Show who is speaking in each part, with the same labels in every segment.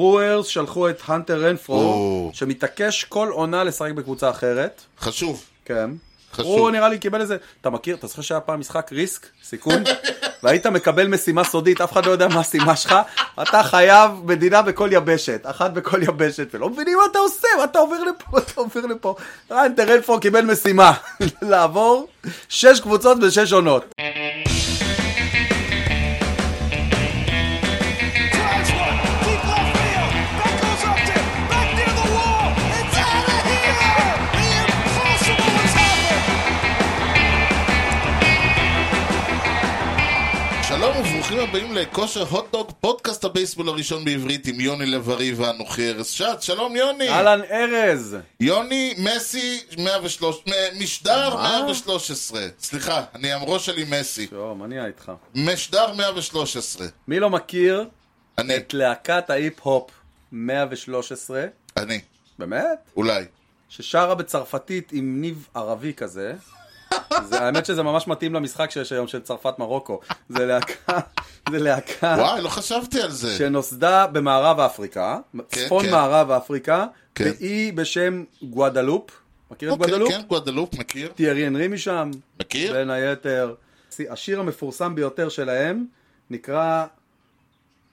Speaker 1: ברוורס שלחו את האנטר רנפרו, שמתעקש כל עונה לשחק בקבוצה אחרת.
Speaker 2: חשוב.
Speaker 1: כן.
Speaker 2: חשוב.
Speaker 1: הוא נראה לי קיבל איזה, אתה מכיר, אתה זוכר שהיה פעם משחק ריסק, סיכון? והיית מקבל משימה סודית, אף אחד לא יודע מה המשימה שלך, אתה חייב מדינה בכל יבשת, אחת בכל יבשת, ולא מבינים מה אתה עושה, מה אתה עובר לפה, אתה עובר לפה. האנטר רנפרו קיבל משימה, לעבור שש קבוצות בשש עונות.
Speaker 3: Drives one, deep left field. That goes up to, back near the wall. It's out of here! The impossible has happened.
Speaker 2: שלום וברוכים הבאים לכושר הוטדוג, פודקאסט הבייסבול הראשון בעברית עם יוני לב-ארי ואנוכי ארז שץ. שלום יוני!
Speaker 1: אהלן ארז.
Speaker 2: יוני מסי 103, מ- משדר 113. סליחה, אני אמרו שלי מסי.
Speaker 1: טוב, מה נהיה איתך?
Speaker 2: משדר 113.
Speaker 1: מי לא מכיר
Speaker 2: אני,
Speaker 1: את להקת ההיפ-הופ 113?
Speaker 2: אני,
Speaker 1: באמת?
Speaker 2: אולי.
Speaker 1: ששרה בצרפתית עם ניב ערבי כזה. זה, האמת שזה ממש מתאים למשחק שיש היום של צרפת מרוקו. זה להקה, זה להקה
Speaker 2: וואי, לא חשבתי על זה.
Speaker 1: שנוסדה במערב אפריקה,
Speaker 2: כן,
Speaker 1: צפון
Speaker 2: כן.
Speaker 1: מערב אפריקה,
Speaker 2: כן.
Speaker 1: באי בשם גואדלופ. מכיר את
Speaker 2: אוקיי,
Speaker 1: גואדלופ?
Speaker 2: כן, גואדלופ, מכיר?
Speaker 1: תיארי הנרי משם,
Speaker 2: מכיר?
Speaker 1: בין היתר. השיר המפורסם ביותר שלהם נקרא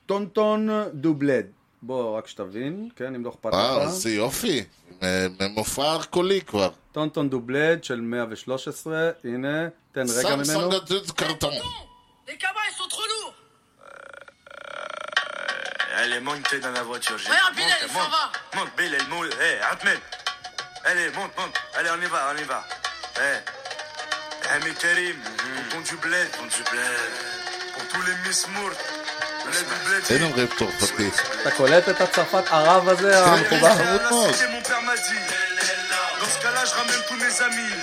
Speaker 1: טונטון דובלד. בוא, רק שתבין, כן, אם לא אכפת
Speaker 2: וואו,
Speaker 1: לך.
Speaker 2: איזה יופי. מ- מופע קולי כבר.
Speaker 1: טונטון דובלד של 113, הנה, תן רגע ממנו.
Speaker 2: סמסונג ג'וד קרטון.
Speaker 4: Les cabas, ils sont trop lourds
Speaker 5: Elle est montée dans la voiture. j'ai
Speaker 4: Regarde,
Speaker 5: dit,
Speaker 4: Bilal, il s'en
Speaker 5: monte,
Speaker 4: va.
Speaker 5: Monte, Bill, elle monte. Hé, Atmel. Allez, monte, monte. Allez, on y va, on y va. Eh. Hé. Ami Karim, pour du bled. Pour du bled. Pour tous les Miss Moore. Bled du bled.
Speaker 2: אין אומרים צרפתי.
Speaker 1: אתה קולט את הצרפת ערב הזה,
Speaker 2: חובה.
Speaker 1: המחובר?
Speaker 5: Ah, là, c'était mon père m'a dit. Dans ce cas-là, je ramène tous mes amis.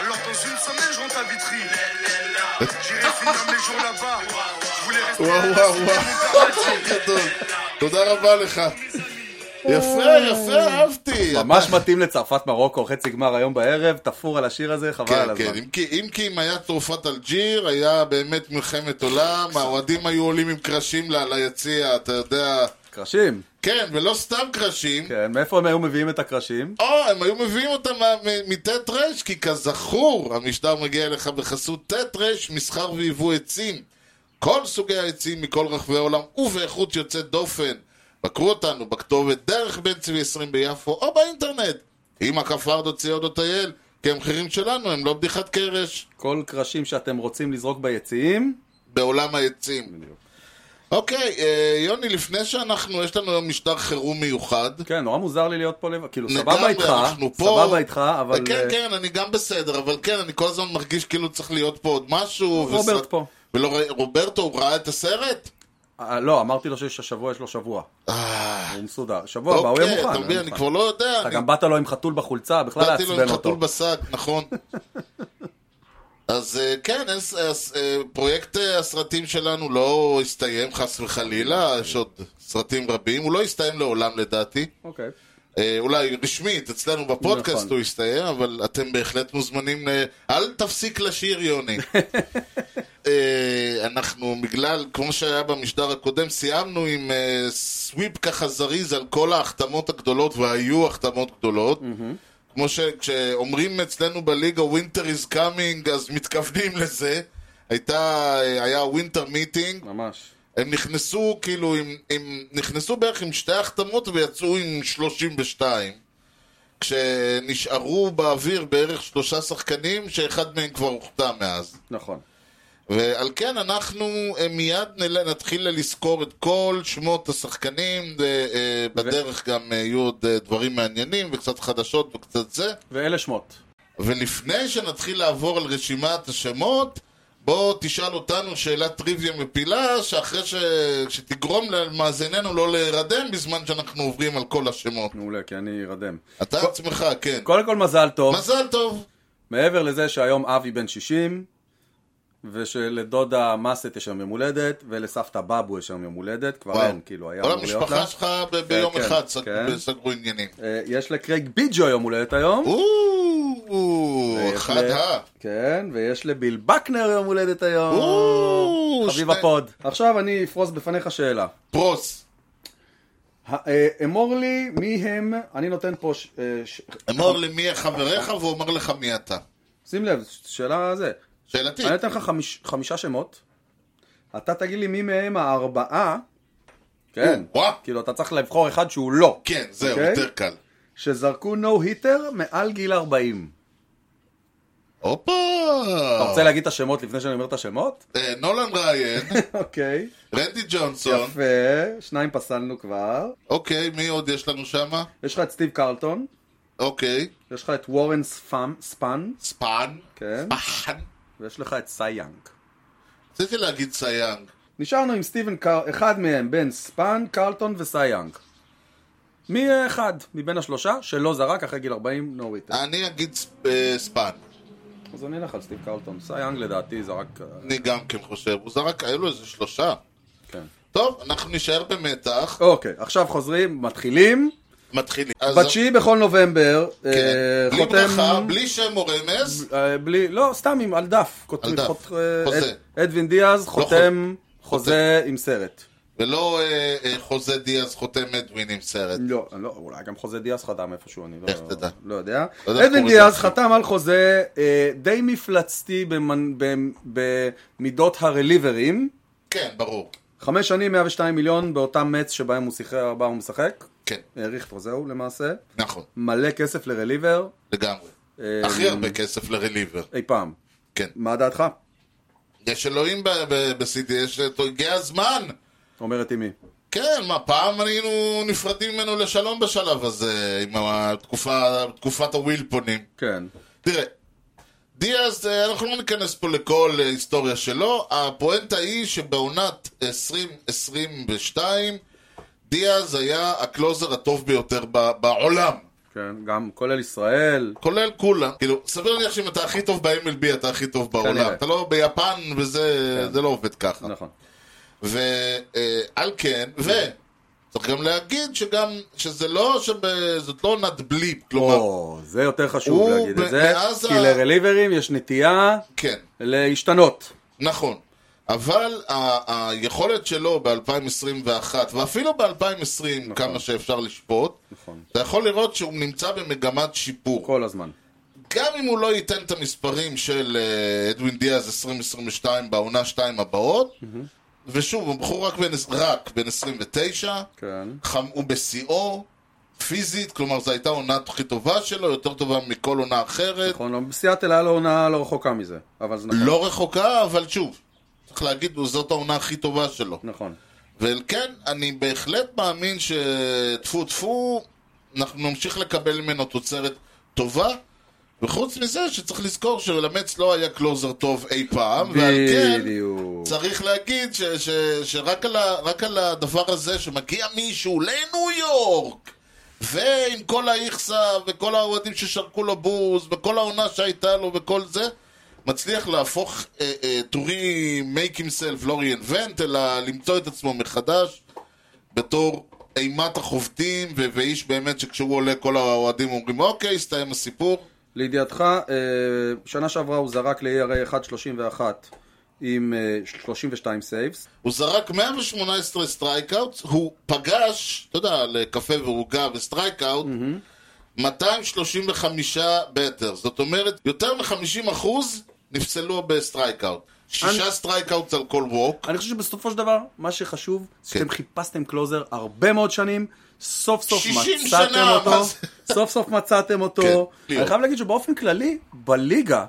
Speaker 5: Alors, dans une semaine, je rentre à Vitry. J'irai finir mes jours là-bas. Je voulais rester
Speaker 2: וואו
Speaker 5: là-bas,
Speaker 2: וואו
Speaker 5: c'était
Speaker 2: וואו, גדול. תודה רבה לך. יפה, יפה, אהבתי.
Speaker 1: ממש מתאים לצרפת מרוקו, חצי גמר היום בערב, תפור על השיר הזה, חבל על
Speaker 2: כן,
Speaker 1: הזמן.
Speaker 2: כן, אם כי- אם כי אם היה תרופת אלג'יר, היה באמת מלחמת עולם, האוהדים היו עולים עם קרשים ל- ליציע, אתה יודע.
Speaker 1: קרשים,
Speaker 2: כן, ולא סתם קרשים.
Speaker 1: כן, מאיפה הם היו מביאים את הקרשים?
Speaker 2: או, הם היו מביאים אותם מה- מ- מטט רש, כי כזכור, המשדר מגיע אליך בחסות טט רש, מסחר ויבוא עצים. כל סוגי העצים מכל רחבי העולם ובאיכות יוצאת דופן. בקרו אותנו בכתובת דרך בן צבי 20 ביפו או באינטרנט. אם הכפרדו ציוד או טייל, כי המחירים שלנו הם לא בדיחת קרש.
Speaker 1: כל קרשים שאתם רוצים לזרוק ביציעים,
Speaker 2: בעולם העצים. אוקיי, אה, יוני, לפני שאנחנו, יש לנו היום משטר חירום מיוחד.
Speaker 1: כן, נורא מוזר לי להיות פה לבד, כאילו, סבבה
Speaker 2: לגמרי,
Speaker 1: איתך,
Speaker 2: אנחנו פה.
Speaker 1: סבבה איתך, אבל
Speaker 2: כן,
Speaker 1: אה,
Speaker 2: כן, אני גם בסדר, אבל כן, אני כל הזמן מרגיש כאילו צריך להיות פה עוד משהו.
Speaker 1: רוברט פה.
Speaker 2: ולא, ראה- רוברטו, הוא ראה את הסרט?
Speaker 1: אה, לא, אמרתי לו שיש השבוע, יש לו שבוע,
Speaker 2: אה,
Speaker 1: הוא מסודר, שבוע הבא הוא יהיה
Speaker 2: אוקיי,
Speaker 1: מוכן.
Speaker 2: אתה
Speaker 1: הוא
Speaker 2: מבין,
Speaker 1: יהיה
Speaker 2: אני
Speaker 1: מוכן.
Speaker 2: כבר לא יודע.
Speaker 1: אתה
Speaker 2: אני
Speaker 1: גם באת לו עם חתול בחולצה, בכלל
Speaker 2: באתי לו
Speaker 1: לעצבן
Speaker 2: עם חתול
Speaker 1: אותו.
Speaker 2: בשק, נכון. אז אה, כן, אז- אז, אה, פרויקט אה, הסרטים שלנו לא הסתיים, חס וחלילה, יש עוד סרטים רבים. הוא לא הסתיים לעולם, לדעתי.
Speaker 1: אוקיי.
Speaker 2: אה, אולי רשמית, אצלנו בפודקאסט
Speaker 1: נכון.
Speaker 2: הוא יסתיים, אבל אתם בהחלט מוזמנים ל... אל תפסיק לשיר, יוני. אה, אנחנו בגלל, כמו שהיה במשדר הקודם, סיימנו עם אה, סוויפ ככה זריז על כל ההחתמות הגדולות, והיו החתמות גדולות. כמו שכשאומרים אצלנו בליגה Winter is coming, אז מתכוונים לזה. הייתה, אה, היה ווינטר מיטינג,
Speaker 1: ממש.
Speaker 2: הם נכנסו כאילו, עם, עם, נכנסו בערך עם שתי החתמות ויצאו עם 32. כשנשארו באוויר בערך שלושה שחקנים, שאחד מהם כבר הוכתם מאז.
Speaker 1: נכון.
Speaker 2: ועל כן אנחנו אה, מיד נל... נתחיל לסקור את כל שמות השחקנים, אה, אה, בדרך גם אה, יהיו עוד אה, דברים מעניינים וקצת חדשות וקצת זה.
Speaker 1: ואלה שמות.
Speaker 2: ולפני שנתחיל לעבור על רשימת השמות, בוא תשאל אותנו שאלת טריוויה מפילה, שאחרי ש... שתגרום למאזיננו לא להירדם בזמן שאנחנו עוברים על כל השמות.
Speaker 1: מעולה, כי אני ארדם.
Speaker 2: אתה עצמך, כן.
Speaker 1: קודם כל מזל טוב,
Speaker 2: מזל טוב.
Speaker 1: מעבר לזה שהיום אבי בן 60, ושלדודה מאסט יש היום יום הולדת, ולסבתא בבו יש היום יום הולדת, כבר אין, כאילו, היה
Speaker 2: כל
Speaker 1: אמור להיות לה.
Speaker 2: המשפחה שלך ב- ביום
Speaker 1: כן,
Speaker 2: אחד סג-
Speaker 1: כן.
Speaker 2: סגרו עניינים.
Speaker 1: אה, יש לקרייג ביג'ו יום הולדת היום.
Speaker 2: או,
Speaker 1: ויש
Speaker 2: אחד אה?
Speaker 1: ל-
Speaker 2: ה...
Speaker 1: כן, ויש לביל בקנר יום הולדת היום.
Speaker 2: או,
Speaker 1: חביב
Speaker 2: שני-
Speaker 1: הפוד. עכשיו אני אפרוס בפניך שאלה.
Speaker 2: פרוס.
Speaker 1: ה- אה, אמור לי מי הם, אני נותן פה, ש- אה, ש-
Speaker 2: אמור לי מי חבריך ואומר לך מי אתה.
Speaker 1: שים לב, ש- שאלה זה.
Speaker 2: שאלתי.
Speaker 1: אני אתן לך חמיש- חמישה שמות, אתה תגיד לי מי מהם הארבעה, כן,
Speaker 2: וואה.
Speaker 1: כאילו אתה צריך לבחור אחד שהוא לא,
Speaker 2: כן, זהו,
Speaker 1: אוקיי?
Speaker 2: יותר קל.
Speaker 1: שזרקו נו היטר מעל גיל 40.
Speaker 2: הופה!
Speaker 1: אתה רוצה להגיד את השמות לפני שאני אומר את השמות?
Speaker 2: אה, נולן ריין,
Speaker 1: אוקיי,
Speaker 2: רנדי ג'ונסון,
Speaker 1: יפה, שניים פסלנו כבר.
Speaker 2: אוקיי, מי עוד יש לנו שמה?
Speaker 1: יש לך את סטיב קרלטון,
Speaker 2: אוקיי,
Speaker 1: יש לך את וורן ספאם- ספאן,
Speaker 2: ספאן,
Speaker 1: כן,
Speaker 2: פחן.
Speaker 1: ויש לך את סי יאנג.
Speaker 2: רציתי להגיד סייאנג.
Speaker 1: נשארנו עם סטיבן קר... אחד מהם, בין ספאן, קרלטון וסייאנג. מי אה, אחד מבין השלושה שלא זרק אחרי גיל 40 נו ריטר?
Speaker 2: אני אגיד ס- אה, ספאן.
Speaker 1: אז אני אלך על סטיב קרלטון. סייאנג לדעתי זרק... אה,
Speaker 2: אני גם כן חושב. הוא זרק, היו לו איזה שלושה.
Speaker 1: כן.
Speaker 2: טוב, אנחנו נישאר במתח.
Speaker 1: אוקיי, עכשיו חוזרים, מתחילים.
Speaker 2: מתחילים. אז-
Speaker 1: בתשיעי בכל נובמבר,
Speaker 2: כן.
Speaker 1: אה,
Speaker 2: בלי ברכה,
Speaker 1: חותם...
Speaker 2: בלי שם או רמז.
Speaker 1: אה, בלי, לא, סתם עם, על דף. כותב-
Speaker 2: על דף.
Speaker 1: חות- אה,
Speaker 2: חוזה.
Speaker 1: אד-
Speaker 2: לא
Speaker 1: אדווין דיאז חותם חוזה עם סרט.
Speaker 2: ולא אה, אה, חוזה דיאז חותם אדווין עם סרט.
Speaker 1: לא, לא, אולי גם חוזה דיאז חתם איפשהו, אני לא,
Speaker 2: איך תדע?
Speaker 1: לא יודע.
Speaker 2: לא יודע איך
Speaker 1: אדן
Speaker 2: קוראים
Speaker 1: דיאז
Speaker 2: לזה.
Speaker 1: חתם על חוזה אה, די מפלצתי במנ- במ- במידות הרליברים.
Speaker 2: כן, ברור.
Speaker 1: חמש שנים, 102 מיליון באותם מצ שבהם הוא שיחק, בה הוא משחק.
Speaker 2: כן,
Speaker 1: האריך את חוזהו למעשה.
Speaker 2: נכון,
Speaker 1: מלא כסף לרליבר
Speaker 2: לגמרי.
Speaker 1: אה,
Speaker 2: הכי הרבה כסף לרליבר.
Speaker 1: אי פעם.
Speaker 2: כן.
Speaker 1: מה דעתך?
Speaker 2: יש אלוהים ב- ב- ב-CD, יש... הגיע הזמן!
Speaker 1: אומרת אמי.
Speaker 2: כן, מה, פעם היינו נפרדים ממנו לשלום בשלב הזה, עם התקופה, תקופת הווילפונים.
Speaker 1: כן.
Speaker 2: תראה, דיאז, אה, אנחנו לא ניכנס פה לכל אה, היסטוריה שלו, הפואנטה היא שבעונת 2022, דיאז היה הקלוזר הטוב ביותר ב- בעולם.
Speaker 1: כן, גם כולל ישראל.
Speaker 2: כולל כולם. כאילו, סביר להניח שאם אתה הכי טוב ב-MLB, אתה הכי טוב בעולם.
Speaker 1: כנראה.
Speaker 2: אתה לא ביפן, וזה זה לא עובד ככה.
Speaker 1: נכון.
Speaker 2: ועל כן, ו... צריך גם להגיד שגם, שזה לא, שב- זאת לא עונת בליפ, כלומר,
Speaker 1: או, לא, זה יותר חשוב
Speaker 2: הוא
Speaker 1: להגיד את
Speaker 2: ב-
Speaker 1: זה.
Speaker 2: מאז
Speaker 1: כי
Speaker 2: ה-
Speaker 1: לרליברים יש נטייה
Speaker 2: כן.
Speaker 1: להשתנות.
Speaker 2: נכון. אבל ה- היכולת שלו ב-2021, ואפילו ב-2020, נכון. כמה שאפשר לשפוט,
Speaker 1: נכון.
Speaker 2: אתה יכול לראות שהוא נמצא במגמת שיפור.
Speaker 1: כל הזמן.
Speaker 2: גם אם הוא לא ייתן את המספרים של אה, אדווין דיאז 2022 בעונה שתיים הבאות, ושוב, הוא בחור רק בן, רק בן 29,
Speaker 1: כן.
Speaker 2: חם, הוא בשיאו, פיזית, כלומר זו הייתה העונה הכי טובה שלו, יותר טובה מכל עונה אחרת.
Speaker 1: נכון, אבל בסיאטל היה לו עונה לא רחוקה מזה. אבל זה נכון.
Speaker 2: לא רחוקה, אבל שוב, צריך להגיד, זאת העונה הכי טובה שלו.
Speaker 1: נכון.
Speaker 2: ועל כן, אני בהחלט מאמין שטפו טפו, אנחנו נמשיך לקבל ממנו תוצרת טובה. וחוץ מזה שצריך לזכור שלמץ לא היה קלוזר טוב אי פעם, ועל כן
Speaker 1: בדיוק.
Speaker 2: צריך להגיד ש, ש, שרק על, ה, רק על הדבר הזה שמגיע מישהו לניו יורק, ועם כל האיכסה וכל האוהדים ששרקו לו בוז, וכל העונה שהייתה לו וכל זה, מצליח להפוך אה, אה, to re-make himself, לא re-invent, אלא למצוא את עצמו מחדש בתור אימת החובטים, ו- ואיש באמת שכשהוא עולה כל האוהדים אומרים, אוקיי, הסתיים הסיפור.
Speaker 1: לידיעתך, אה, שנה שעברה הוא זרק ל-ERA 131 עם אה, 32 סייבס.
Speaker 2: הוא זרק 118 סטרייקאוט, הוא פגש, אתה יודע, לקפה ועוגה וסטרייקאוט, 235 בטר. זאת אומרת, יותר מ-50% נפסלו בסטרייקאוט. שישה סטרייקאוט על כל ווק.
Speaker 1: אני חושב שבסופו של דבר, מה שחשוב, זה
Speaker 2: כן.
Speaker 1: שאתם חיפשתם קלוזר הרבה מאוד שנים, סוף סוף
Speaker 2: 60
Speaker 1: מצאתם
Speaker 2: שנה,
Speaker 1: אותו,
Speaker 2: מה זה?
Speaker 1: סוף סוף מצאתם אותו.
Speaker 2: כן,
Speaker 1: אני חייב להגיד שבאופן כללי, בליגה,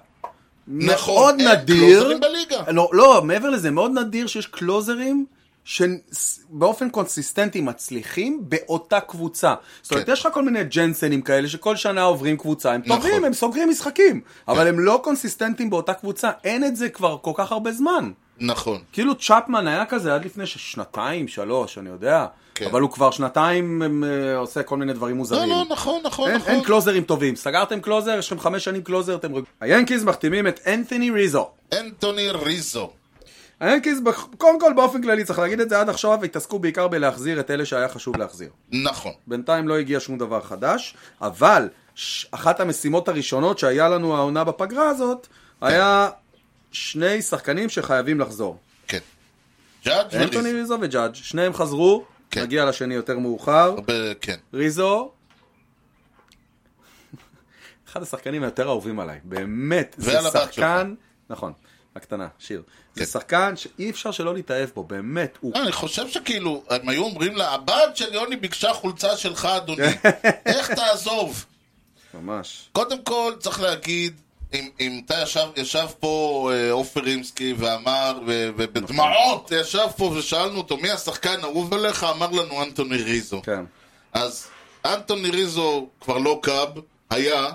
Speaker 2: נכון,
Speaker 1: מאוד
Speaker 2: אין
Speaker 1: נדיר,
Speaker 2: קלוזרים בליגה.
Speaker 1: לא, לא, מעבר לזה, מאוד נדיר שיש קלוזרים שבאופן קונסיסטנטי מצליחים באותה קבוצה. זאת אומרת,
Speaker 2: כן.
Speaker 1: יש לך כל מיני ג'נסנים כאלה שכל שנה עוברים קבוצה, הם
Speaker 2: נכון. כן.
Speaker 1: טובים, הם סוגרים משחקים, אבל הם לא קונסיסטנטים באותה קבוצה, אין את זה כבר כל כך הרבה זמן.
Speaker 2: נכון.
Speaker 1: כאילו צ'פמן היה כזה עד לפני ש- שנתיים, שלוש, אני יודע.
Speaker 2: כן.
Speaker 1: אבל הוא כבר שנתיים אמ, אה, עושה כל מיני דברים
Speaker 2: לא,
Speaker 1: מוזרים.
Speaker 2: לא, נכון, נכון,
Speaker 1: אין, אין
Speaker 2: נכון.
Speaker 1: קלוזרים טובים. סגרתם קלוזר, יש לכם חמש שנים קלוזר, אתם רגועים. היאנקיז מחתימים את אנת'וני ריזו.
Speaker 2: אנטוני ריזו.
Speaker 1: היאנקיז, בח- קודם כל באופן כללי, צריך להגיד את זה עד עכשיו, התעסקו בעיקר בלהחזיר את אלה שהיה חשוב להחזיר.
Speaker 2: נכון.
Speaker 1: בינתיים לא הגיע שום דבר חדש, אבל ש- אחת המשימות הראשונות שהיה לנו העונה בפגרה הזאת, היה שני שחקנים שחייבים לחזור.
Speaker 2: כן. ג'אדג'
Speaker 1: אנתוני
Speaker 2: וריזו.
Speaker 1: ריזו וג'אדג', שניהם חזרו,
Speaker 2: כן.
Speaker 1: נגיע לשני יותר מאוחר.
Speaker 2: הרבה- כן.
Speaker 1: ריזו, אחד השחקנים היותר אהובים עליי, באמת, זה
Speaker 2: ועל הבת
Speaker 1: שחקן, נכון, הקטנה, שיר, זה
Speaker 2: כן.
Speaker 1: שחקן שאי אפשר שלא להתאהב בו, באמת, הוא,
Speaker 2: אה, אני חושב שכאילו, הם היו אומרים לה, הבת של יוני ביקשה חולצה שלך, אדוני. איך תעזוב?
Speaker 1: ממש,
Speaker 2: קודם כל, צריך להגיד, אם, אם אתה ישב, ישב פה אה, עופר רימסקי ואמר, ו- ובדמעות ישב פה ושאלנו אותו, מי השחקן האהוב עליך? אמר לנו אנטוני ריזו.
Speaker 1: כן,
Speaker 2: אז אנטוני ריזו כבר לא קאב, היה,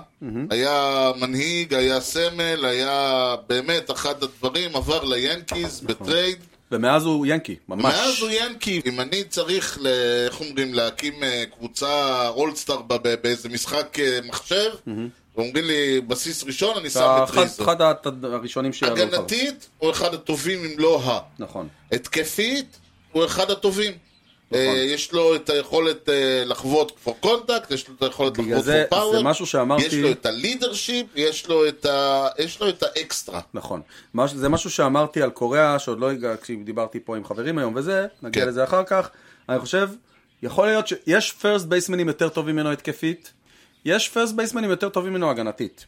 Speaker 2: היה מנהיג, היה סמל, היה באמת אחד הדברים, עבר ליאנקיז בטרייד.
Speaker 1: ומאז הוא ינקי, ממש,
Speaker 2: מאז הוא ינקי, אם אני צריך, ל- איך אומרים, להקים אה, קבוצה אולסטאר ב- ב- באיזה משחק אה, מחשב, אומרים לי, בסיס ראשון, אני שם
Speaker 1: אתה
Speaker 2: את
Speaker 1: אחד,
Speaker 2: ריזו.
Speaker 1: אחד הת- הראשונים שיעלו לך,
Speaker 2: הגנתית, הוא אחד הטובים, אם לא ה.
Speaker 1: נכון,
Speaker 2: התקפית, הוא אחד הטובים.
Speaker 1: נכון.
Speaker 2: אה, יש לו את היכולת אה, לחוות פור קונטקט, יש לו את היכולת
Speaker 1: בגלל
Speaker 2: לחוות
Speaker 1: זה-
Speaker 2: פור פאוור,
Speaker 1: זה משהו שאמרתי-
Speaker 2: יש לו את הלידרשיפ, יש לו את ה- יש לו את האקסטרה.
Speaker 1: נכון, מה ש- זה משהו שאמרתי על קוריאה, שעוד לא הגע, כשדיברתי פה עם חברים היום וזה, נגיע
Speaker 2: כן.
Speaker 1: לזה אחר כך, אני חושב, יכול להיות שיש פרסט בייסמנים יותר טובים ממנו התקפית, יש פרסט בייסמנים יותר טובים ממנו הגנתית.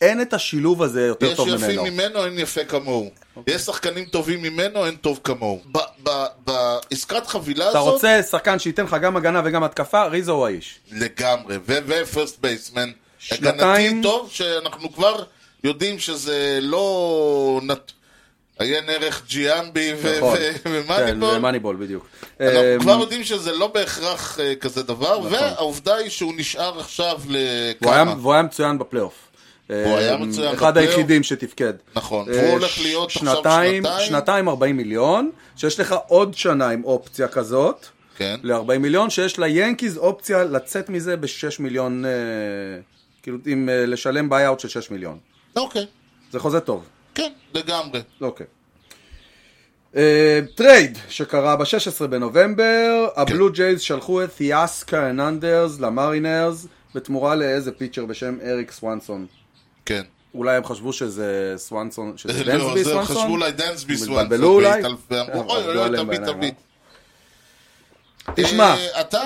Speaker 1: אין את השילוב הזה יותר
Speaker 2: יש
Speaker 1: טוב
Speaker 2: יפים
Speaker 1: ממנו. אוקיי.
Speaker 2: ממנו, אין יפה כמוהו. יש שחקנים טובים ממנו, אין טוב כמוהו. ב- ב- בעסקת חבילה
Speaker 1: אתה
Speaker 2: הזאת,
Speaker 1: רוצה שחקן שייתן לך גם הגנה וגם התקפה, ריזו הוא האיש.
Speaker 2: לגמרי. ופרסט בייסמן.
Speaker 1: שנתיים-
Speaker 2: הגנתי טוב, שאנחנו כבר יודעים שזה לא... נת- עיין ערך ג'יאמבי ו-
Speaker 1: נכון.
Speaker 2: ו-
Speaker 1: כן,
Speaker 2: ומאניבול.
Speaker 1: ומאניבול בדיוק.
Speaker 2: אנחנו
Speaker 1: אמ,
Speaker 2: כבר יודעים שזה לא בהכרח אה, כזה דבר, והעובדה היא שהוא נשאר עכשיו
Speaker 1: והוא היה-
Speaker 2: לכמה.
Speaker 1: והוא היה מצוין בפלייאוף.
Speaker 2: הוא היה
Speaker 1: אמ,
Speaker 2: מצוין
Speaker 1: אחד
Speaker 2: בפלייאוף.
Speaker 1: היחידים שתפקד.
Speaker 2: נכון,
Speaker 1: אה,
Speaker 2: והוא הולך
Speaker 1: ש-
Speaker 2: להיות עכשיו שנתיים.
Speaker 1: שנתיים 40 מיליון, שיש לך עוד שנה עם אופציה כזאת,
Speaker 2: כן.
Speaker 1: ל-40 מיליון, שיש ליאנקיז אופציה לצאת מזה ב-6 מיליון, אה, כאילו עם אה, לשלם ביי-אאוט של 6 מיליון.
Speaker 2: אוקיי,
Speaker 1: זה חוזה טוב.
Speaker 2: כן, לגמרי.
Speaker 1: אוקיי. אה, טרייד שקרה ב-16 בנובמבר, הבלו
Speaker 2: כן.
Speaker 1: ג'ייז שלחו את תיאסקה הננדרס למרינרס בתמורה לאיזה פיצ'ר בשם אריק סואנסון.
Speaker 2: כן.
Speaker 1: אולי הם חשבו שזה סואנסון, שזה
Speaker 2: לא,
Speaker 1: דנסבי
Speaker 2: זה
Speaker 1: סואנסון?
Speaker 2: חשבו אולי דנסבי
Speaker 1: הם
Speaker 2: סוואנסון.
Speaker 1: התבלבלו אולי? אה,
Speaker 2: ואמרו, אוי,
Speaker 1: אבל
Speaker 2: אוי,
Speaker 1: לא
Speaker 2: אוי,
Speaker 1: עליהם
Speaker 2: תביא,
Speaker 1: בעיניים,
Speaker 2: תביא.
Speaker 1: תשמע.
Speaker 2: אה, אתה,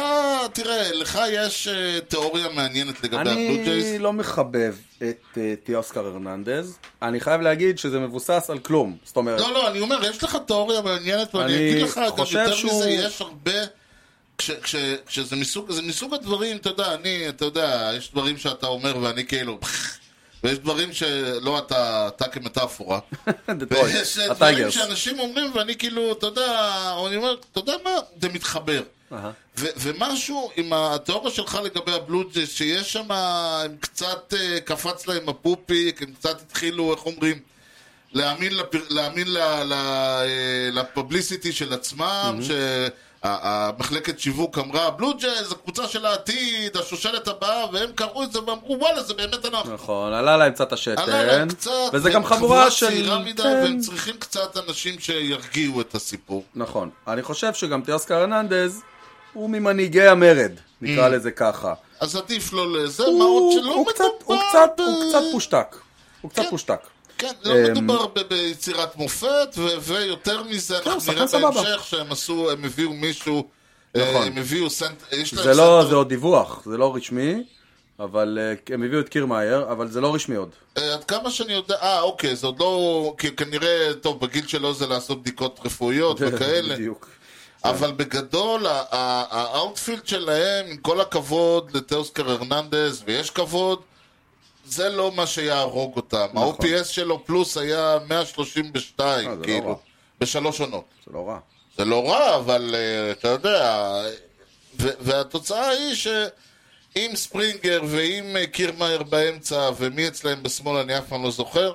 Speaker 2: תראה, לך יש אה, תיאוריה מעניינת לגבי הבלו
Speaker 1: אני
Speaker 2: ג'ייז.
Speaker 1: לא מחבב את אה, תיאוסקר הרננדז, אני חייב להגיד שזה מבוסס על כלום, זאת אומרת,
Speaker 2: לא, לא, אני אומר, יש לך תיאוריה מעניינת, ואני
Speaker 1: אני
Speaker 2: אגיד לך, גם
Speaker 1: חושב
Speaker 2: יותר
Speaker 1: שהוא-
Speaker 2: מזה, יש הרבה... כש- כש- כשזה מסוג, זה מסוג הדברים, אתה יודע, אני, אתה יודע, יש דברים שאתה אומר ואני כאילו... ויש דברים שלא אתה, אתה כמטאפורה.
Speaker 1: דטרויט,
Speaker 2: ויש דברים
Speaker 1: הטייגרס,
Speaker 2: שאנשים אומרים ואני כאילו, אתה יודע, או אני אומר, אתה יודע מה, זה מתחבר.
Speaker 1: אהה.
Speaker 2: ו- ומשהו עם התיאוריה שלך לגבי הבלוג'ס, שיש שם, הם קצת אה, קפץ להם הפופיק, הם קצת התחילו, איך אומרים, להאמין, לפר... להאמין ל... ל... אה, לפבליסיטי של עצמם, שהמחלקת שיווק אמרה, הבלוג'ס, הקבוצה של העתיד, השושלת הבאה, והם קראו את זה ואמרו, וואלה, זה באמת אנחנו.
Speaker 1: נכון, עלה להם קצת
Speaker 2: עלה
Speaker 1: השתן,
Speaker 2: להם קצת,
Speaker 1: וזה
Speaker 2: והם
Speaker 1: גם חבורה של,
Speaker 2: צעירה מדי,
Speaker 1: כן.
Speaker 2: והם צריכים קצת אנשים שירגיעו את הסיפור.
Speaker 1: נכון. אני חושב שגם תיאוסקר הרננדז הוא ממנהיגי המרד, נקרא לזה ככה.
Speaker 2: אז עדיף לא לזה, מה עוד
Speaker 1: הוא
Speaker 2: Mm. שלא
Speaker 1: הוא
Speaker 2: מדובר...
Speaker 1: קצת הוא קצת-
Speaker 2: ב-
Speaker 1: הוא קצת פושטק. הוא קצת
Speaker 2: כן.
Speaker 1: פושטק.
Speaker 2: כן,
Speaker 1: אמ,
Speaker 2: לא מדובר ב- ביצירת מופת, ו- ויותר מזה,
Speaker 1: הוא
Speaker 2: אנחנו
Speaker 1: שחקן
Speaker 2: נראה
Speaker 1: כן, סבבה.
Speaker 2: בהמשך שהם עשו, הם הביאו מישהו,
Speaker 1: נכון.
Speaker 2: אה, הם הביאו סנט... יש להם
Speaker 1: זה לא,
Speaker 2: סנטר-
Speaker 1: זה עוד דיווח, זה לא רשמי, אבל אה, הם הביאו את קירמאייר, אבל זה לא רשמי עוד.
Speaker 2: אה, עד כמה שאני יודע, אה, אוקיי, זה עוד לא... כי כנראה, טוב, בגיל שלו זה לעשות בדיקות רפואיות וכאלה.
Speaker 1: בדיוק. כן.
Speaker 2: אבל בגדול, ה- ה- האאוטפילד שלהם, עם כל הכבוד לתאוסקר הרננדז, ויש כבוד, זה לא מה שיהרוג אותם. ה-OPS שלו פלוס היה
Speaker 1: נכון. אה,
Speaker 2: 132,
Speaker 1: זה לא רע.
Speaker 2: כאילו, בשלוש עונות.
Speaker 1: זה לא רע.
Speaker 2: זה לא רע, אבל אה, אתה יודע, ו- והתוצאה היא שעם ספרינגר ועם אה, קירמאייר באמצע, ומי אצלהם בשמאל, אני אף פעם לא זוכר,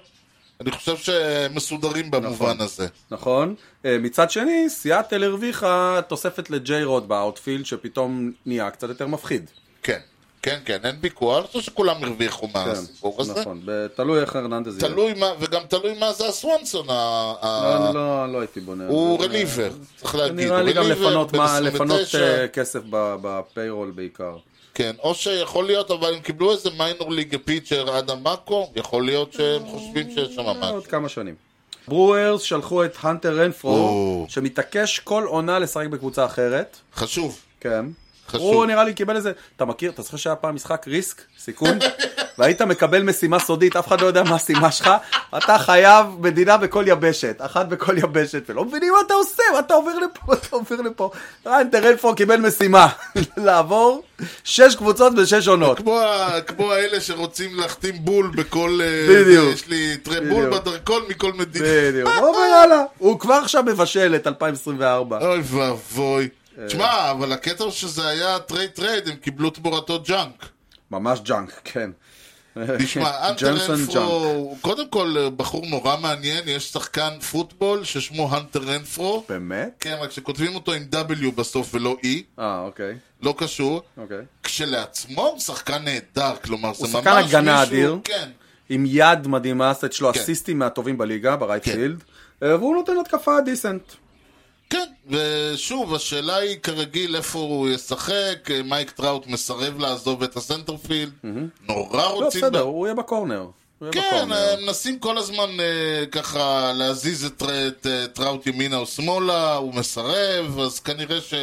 Speaker 2: אני חושב שהם מסודרים במובן הזה.
Speaker 1: נכון? אה, מצד שני, סיאטל הרוויחה תוספת לג'יי רוד באאוטפילד, שפתאום נהיה קצת יותר מפחיד.
Speaker 2: כן, כן, כן, אין ויכוח, אני חושב שכולם הרוויחו מהסיפור הזה.
Speaker 1: כן, נכון, ב- תלוי איך הרננדז יהיה.
Speaker 2: תלוי מה, וגם תלוי מה זה הסוונסון, ה- ה-
Speaker 1: לא, לא, לא הייתי בונה. על
Speaker 2: הוא
Speaker 1: זה.
Speaker 2: רליבר, צריך להגיד.
Speaker 1: נראה
Speaker 2: הוא
Speaker 1: לי גם
Speaker 2: רליבר,
Speaker 1: לפנות
Speaker 2: בן
Speaker 1: מה-
Speaker 2: 29,
Speaker 1: לפנות אה, כסף ב- בפיירול בעיקר.
Speaker 2: כן, או שיכול להיות, אבל הם קיבלו איזה
Speaker 1: לא.
Speaker 2: מיינור ליג פיצ'ר עד המאקו, יכול להיות שהם חושבים שיש שם משהו.
Speaker 1: עוד כמה שנים. ברוורס שלחו את הנטר רנפרו,
Speaker 2: או.
Speaker 1: שמתעקש כל עונה לשחק בקבוצה אחרת.
Speaker 2: חשוב.
Speaker 1: כן.
Speaker 2: חשוב.
Speaker 1: הוא נראה לי קיבל איזה, אתה מכיר, אתה זוכר שהיה פעם משחק ריסק, סיכון, והיית מקבל משימה סודית, אף אחד לא יודע מה המשימה שלך, אתה חייב מדינה בכל יבשת, אחת בכל יבשת, ולא מבינים מה אתה עושה, מה אתה עובר לפה, אתה עובר לפה. ריינטר אלפו קיבל משימה, לעבור שש קבוצות בשש עונות.
Speaker 2: כמו, ה- כמו האלה שרוצים להחתים בול בכל... אה,
Speaker 1: בדיוק.
Speaker 2: זה, יש לי טרי בול
Speaker 1: בדיוק.
Speaker 2: בדרכון מכל מדינה.
Speaker 1: בדיוק, הוא אומר יאללה, הוא כבר עכשיו מבשל את 2024.
Speaker 2: אוי ואבוי.
Speaker 1: אה.
Speaker 2: תשמע, אבל הקטע הוא שזה היה טרי טרייד, הם קיבלו תמורתו ג'אנק.
Speaker 1: ממש ג'אנק, כן.
Speaker 2: תשמע, אנטר
Speaker 1: ג'ונסון
Speaker 2: רנפרו הוא קודם כל אה, בחור נורא מעניין, יש שחקן פוטבול ששמו הנטר רנפרו.
Speaker 1: באמת?
Speaker 2: כן, רק שכותבים אותו עם W בסוף ולא E,
Speaker 1: אה, אוקיי,
Speaker 2: לא קשור.
Speaker 1: אוקיי.
Speaker 2: כשלעצמו הוא שחקן נהדר, כלומר, זה ממש
Speaker 1: הוא
Speaker 2: מישהו...
Speaker 1: שחקן הגנה אדיר.
Speaker 2: כן.
Speaker 1: עם יד מדהימה, הסט שלו
Speaker 2: כן.
Speaker 1: אסיסטים מהטובים בליגה, ברייט
Speaker 2: כן.
Speaker 1: פילד, אה, והוא נותן התקפה דיסנט.
Speaker 2: כן, ושוב, השאלה היא כרגיל איפה הוא ישחק, מייק טראוט מסרב לעזוב את הסנטרפילד, נורא
Speaker 1: לא,
Speaker 2: רוצים...
Speaker 1: בסדר, הוא יהיה בקורנר. הוא יהיה
Speaker 2: כן,
Speaker 1: בקורנר.
Speaker 2: הם מנסים כל הזמן אה, ככה להזיז את טר- את, אה, טראוט ימינה או שמאלה, הוא מסרב, אז כנראה ש...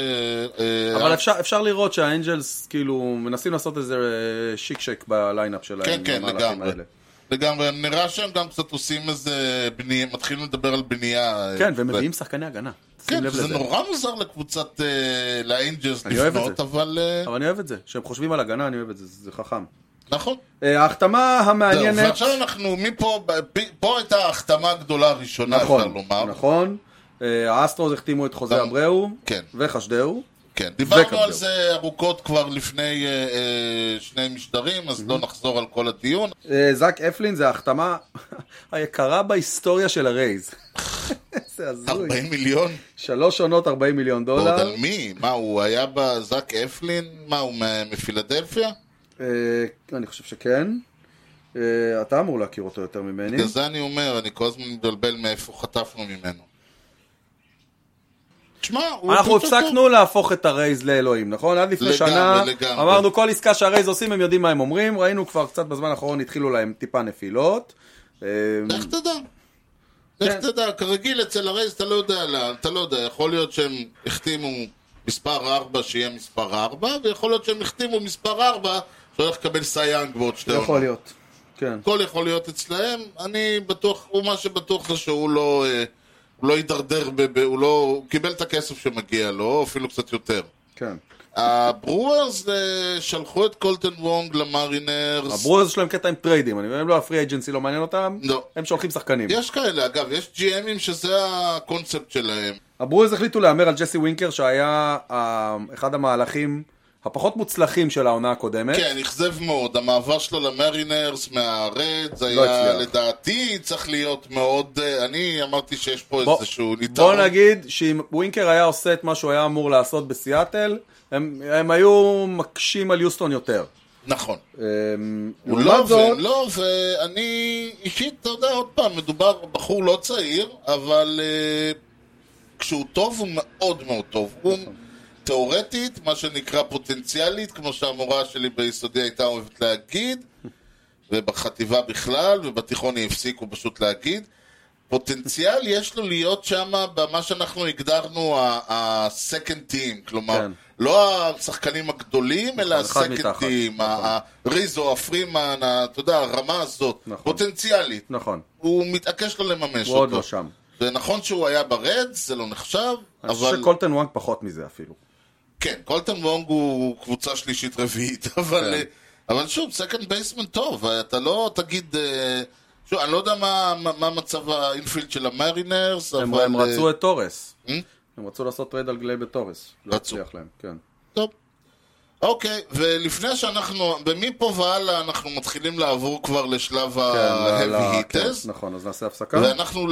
Speaker 2: אה,
Speaker 1: אבל אפשר, אפשר לראות שהאנג'לס כאילו מנסים לעשות איזה אה, שיקשק בליינאפ שלהם.
Speaker 2: כן, כן,
Speaker 1: במהלכים
Speaker 2: לגמרי.
Speaker 1: האלה.
Speaker 2: לגמרי, נראה שהם גם קצת עושים איזה בנייה, מתחילים לדבר על בנייה. אה,
Speaker 1: כן, והם מביאים שחקני הגנה. שים
Speaker 2: כן,
Speaker 1: לב
Speaker 2: זה
Speaker 1: לזה.
Speaker 2: נורא מוזר לקבוצת, אה, לאנג'לס
Speaker 1: אני אוהב את
Speaker 2: לפנות,
Speaker 1: זה.
Speaker 2: אבל אה,
Speaker 1: אבל אני אוהב את זה, כשהם חושבים על הגנה אני אוהב את זה, זה חכם.
Speaker 2: נכון.
Speaker 1: אה, ההחתמה
Speaker 2: זהו,
Speaker 1: המעניינת,
Speaker 2: ועכשיו אנחנו, מפה, ב- פה הייתה ההחתמה הגדולה הראשונה, אפשר
Speaker 1: נכון,
Speaker 2: לומר.
Speaker 1: נכון, אה, האסטרוס החתימו את חוזה
Speaker 2: גם-
Speaker 1: אברהו,
Speaker 2: כן.
Speaker 1: וחשדהו,
Speaker 2: כן, דיברנו
Speaker 1: וקפדל.
Speaker 2: על זה ארוכות כבר לפני אה, אה, שני משדרים, אז לא נחזור על כל הדיון.
Speaker 1: אה, זאק אפלין זה ההחתמה היקרה בהיסטוריה של הרייז. איזה הזוי.
Speaker 2: 40 מיליון?
Speaker 1: שלוש עונות 40 מיליון
Speaker 2: עוד
Speaker 1: דולר.
Speaker 2: על מי? מה, הוא היה בזאק אפלין? מה, הוא מ- מפילדלפיה?
Speaker 1: אה, אני חושב שכן. אה, אתה אמור להכיר אותו יותר ממני.
Speaker 2: בגלל זה אני אומר, אני כל הזמן מתבלבל מאיפה חטפנו ממנו. תשמע, הוא...
Speaker 1: אנחנו
Speaker 2: פשוט
Speaker 1: הפסקנו להפוך את הרייז לאלוהים, נכון? עד לפני
Speaker 2: לגמרי,
Speaker 1: שנה
Speaker 2: לגמרי.
Speaker 1: אמרנו כל עסקה שהרייז עושים הם יודעים מה הם אומרים, ראינו כבר קצת בזמן האחרון התחילו להם טיפה נפילות. אה,
Speaker 2: טוב. לך תדע. לך
Speaker 1: כן.
Speaker 2: תדע, כרגיל אצל הרייז אתה לא יודע, לאן, אתה לא יודע, יכול להיות שהם החתימו מספר 4 שיהיה מספר 4, ויכול להיות שהם החתימו מספר 4 שהולך לקבל סייאנג בעוד שתי עונות.
Speaker 1: יכול להיות. כן.
Speaker 2: הכל יכול להיות אצלהם, אני בטוח, הוא מה שבטוח זה שהוא לא, אה, הוא לא הידרדר, ב, ב, הוא לא, הוא קיבל את הכסף שמגיע לו, או אפילו קצת יותר.
Speaker 1: כן.
Speaker 2: הברוארס אה, שלחו את קולטן וונג למרינרס.
Speaker 1: הברוז שלהם קטע עם טריידים, אני- הם לא הפרי אג'נסי לא מעניין אותם,
Speaker 2: לא.
Speaker 1: הם שולחים שחקנים.
Speaker 2: יש כאלה, אגב, יש GMים שזה הקונספט שלהם.
Speaker 1: הברוז החליטו להמר על ג'סי ווינקר שהיה אה, אחד המהלכים הפחות מוצלחים של העונה הקודמת.
Speaker 2: כן, אכזב מאוד. המעבר שלו למרינרס מהרדס היה
Speaker 1: לא הצליח.
Speaker 2: לדעתי צריך להיות מאוד... אה, אני אמרתי שיש פה
Speaker 1: בוא-
Speaker 2: איזשהו ניתן.
Speaker 1: בוא נגיד שאם ווינקר היה עושה את מה שהוא היה אמור לעשות בסיאטל, הם, הם היו מקשים על יוסטון יותר.
Speaker 2: נכון.
Speaker 1: אה,
Speaker 2: הוא לא,
Speaker 1: לעומת זאת,
Speaker 2: ולא, ואני אישית, אתה יודע, עוד פעם, מדובר בבחור לא צעיר, אבל אה, כשהוא טוב הוא מאוד מאוד טוב. הוא
Speaker 1: נכון.
Speaker 2: תיאורטית, מה שנקרא פוטנציאלית, כמו שהמורה שלי ביסודי הייתה אוהבת להגיד, ובחטיבה בכלל, ובתיכון היא הפסיקו פשוט להגיד. פוטנציאל יש לו להיות שם במה שאנחנו הגדרנו ה-second team, כלומר,
Speaker 1: כן.
Speaker 2: כן. לא השחקנים הגדולים, אלא
Speaker 1: אחד
Speaker 2: ה-second
Speaker 1: מתחת.
Speaker 2: team, ה- ריזו, הפרימן, ה- אתה יודע, הרמה הזאת,
Speaker 1: נכון.
Speaker 2: פוטנציאלית,
Speaker 1: נכון,
Speaker 2: הוא מתעקש לא לממש
Speaker 1: הוא עוד
Speaker 2: אותו.
Speaker 1: לא שם.
Speaker 2: זה נכון שהוא היה ברדס, זה לא נחשב,
Speaker 1: אני חושב
Speaker 2: אבל...
Speaker 1: שקולטן וואנג פחות מזה אפילו.
Speaker 2: כן, קולטן וונג הוא קבוצה שלישית רביעית, אבל, אה,
Speaker 1: כן.
Speaker 2: אבל שוב, סקנד בייסמן טוב, אתה לא תגיד... אה, שוב, אני לא יודע מה, מה, מה מצב האינפילד של המרינרס,
Speaker 1: הם,
Speaker 2: אבל...
Speaker 1: הם רצו
Speaker 2: אה,
Speaker 1: את תורס.
Speaker 2: Hmm?
Speaker 1: הם רצו לעשות טרייד על גלייבר תורס. לא
Speaker 2: רצו.
Speaker 1: הצליח להם, כן.
Speaker 2: טוב. אוקיי, ולפני שאנחנו, ומפה והלאה אנחנו מתחילים לעבור כבר לשלב
Speaker 1: כן, ל- ל-
Speaker 2: ה-heavy
Speaker 1: כן,
Speaker 2: אה, hitters,
Speaker 1: נכון, אז נעשה הפסקה.
Speaker 2: ואנחנו,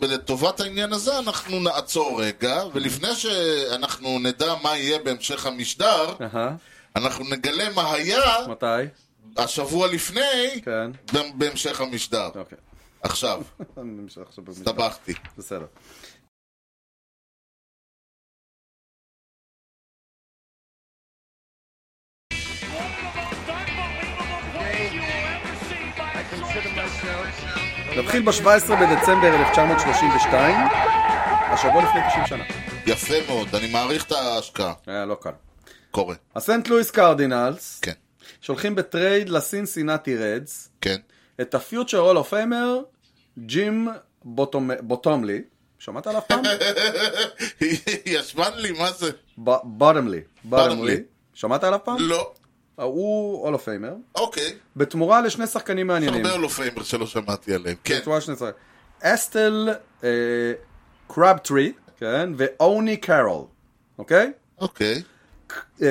Speaker 2: ולטובת העניין הזה, אנחנו נעצור רגע, ולפני שאנחנו נדע מה יהיה בהמשך המשדר,
Speaker 1: אהה,
Speaker 2: אנחנו נגלה מה היה
Speaker 1: מתי?
Speaker 2: השבוע לפני,
Speaker 1: כן.
Speaker 2: ב- בהמשך המשדר.
Speaker 1: אוקיי.
Speaker 2: עכשיו,
Speaker 1: אני ממשיך עכשיו במשפט.
Speaker 2: הסתבכתי.
Speaker 1: בסדר.
Speaker 3: Unbelievable play you will ever see by a shortstop.
Speaker 1: נתחיל ב-17 בדצמבר 1932, השבוע לפני 90 שנה.
Speaker 2: יפה מאוד, אני מעריך את ההשקעה.
Speaker 1: היה לא קל.
Speaker 2: קורא.
Speaker 1: הסנט לואיס קרדינלס
Speaker 2: כן,
Speaker 1: שולחים בטרייד לסינסינטי רדס
Speaker 2: כן.
Speaker 1: את הפיוטר הול אוף פיימר ג'ים בוטומ- בוטומלי, שמעת עליו פעם?
Speaker 2: ישבן לי, מה זה?
Speaker 1: ב- בוטומלי. בוטומלי.
Speaker 2: בוטומלי.
Speaker 1: שמעת עליו פעם? אה,
Speaker 2: לא.
Speaker 1: הוא הול אוף פיימר,
Speaker 2: אוקיי.
Speaker 1: בתמורה לשני שחקנים מעניינים.
Speaker 2: הרבה הולופיימר שלא שמעתי עליהם. כן.
Speaker 1: בצורה שני שחקנים. אסטל קראבטרי, כן, ואוני קארול, אוקיי?
Speaker 2: אוקיי.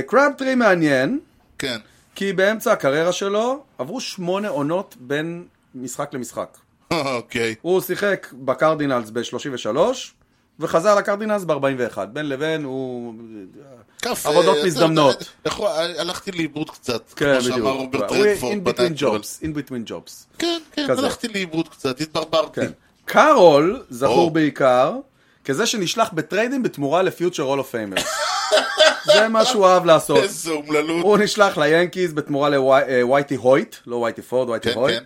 Speaker 1: קראבטרי מעניין,
Speaker 2: כן.
Speaker 1: כי באמצע הקריירה שלו עברו שמונה עונות בין משחק למשחק.
Speaker 2: אוקיי.
Speaker 1: הוא שיחק בקרדינלס ב-33, וחזר לקרדינלס ב-41. בין לבין הוא...
Speaker 2: קפה,
Speaker 1: עבודות
Speaker 2: אתה-
Speaker 1: מזדמנות.
Speaker 2: אתה- יכול- אה, הלכתי לאיבוד קצת,
Speaker 1: כן,
Speaker 2: כמו
Speaker 1: בדיוק.
Speaker 2: שאמר רוברט
Speaker 1: הוא
Speaker 2: רדפורד.
Speaker 1: in between
Speaker 2: בנייטרול.
Speaker 1: jobs, in between jobs.
Speaker 2: כן, כן,
Speaker 1: כזה.
Speaker 2: הלכתי לאיבוד קצת, התברברתי.
Speaker 1: כן. קארול זכור
Speaker 2: או.
Speaker 1: בעיקר כזה שנשלח בטריידים בתמורה לפיוטר הול אוף פיימר. זה מה שהוא אהב לעשות.
Speaker 2: איזו אומללות.
Speaker 1: הוא נשלח ליאנקיז בתמורה לווייטי הויט, לא ווייטי פורד, ווייטי
Speaker 2: כן,
Speaker 1: הויט.
Speaker 2: כן.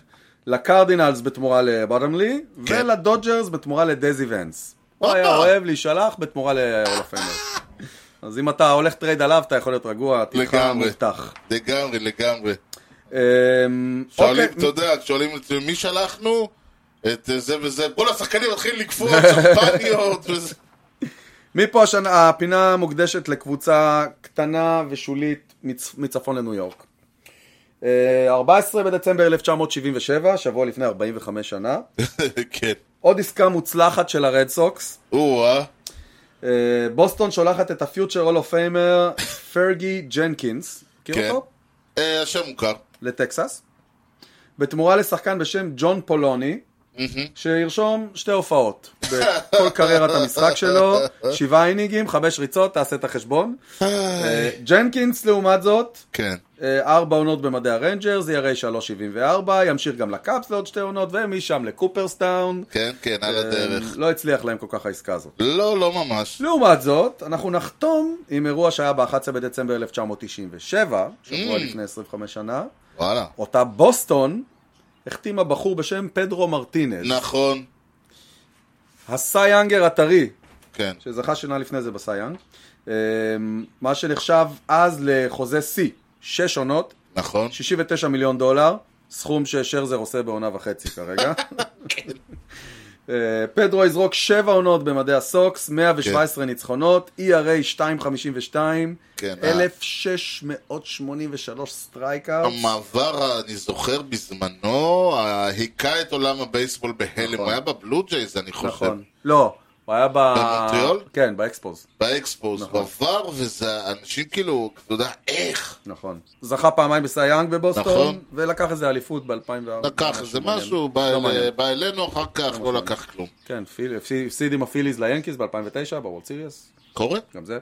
Speaker 1: לקרדינלס בתמורה לבוטומלי,
Speaker 2: כן.
Speaker 1: ולדודג'רס בתמורה לדזי ונס. הוא
Speaker 2: הופה.
Speaker 1: היה אוהב להישלח בתמורה להול אוף פיימר. אז אם אתה הולך טרייד עליו, אתה יכול להיות רגוע, עתידך
Speaker 2: לגמרי.
Speaker 1: מובטח.
Speaker 2: לגמרי, לגמרי.
Speaker 1: אמ,
Speaker 2: שואלים,
Speaker 1: אוקיי,
Speaker 2: אתה יודע, שואלים את מי שלחנו, את אה, זה וזה, כל השחקנים מתחילים לקפוץ, שמפניות וזה.
Speaker 1: מפה השנה, הפינה מוקדשת לקבוצה קטנה ושולית מצ, מצפון לניו יורק. אה, 14 בדצמבר 1977, שבוע לפני 45 שנה,
Speaker 2: כן.
Speaker 1: עוד עסקה מוצלחת של הרד סוקס.
Speaker 2: או-אה,
Speaker 1: אה, בוסטון שולחת את הפיוטר הול אוף פיימר פרגי ג'נקינס, מכיר
Speaker 2: כן.
Speaker 1: אותו?
Speaker 2: אה, השם מוכר.
Speaker 1: לטקסס. בתמורה לשחקן בשם ג'ון פולוני, שירשום שתי הופעות בכל קריירת המשחק שלו, שבעה אינינגים, חמש ריצות, תעשה את החשבון. אה, ג'נקינס לעומת זאת,
Speaker 2: כן.
Speaker 1: אה, ארבע עונות במדעי הרנג'רס, ERA 3.74, ימשיך גם לקאפס לעוד שתי עונות, ומשם לקופרסטאון.
Speaker 2: כן, כן, על הדרך.
Speaker 1: אה, לא הצליח להם כל כך העסקה הזאת.
Speaker 2: לא, לא ממש.
Speaker 1: לעומת זאת, אנחנו נחתום עם אירוע שהיה ב-11 בדצמבר 1997, שבוע לפני 25 שנה.
Speaker 2: וואלה.
Speaker 1: אותה בוסטון החתימה בחור בשם פדרו מרטינז.
Speaker 2: נכון.
Speaker 1: הסייאנגר הטרי,
Speaker 2: כן.
Speaker 1: שזכה שנה לפני זה בסייאנג. אמ, מה שנחשב אז לחוזה שיא, שש עונות,
Speaker 2: נכון.
Speaker 1: 69 מיליון דולר, סכום ששרזר עושה בעונה וחצי כרגע. אה, פדרו יזרוק שבע עונות במדעי הסוקס, 117 ניצחונות, E ERA 2.52,
Speaker 2: כן, אה.
Speaker 1: 1683 סטרייקאוט.
Speaker 2: המעבר, אני זוכר בזמנו, ה- היכה את עולם הבייסבול בהלם. הוא היה בבלו ג'ייז, אני חושב.
Speaker 1: נכון. לא, הוא היה ב...
Speaker 2: במונטריאול?
Speaker 1: כן, באקספוז.
Speaker 2: באקספוס. הוא עבר, וזה אנשים כאילו, אתה יודע, איך?
Speaker 1: נכון. זכה פעמיים בסייאנג בבוסטון,
Speaker 2: נכון.
Speaker 1: ולקח איזה אליפות ב-2004.
Speaker 2: לקח איזה משהו, אה, בא
Speaker 1: לא
Speaker 2: אל- בא אלינו אחר כך, לא לקח כלום.
Speaker 1: כן, פיל- הפסיד הפסיד עם הפיליז ליאנקיז ב-2009, בוולד סיריוס,
Speaker 2: קורה?
Speaker 1: גם זה.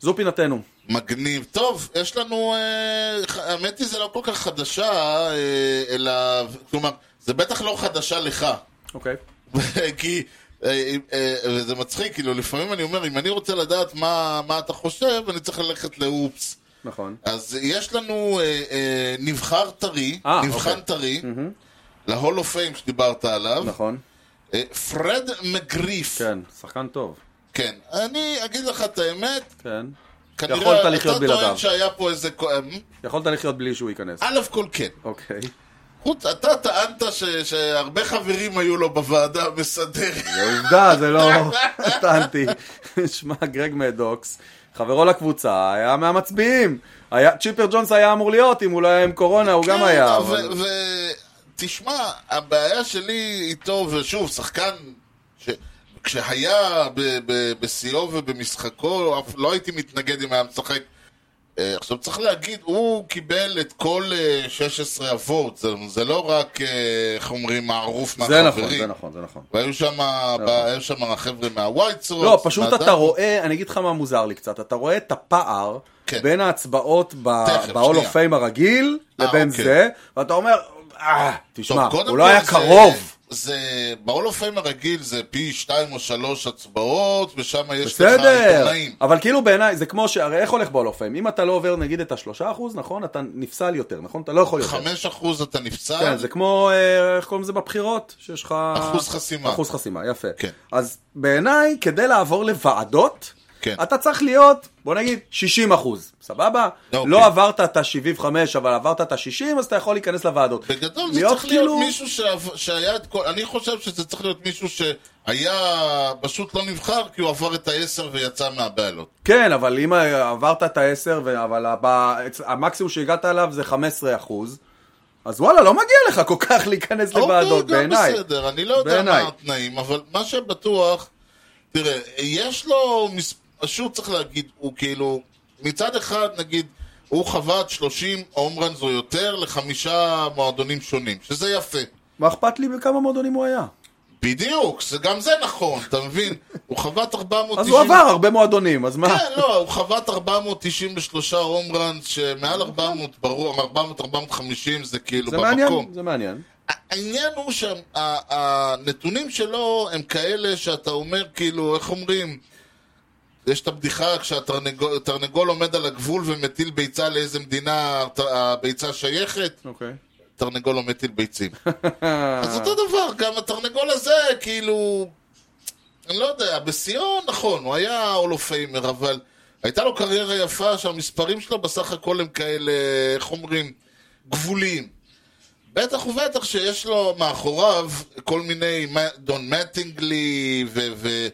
Speaker 1: זו פינתנו.
Speaker 2: מגניב. טוב, יש לנו... אה, ח- האמת היא, זה לא כל כך חדשה, אה, אלא... כלומר, זה בטח לא חדשה לך.
Speaker 1: אוקיי.
Speaker 2: כי, אה, אה, וזה מצחיק, כאילו, לפעמים אני אומר, אם אני רוצה לדעת מה, מה אתה חושב, אני צריך ללכת לאופס.
Speaker 1: נכון.
Speaker 2: אז יש לנו אה, אה, נבחר טרי,
Speaker 1: אה,
Speaker 2: נבחן
Speaker 1: אוקיי.
Speaker 2: טרי, להול אוף פיים שדיברת עליו,
Speaker 1: נכון.
Speaker 2: אה, פרד מגריף.
Speaker 1: כן, שחקן טוב.
Speaker 2: כן. אני אגיד לך את האמת,
Speaker 1: כן.
Speaker 2: כנראה,
Speaker 1: יכולת
Speaker 2: אתה
Speaker 1: לחיות בלעדיו.
Speaker 2: טוען שהיה פה איזה... כ- אמ?
Speaker 1: יכולת לחיות בלי שהוא ייכנס.
Speaker 2: א' כל כן.
Speaker 1: אוקיי.
Speaker 2: חוץ, אתה טענת ש, שהרבה חברים היו לו בוועדה המסדרת.
Speaker 1: זה עובדה, זה לא... טענתי. שמע, גרג מדוקס, חברו לקבוצה, היה מהמצביעים. היה- צ'יפר ג'ונס היה אמור להיות, אם הוא לא היה עם קורונה, הוא
Speaker 2: כן,
Speaker 1: גם היה.
Speaker 2: לא, ו-
Speaker 1: אבל-
Speaker 2: ו- תשמע, הבעיה שלי איתו, ושוב, שחקן ש... כשהיה ב- ב- בשיאו ובמשחקו, אף לא הייתי מתנגד אם היה משחק. אה, עכשיו צריך להגיד, הוא קיבל את כל אה, 16 אבות, זה, זה לא רק, אה, איך אומרים, מערוף
Speaker 1: זה
Speaker 2: מהחברים.
Speaker 1: נכון, זה נכון, זה נכון.
Speaker 2: והיו שם, היו שם חבר'ה מהווייט סורס.
Speaker 1: לא, פשוט אתה רואה, אני אגיד לך מה מוזר לי קצת, אתה רואה את הפער
Speaker 2: כן.
Speaker 1: בין ההצבעות
Speaker 2: תכף,
Speaker 1: בהול אוף
Speaker 2: שנייה.
Speaker 1: פיים הרגיל לבין
Speaker 2: אוקיי.
Speaker 1: זה, ואתה אומר, "אה, תשמע,
Speaker 2: טוב, קודם
Speaker 1: הוא לא
Speaker 2: כל
Speaker 1: היה
Speaker 2: זה-
Speaker 1: קרוב.
Speaker 2: זה, בעול אופיים הרגיל זה פי שתיים או שלוש הצבעות, ושם יש לך
Speaker 1: בסדר,
Speaker 2: עיתונאים.
Speaker 1: אבל כאילו בעיניי זה כמו שהרי איך הולך בהול אוף פיים? אם אתה לא עובר נגיד את השלושה אחוז, נכון? אתה נפסל יותר, נכון? אתה לא יכול יותר.
Speaker 2: חמש אחוז אתה
Speaker 1: כן,
Speaker 2: נפצע,
Speaker 1: זה כמו, אה, איך קוראים לזה בבחירות? שיש לך...
Speaker 2: אחוז חסימה.
Speaker 1: אחוז חסימה, יפה.
Speaker 2: כן.
Speaker 1: אז בעיניי, כדי לעבור לוועדות,
Speaker 2: כן.
Speaker 1: אתה צריך להיות, בוא נגיד, 60 אחוז, סבבה?
Speaker 2: אוקיי.
Speaker 1: לא עברת את ה-75, אבל עברת את ה-60, אז אתה יכול להיכנס לוועדות. כאילו-
Speaker 2: בגדול זה צריך להיות מישהו שעב- שהיה את כל... אני חושב שזה צריך להיות מישהו שהיה... פשוט לא נבחר כי הוא עבר את העשר ויצא מהבעלות.
Speaker 1: כן, אבל אם עברת את ה-10, אבל הבא- המקסימום שהגעת אליו זה 15 אחוז, אז וואלה, לא מגיע לך כל כך להיכנס לוועדות,
Speaker 2: אוקיי, גם
Speaker 1: בעיניי.
Speaker 2: בסדר, אני לא יודע
Speaker 1: בעיניי.
Speaker 2: מה התנאים, אבל מה שבטוח, תראה, יש לו, מס... שוב צריך להגיד, הוא כאילו, מצד אחד, נגיד, הוא חבט 30 הום ראנס או יותר לחמישה מועדונים שונים, שזה יפה.
Speaker 1: מה אכפת לי בכמה מועדונים הוא היה?
Speaker 2: בדיוק, זה, גם זה נכון, אתה מבין? הוא חבט 490...
Speaker 1: אז הוא עבר הרבה מועדונים, אז מה?
Speaker 2: כן, לא, הוא חבט 493 הום ראנס, שמעל 400, ברור, 400-450 זה כאילו
Speaker 1: זה
Speaker 2: במקום.
Speaker 1: מעניין, זה מעניין.
Speaker 2: העניין הוא שהנתונים שלו הם כאלה שאתה אומר, כאילו, איך אומרים? יש את הבדיחה כשהתרנגול התרנגול עומד על הגבול ומטיל ביצה לאיזה מדינה הת- הביצה שייכת,
Speaker 1: אוקיי.
Speaker 2: התרנגול לא מטיל ביצים. אז אותו דבר, גם התרנגול הזה, כאילו, אני לא יודע, בשיאו, נכון, הוא היה הולו פיימר, אבל הייתה לו קריירה יפה שהמספרים שלו בסך הכל הם כאלה, איך אומרים, גבוליים. בטח ובטח שיש לו מאחוריו כל מיני מה- דון מטינגלי ו... ו...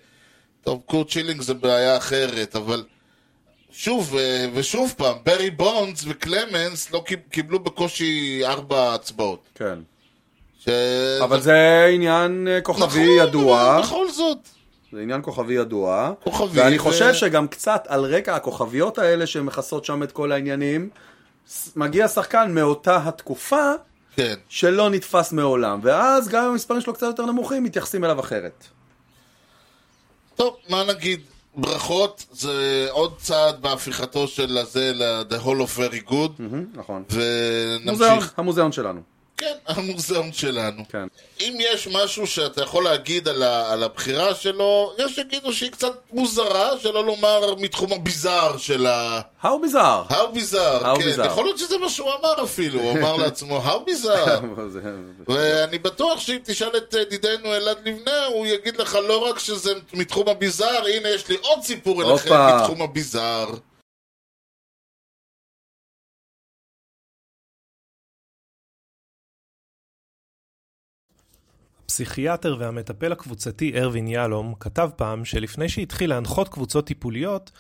Speaker 2: טוב, קורט שילינג זה בעיה אחרת, אבל שוב, אה, ושוב פעם, ברי בונדס וקלמנס לא קיב- קיבלו בקושי ארבע הצבעות.
Speaker 1: כן.
Speaker 2: נכון. ש... נכון,
Speaker 1: אבל זה עניין אה, כוכבי ידוע.
Speaker 2: אבל בכל זאת.
Speaker 1: זה עניין כוכבי ידוע.
Speaker 2: כוכבי,
Speaker 1: ואני
Speaker 2: ו-
Speaker 1: חושב שגם קצת על רקע הכוכביות האלה שמכסות שם את כל העניינים, ס- מגיע שחקן מאותה התקופה
Speaker 2: כן.
Speaker 1: שלא נתפס מעולם, ואז גם אם המספרים שלו קצת יותר נמוכים, מתייחסים אליו אחרת.
Speaker 2: טוב, מה נגיד? ברכות זה עוד צעד בהפיכתו של הזה ל-The Hall of Very Good,
Speaker 1: מהמם, נכון. מוזיאון,
Speaker 2: ונמשיך.
Speaker 1: המוזיאון שלנו.
Speaker 2: כן, המוזיאון שלנו.
Speaker 1: כן.
Speaker 2: אם יש משהו שאתה יכול להגיד על, ה- על הבחירה שלו, יש שיגידו שהיא קצת מוזרה, שלא לומר מתחום הביזאר של ה...
Speaker 1: How bizarre.
Speaker 2: How bizarre,
Speaker 1: How
Speaker 2: כן.
Speaker 1: bizarre.
Speaker 2: יכול להיות שזה מה שהוא אמר אפילו, הוא אמר לעצמו How bizarre.
Speaker 1: זה-
Speaker 2: ואני בטוח שאם תשאל את ידידנו אלעד לבנה, הוא יגיד לך לא רק שזה מתחום הביזאר, הנה יש לי עוד סיפור אליכם
Speaker 1: הופה.
Speaker 2: מתחום הביזאר.
Speaker 6: הפסיכיאטר והמטפל הקבוצתי ארווין יהלום כתב פעם שלפני שהתחיל להנחות קבוצות טיפוליות,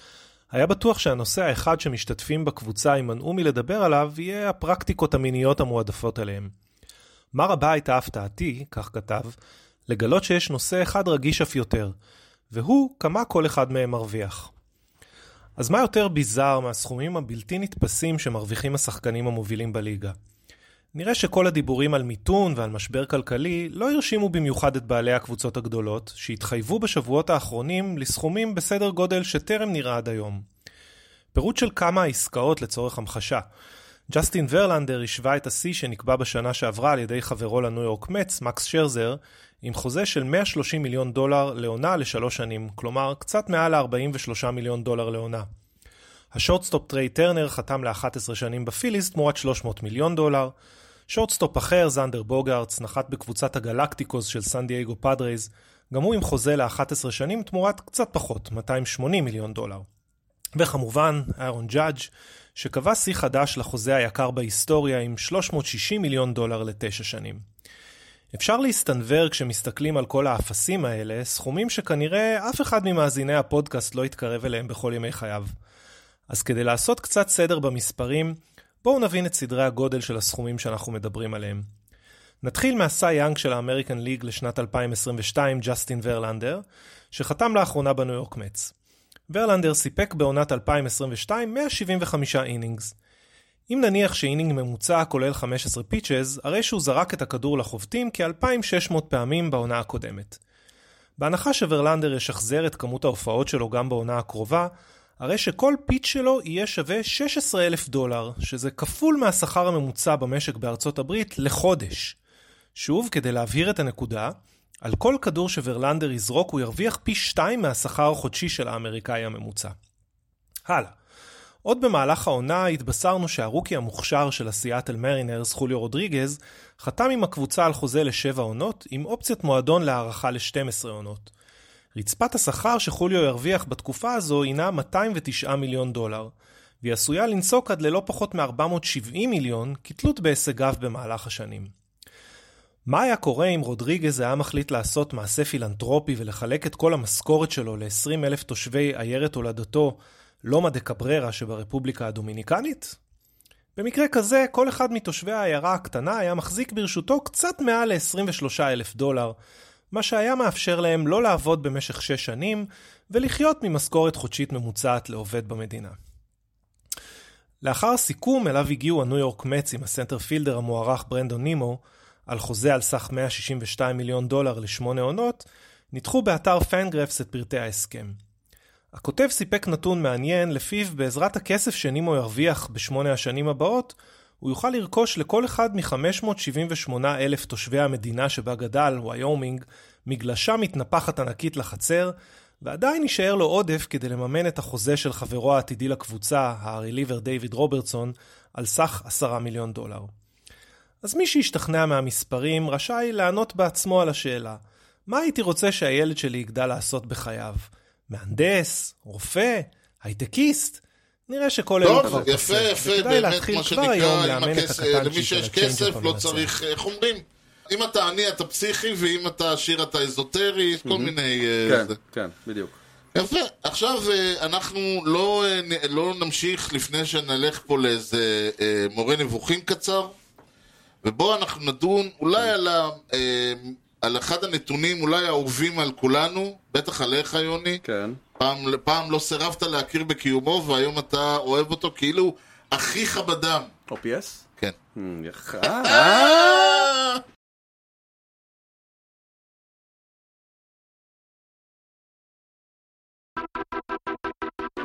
Speaker 6: היה בטוח שהנושא האחד שמשתתפים בקבוצה יימנעו מלדבר עליו יהיה הפרקטיקות המיניות המועדפות עליהם. מה רבה הייתה הפתעתי, כך כתב, לגלות שיש נושא אחד רגיש אף יותר, והוא כמה כל אחד מהם מרוויח. אז מה יותר ביזאר מהסכומים הבלתי נתפסים שמרוויחים השחקנים המובילים בליגה? נראה שכל הדיבורים על מיתון ועל משבר כלכלי לא הרשימו במיוחד את בעלי הקבוצות הגדולות, שהתחייבו בשבועות האחרונים לסכומים בסדר גודל שטרם נראה עד היום. פירוט של כמה העסקאות לצורך המחשה. ג'סטין ורלנדר השווה את השיא שנקבע בשנה שעברה על ידי חברו לניו יורק מצ, מקס שרזר, עם חוזה של 130 מיליון דולר לעונה לשלוש שנים, כלומר קצת מעל ה-43 מיליון דולר לעונה. השורטסטופ טריי טרנר חתם ל-11 שנים בפיליס תמורת 300 מיליון דולר. שורטסטופ אחר, זנדר בוגארטס, נחת בקבוצת הגלקטיקוס של סן דייגו פאדרייז, גם הוא עם חוזה ל-11 שנים תמורת קצת פחות, 280 מיליון דולר. וכמובן, איירון ג'אדג', שקבע שיא חדש לחוזה היקר בהיסטוריה עם 360 מיליון דולר לתשע שנים. אפשר להסתנוור כשמסתכלים על כל האפסים האלה, סכומים שכנראה אף אחד ממאזיני הפודקאסט לא יתקרב אליהם בכל ימי חייו. אז כדי לעשות קצת סדר במספרים, בואו נבין את סדרי הגודל של הסכומים שאנחנו מדברים עליהם. נתחיל מהסי יאנג של האמריקן ליג לשנת 2022, ג'סטין ורלנדר, שחתם לאחרונה בניו יורק מצ. ורלנדר סיפק בעונת 2022 175 אינינגס. אם נניח שאינינג ממוצע כולל 15 פיצ'ז, הרי שהוא זרק את הכדור לחובטים כ-2,600 פעמים בעונה הקודמת. בהנחה שוורלנדר ישחזר את כמות ההופעות שלו גם בעונה הקרובה, הרי שכל פיץ' שלו יהיה שווה 16,000 דולר, שזה כפול מהשכר הממוצע במשק בארצות הברית לחודש. שוב, כדי להבהיר את הנקודה, על כל כדור שברלנדר יזרוק הוא ירוויח פי שתיים מהשכר החודשי של האמריקאי הממוצע. הלאה. עוד במהלך העונה התבשרנו שהרוקי המוכשר של הסיאטל מרינרס, חוליו רודריגז, חתם עם הקבוצה על חוזה לשבע עונות, עם אופציית מועדון להארכה ל-12 עונות. רצפת השכר שחוליו ירוויח בתקופה הזו הינה 209 מיליון דולר, והיא עשויה לנסוק עד ללא פחות מ-470 מיליון, כתלות בהישגיו במהלך השנים. מה היה קורה אם רודריגז היה מחליט לעשות מעשה פילנטרופי ולחלק את כל המשכורת שלו ל-20 אלף תושבי עיירת הולדתו, לומה דה קבררה שברפובליקה הדומיניקנית? במקרה כזה, כל אחד מתושבי העיירה הקטנה היה מחזיק ברשותו קצת מעל ל-23 אלף דולר, מה שהיה מאפשר להם לא לעבוד במשך שש שנים ולחיות ממשכורת חודשית ממוצעת לעובד במדינה. לאחר סיכום אליו הגיעו הניו יורק מצ עם הסנטר פילדר המוערך ברנדון נימו, על חוזה על סך 162 מיליון דולר לשמונה עונות, ניתחו באתר פנגרפס את פרטי ההסכם. הכותב סיפק נתון מעניין, לפיו בעזרת הכסף שנימו ירוויח בשמונה השנים הבאות, הוא יוכל לרכוש לכל אחד מ-578 אלף תושבי המדינה שבה גדל, ויומינג, מגלשה מתנפחת ענקית לחצר, ועדיין יישאר לו עודף כדי לממן את החוזה של חברו העתידי לקבוצה, הרליבר דיוויד רוברטסון, על סך 10 מיליון דולר. אז מי שהשתכנע מהמספרים רשאי לענות בעצמו על השאלה, מה הייתי רוצה שהילד שלי יגדל לעשות בחייו? מהנדס? רופא? הייטקיסט? נראה שכל אלו
Speaker 2: טוב, יפה, יפה, באמת, מה שנקרא, עם הכסף, למי שיש כסף לא צריך, איך אומרים? אם אתה עני אתה פסיכי, ואם אתה עשיר אתה אזוטרי, כל מיני... אה,
Speaker 1: כן,
Speaker 2: זה.
Speaker 1: כן, בדיוק.
Speaker 2: יפה, עכשיו אה, אנחנו לא, אה, נ- לא נמשיך לפני שנלך פה לאיזה אה, מורה נבוכים קצר, ובו אנחנו נדון אולי על, ה, אה, על אחד הנתונים אולי האהובים על כולנו, בטח עליך יוני,
Speaker 1: כן.
Speaker 2: פעם, פעם לא סירבת להכיר בקיומו והיום אתה אוהב אותו כאילו אחיך בדם.
Speaker 1: OPS?
Speaker 2: כן.
Speaker 1: אמ, יח-
Speaker 2: אה!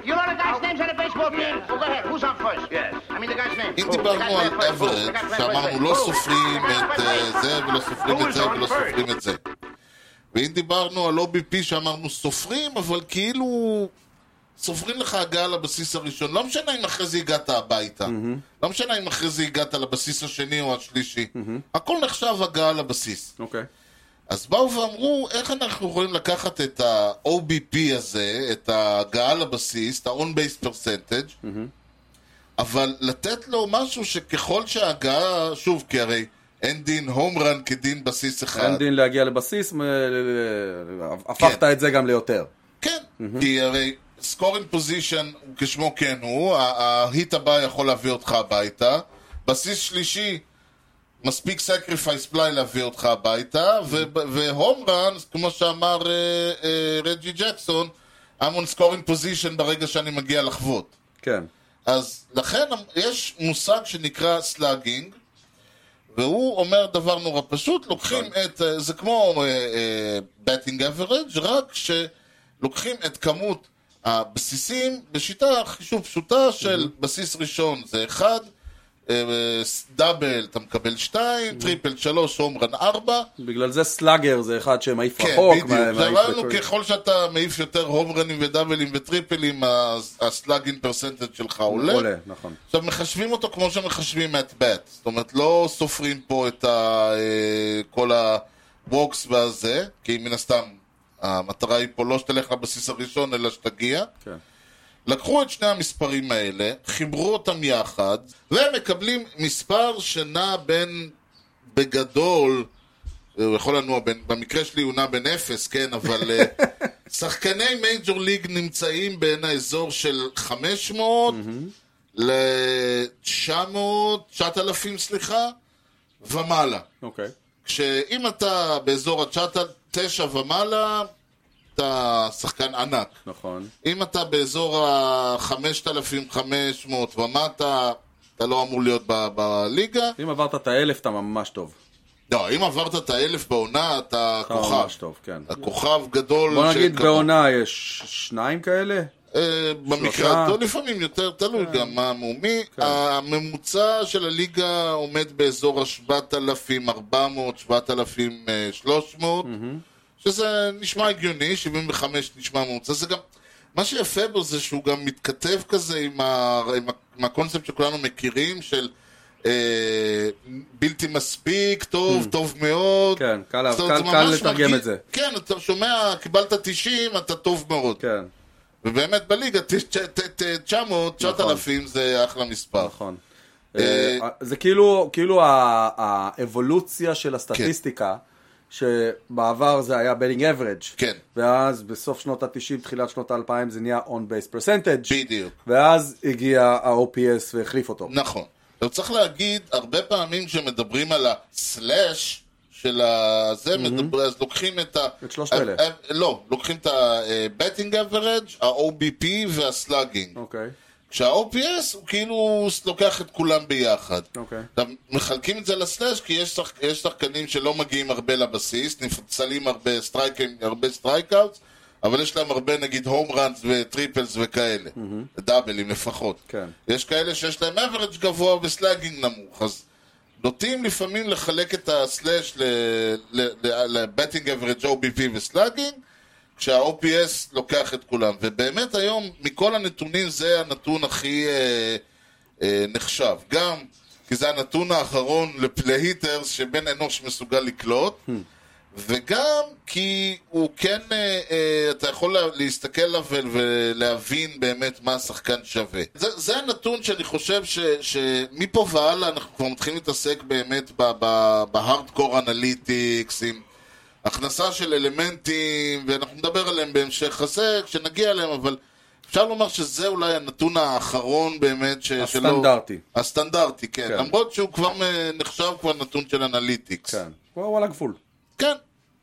Speaker 7: You know the guy's names on the baseball team? Well, go ahead. Who's on first? Yes. I mean the guy's name.
Speaker 2: אם
Speaker 7: Who? The
Speaker 2: דיברנו
Speaker 7: guy's
Speaker 2: על
Speaker 7: name first. Who? The
Speaker 2: אברט,
Speaker 7: guy's
Speaker 2: שאמרנו
Speaker 7: name first.
Speaker 2: לא
Speaker 7: Who?
Speaker 2: סופרים את אה, זה ולא סופרים את זה ולא סופרים את זה. ואם דיברנו על OBP שאמרנו סופרים, אבל כאילו סופרים לך הגעה לבסיס הראשון. לא משנה אם אחרי זה הגעת הביתה. לא משנה אם אחרי זה הגעת לבסיס השני או השלישי. הכל נחשב הגעה לבסיס.
Speaker 1: אוקיי.
Speaker 2: אז באו ואמרו, איך אנחנו יכולים לקחת את ה-OBP הזה, את ההגעה לבסיס, את ה-on-base percentage,
Speaker 1: Mm-hmm.
Speaker 2: אבל לתת לו משהו שככל שההגעה, שוב, כי הרי אין דין הום רן כדין בסיס אחד.
Speaker 1: אין דין להגיע לבסיס, מ- הפכת את זה גם ליותר.
Speaker 2: כן, כי הרי סקורינג פוזיישן כשמו כן הוא, ה- ההיט הבא יכול להביא אותך הביתה, בסיס שלישי מספיק סקריפייס פליי להביא אותך הביתה, והום רן, כמו שאמר אה, אה, רג'י ג'קסון, I'm on scoring position ברגע שאני מגיע לחוות.
Speaker 1: כן.
Speaker 2: אז לכן יש מושג שנקרא סלאגינג, והוא אומר דבר נורא פשוט, לוקחים
Speaker 1: נכון.
Speaker 2: את, אה, זה כמו בטינג uh, אברג', רק שלוקחים את כמות הבסיסים בשיטה חישוב פשוטה של בסיס ראשון זה 1, דאבל אתה מקבל 2, טריפל 3, הומרן 4,
Speaker 1: בגלל זה סלאגר זה אחד שמעיף
Speaker 2: כן,
Speaker 1: רחוק. מה-
Speaker 2: בדיוק.
Speaker 1: מה-
Speaker 2: זה אמרנו,
Speaker 1: מה-
Speaker 2: ככל שאתה מעיף יותר הומרנים ודאבלים וטריפלים, אז הסלאגינג פרסנטד שלך עולה.
Speaker 1: עולה, נכון.
Speaker 2: עכשיו, מחשבים אותו כמו שמחשבים את בט. זאת אומרת, לא סופרים פה את ה, אה, כל ה-Walks והזה, כי מן הסתם, המטרה היא פה לא שתלך לבסיס הראשון, אלא שתגיע.
Speaker 1: כן.
Speaker 2: לקחו את שני המספרים האלה, חיברו אותם יחד, ומקבלים מספר שנע בין, בגדול, הוא יכול לנוע בין, במקרה שלי הוא נע בין אפס, כן, אבל אה, שחקני מייג'ור ליג נמצאים בין האזור של 500 ל-900, 9,000 סליחה, ומעלה.
Speaker 1: אוקיי.
Speaker 2: כשאם אתה באזור ה-9 ומעלה, אתה שחקן ענק.
Speaker 1: נכון.
Speaker 2: אם אתה באזור ה-5,500 ומטה, אתה לא אמור להיות ב- בליגה.
Speaker 1: אם עברת את האלף אתה ממש טוב.
Speaker 2: לא, אם עברת את האלף בעונה, אתה
Speaker 1: אתה
Speaker 2: כוכב.
Speaker 1: לא, ממש טוב, כן.
Speaker 2: אתה כוכב גדול.
Speaker 1: בוא
Speaker 2: של
Speaker 1: נגיד
Speaker 2: כבוד.
Speaker 1: בעונה יש שניים כאלה?
Speaker 2: אה, במקרה
Speaker 1: שלושה. כן.
Speaker 2: הטוב לפעמים יותר, תלוי גם מה המומי. הממוצע של הליגה עומד באזור ה-7,400, 7,300, שזה נשמע הגיוני, 75 נשמע ממוצע. זה גם, מה שיפה בו זה שהוא גם מתכתב כזה עם, ה, עם, ה, עם הקונספט שכולנו מכירים של... אה, בלתי מספיק, טוב, טוב מאוד.
Speaker 1: Mm. כן, קל-
Speaker 2: זאת אומרת,
Speaker 1: קל-
Speaker 2: זה
Speaker 1: קל
Speaker 2: ממש
Speaker 1: לתרגם
Speaker 2: מרגיש-
Speaker 1: את זה.
Speaker 2: כן, אתה שומע, קיבלת 90, אתה טוב מאוד.
Speaker 1: כן,
Speaker 2: ובאמת בליגה, ת- ת- ת- ת- 900, 9,000 זה אחלה מספר.
Speaker 1: נכון. אה, זה כאילו, כאילו ה- האבולוציה של הסטטיסטיקה, שבעבר זה היה בלינג אברג',
Speaker 2: כן.
Speaker 1: ואז בסוף שנות ה-90, תחילת שנות ה-2000 זה נהיה און בייס פרסנטג',
Speaker 2: בדיוק.
Speaker 1: ואז הגיע ה-OPS והחליף אותו.
Speaker 2: נכון. עכשיו צריך להגיד, הרבה פעמים כשמדברים על הסלאש של הזה, מדבר- אז לוקחים את ה...
Speaker 1: את שלושת אלה.
Speaker 2: אה, אה, לא, לוקחים את ה-betting average, ה-OBP והסלאגינג.
Speaker 1: אוקיי,
Speaker 2: כשה-OPS הוא כאילו לוקח את כולם ביחד.
Speaker 1: אוקיי.
Speaker 2: עכשיו, מחלקים את זה לסלאש, כי יש, שחק, יש שחקנים שלא מגיעים הרבה לבסיס, נפצלים הרבה סטרייקים, הרבה סטרייקאוטס, אבל יש להם הרבה נגיד הום ראנס וטריפלס וכאלה, mm-hmm. דאבלים לפחות.
Speaker 1: כן.
Speaker 2: יש כאלה שיש להם אברג' גבוה וסלאגינג נמוך, אז נוטים לפעמים לחלק את הסלאש לבטינג אברג' OBP וסלאגינג, כשה-OPS לוקח את כולם. ובאמת היום, מכל הנתונים זה הנתון הכי אה, אה, נחשב. גם כי זה הנתון האחרון לפלהיטרס שבן אנוש מסוגל לקלוט, וגם כי הוא כן, אה, אה, אתה יכול לה- להסתכל עליו ול- ולהבין באמת מה השחקן שווה. זה, זה הנתון שאני חושב ש, שמפה והלאה אנחנו כבר מתחילים להתעסק באמת ב- ב- בהארדקור אנליטיקס, עם הכנסה של אלמנטים, ואנחנו נדבר עליהם בהמשך הזה, כשנגיע אליהם, אבל... אפשר לומר שזה אולי הנתון האחרון באמת ש... שלא-
Speaker 1: הסטנדרטי.
Speaker 2: הסטנדרטי, כן.
Speaker 1: כן.
Speaker 2: למרות שהוא כבר אה, נחשב כבר נתון של אנליטיקס.
Speaker 1: כן. וואו, על הגבול.
Speaker 2: כן.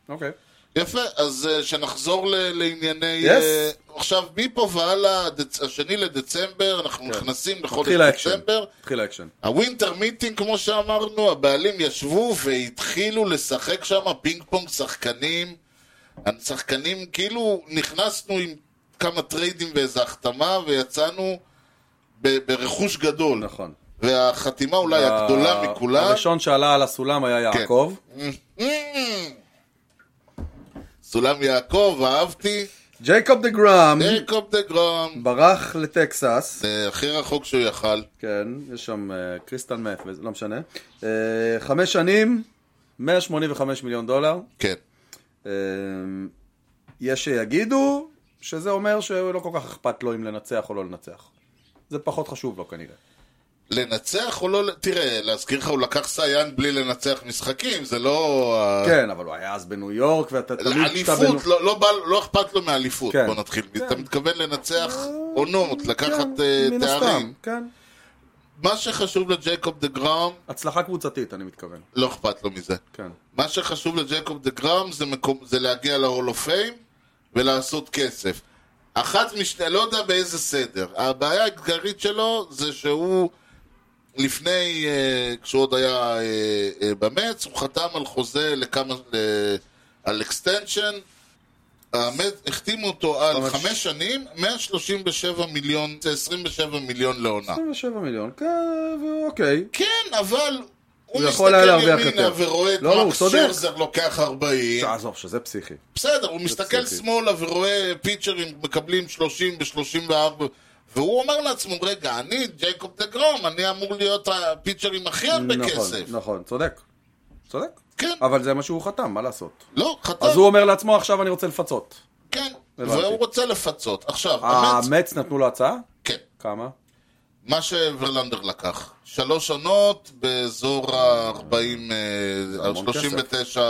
Speaker 1: אוקיי.
Speaker 2: יפה, אז uh, שנחזור ל- לענייני...
Speaker 1: Yes.
Speaker 2: Uh, עכשיו, מפה והלאה, דצ... השני לדצמבר,
Speaker 1: כן.
Speaker 2: אנחנו נכנסים לחודש
Speaker 1: התחיל האקשן.
Speaker 2: נכון, דצמבר.
Speaker 1: התחיל האקשן.
Speaker 2: הווינטר מיטינג, כמו שאמרנו, הבעלים ישבו והתחילו לשחק שם פינג פונג שחקנים. השחקנים, כאילו, נכנסנו עם כמה טריידים ואיזה החתמה, ויצאנו ב- ברכוש גדול.
Speaker 1: נכון.
Speaker 2: והחתימה אולי הגדולה מכולם...
Speaker 1: הראשון שעלה על הסולם היה
Speaker 2: כן.
Speaker 1: יעקב.
Speaker 2: סולם יעקב, אהבתי.
Speaker 1: ג'ייקוב דה גראם
Speaker 2: יעקב דה גרום.
Speaker 1: ברח לטקסס.
Speaker 2: זה הכי רחוק שהוא יכל.
Speaker 1: כן, יש שם אה, קריסטל מת, וזה- לא משנה. אה, חמש שנים, 185 מיליון דולר.
Speaker 2: כן.
Speaker 1: אה, יש שיגידו שזה אומר שלא כל כך אכפת לו אם לנצח או לא לנצח. זה פחות חשוב לו כנראה.
Speaker 2: אה. לנצח או לא... תראה, להזכיר לך, הוא לקח סייען בלי לנצח משחקים, זה לא... ה-
Speaker 1: כן, אבל הוא היה אז בניו יורק, ואתה תמיד כשאתה בניו...
Speaker 2: אליפות, לא, לא, בא, לא אכפת לו מאליפות,
Speaker 1: כן.
Speaker 2: בוא נתחיל.
Speaker 1: כן. אה,
Speaker 2: אתה מתכוון לנצח עונות, לקחת
Speaker 1: כן,
Speaker 2: אה,
Speaker 1: מן הסתם,
Speaker 2: תארים.
Speaker 1: כן.
Speaker 2: מה שחשוב לג'ייקוב דה גרום,
Speaker 1: הצלחה קבוצתית, אני מתכוון.
Speaker 2: לא אכפת לו מזה.
Speaker 1: כן.
Speaker 2: מה שחשוב לג'קוב דה גראם זה, מקום, זה להגיע להול אוף פיים ולעשות כסף. אחת משתי, לא יודע באיזה סדר. הבעיה העיקרית שלו זה שהוא לפני, אה, כשהוא עוד היה אה, אה, במץ, הוא חתם על חוזה לכמה, אה, על אקסטנשן. המץ, החתימו אותו על
Speaker 1: ממש.
Speaker 2: חמש שנים, 137 מיליון, זה 27 מיליון לעונה.
Speaker 1: 27 מיליון, כן, אוקיי.
Speaker 2: כן, אבל הוא
Speaker 1: הוא יכול היה
Speaker 2: מסתכל
Speaker 1: להרוויח
Speaker 2: ימינה
Speaker 1: יותר.
Speaker 2: ורואה את
Speaker 1: לא, הוא
Speaker 2: מקס
Speaker 1: צודק.
Speaker 2: שרזר לוקח 40.
Speaker 1: עזוב, שזה פסיכי.
Speaker 2: בסדר, הוא מסתכל
Speaker 1: פסיכי.
Speaker 2: שמאלה ורואה פיצ'רים מקבלים 30 ו-34 והוא אומר לעצמו, רגע, אני ג'ייקוב דה גרום, אני אמור להיות הפיצ'ר עם הכי הרבה
Speaker 1: נכון,
Speaker 2: כסף.
Speaker 1: נכון, צודק. צודק.
Speaker 2: כן,
Speaker 1: אבל זה מה שהוא חתם, מה לעשות?
Speaker 2: לא, חתם,
Speaker 1: אז הוא אומר לעצמו, עכשיו אני רוצה לפצות.
Speaker 2: כן,
Speaker 1: הבנתי. אה,
Speaker 2: והוא רוצה לפצות. עכשיו, המץ,
Speaker 1: המץ נתנו לו הצעה?
Speaker 2: כן,
Speaker 1: כמה?
Speaker 2: מה שברלנדר לקח, שלוש עונות באזור אה, ה-40,
Speaker 1: המון כסף.
Speaker 2: 39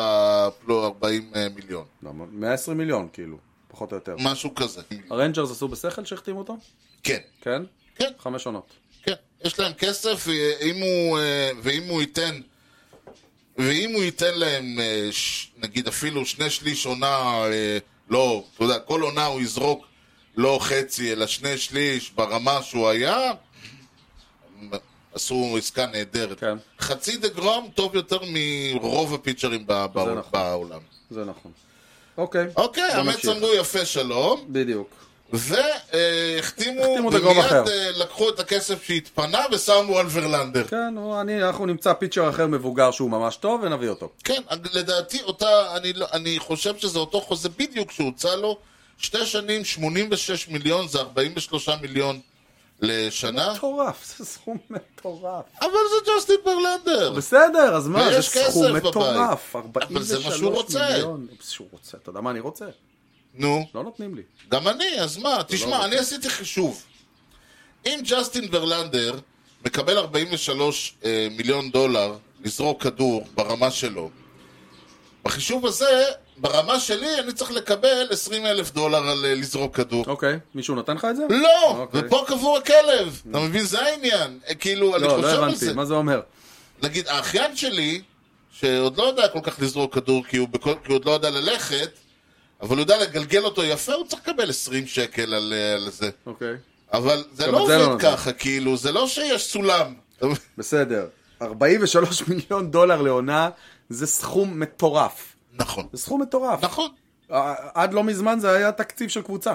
Speaker 2: פלו 40 אה, מיליון,
Speaker 1: לא, 120 מיליון, כאילו, פחות או יותר.
Speaker 2: משהו כזה.
Speaker 1: הרנג'רס עשו בשכל שהחתימו אותו?
Speaker 2: כן,
Speaker 1: כן?
Speaker 2: כן.
Speaker 1: חמש עונות.
Speaker 2: כן, יש להם כסף, ואם הוא, אה, ואם הוא ייתן... ואם הוא ייתן להם, אה, ש- נגיד אפילו שני שליש עונה, אה, לא, אתה יודע, כל עונה הוא יזרוק לא חצי, אלא שני שליש ברמה שהוא היה, עשו עסקה נהדרת.
Speaker 1: כן.
Speaker 2: חצי דה גרום טוב יותר מרוב הפיצ'רים ב-
Speaker 1: זה
Speaker 2: בע-
Speaker 1: נכון.
Speaker 2: בעולם.
Speaker 1: זה נכון. אוקיי.
Speaker 2: אוקיי,
Speaker 1: בוא
Speaker 2: המץ
Speaker 1: נמשיך.
Speaker 2: אמרו יפה שלום,
Speaker 1: בדיוק.
Speaker 2: והחתימו,
Speaker 1: החתימו את הגרום
Speaker 2: ומיד
Speaker 1: אחר.
Speaker 2: אה, לקחו את הכסף שהתפנה ושמו על ורלנדר.
Speaker 1: כן, הוא- אני- אנחנו נמצא פיצ'ר אחר מבוגר שהוא ממש טוב ונביא אותו.
Speaker 2: כן, לדעתי אותה, אני, לא- אני חושב שזה אותו חוזה בדיוק שהוצע לו, שתי שנים 86 מיליון זה 43 מיליון לשנה,
Speaker 1: מטורף, זה סכום מטורף.
Speaker 2: אבל זה ג'וסטין ברלנדר.
Speaker 1: בסדר, אז מה, זה
Speaker 2: ויש כסף
Speaker 1: סכום
Speaker 2: בבית.
Speaker 1: מטורף.
Speaker 2: אבל זה מה שהוא
Speaker 1: 43
Speaker 2: רוצה.
Speaker 1: מיליון. שהוא רוצה, אתה יודע מה אני רוצה?
Speaker 2: נו,
Speaker 1: לא נותנים לי.
Speaker 2: גם אני, אז מה, תשמע,
Speaker 1: לא-
Speaker 2: אני עשיתי חישוב. אם ג'סטין ברלנדר מקבל 43 אה, מיליון דולר לזרוק כדור ברמה שלו, בחישוב הזה, ברמה שלי, אני צריך לקבל 20 אלף דולר על אה, לזרוק כדור.
Speaker 1: אוקיי, מישהו נתן לך את זה?
Speaker 2: לא!
Speaker 1: אוקיי. Mm.
Speaker 2: ופה קבור הכלב! אתה מבין? זה העניין. אה, כאילו, אני
Speaker 1: לא, לא
Speaker 2: חושב על זה.
Speaker 1: הבנתי, מה זה אומר?
Speaker 2: נגיד, האחיין שלי, שעוד לא יודע כל כך לזרוק כדור כי הוא, בכל, כי הוא עוד לא יודע ללכת, אבל הוא יודע לגלגל אותו יפה, הוא צריך לקבל 20 שקל על, אה, על זה.
Speaker 1: אוקיי,
Speaker 2: אבל זה
Speaker 1: גם
Speaker 2: לא
Speaker 1: את זה
Speaker 2: עובד
Speaker 1: לא נותן.
Speaker 2: ככה, כאילו, זה לא שיש סולם.
Speaker 1: בסדר. 43 מיליון דולר לעונה זה סכום מטורף.
Speaker 2: נכון.
Speaker 1: זה סכום מטורף.
Speaker 2: נכון.
Speaker 1: אה, עד לא מזמן זה היה תקציב של קבוצה.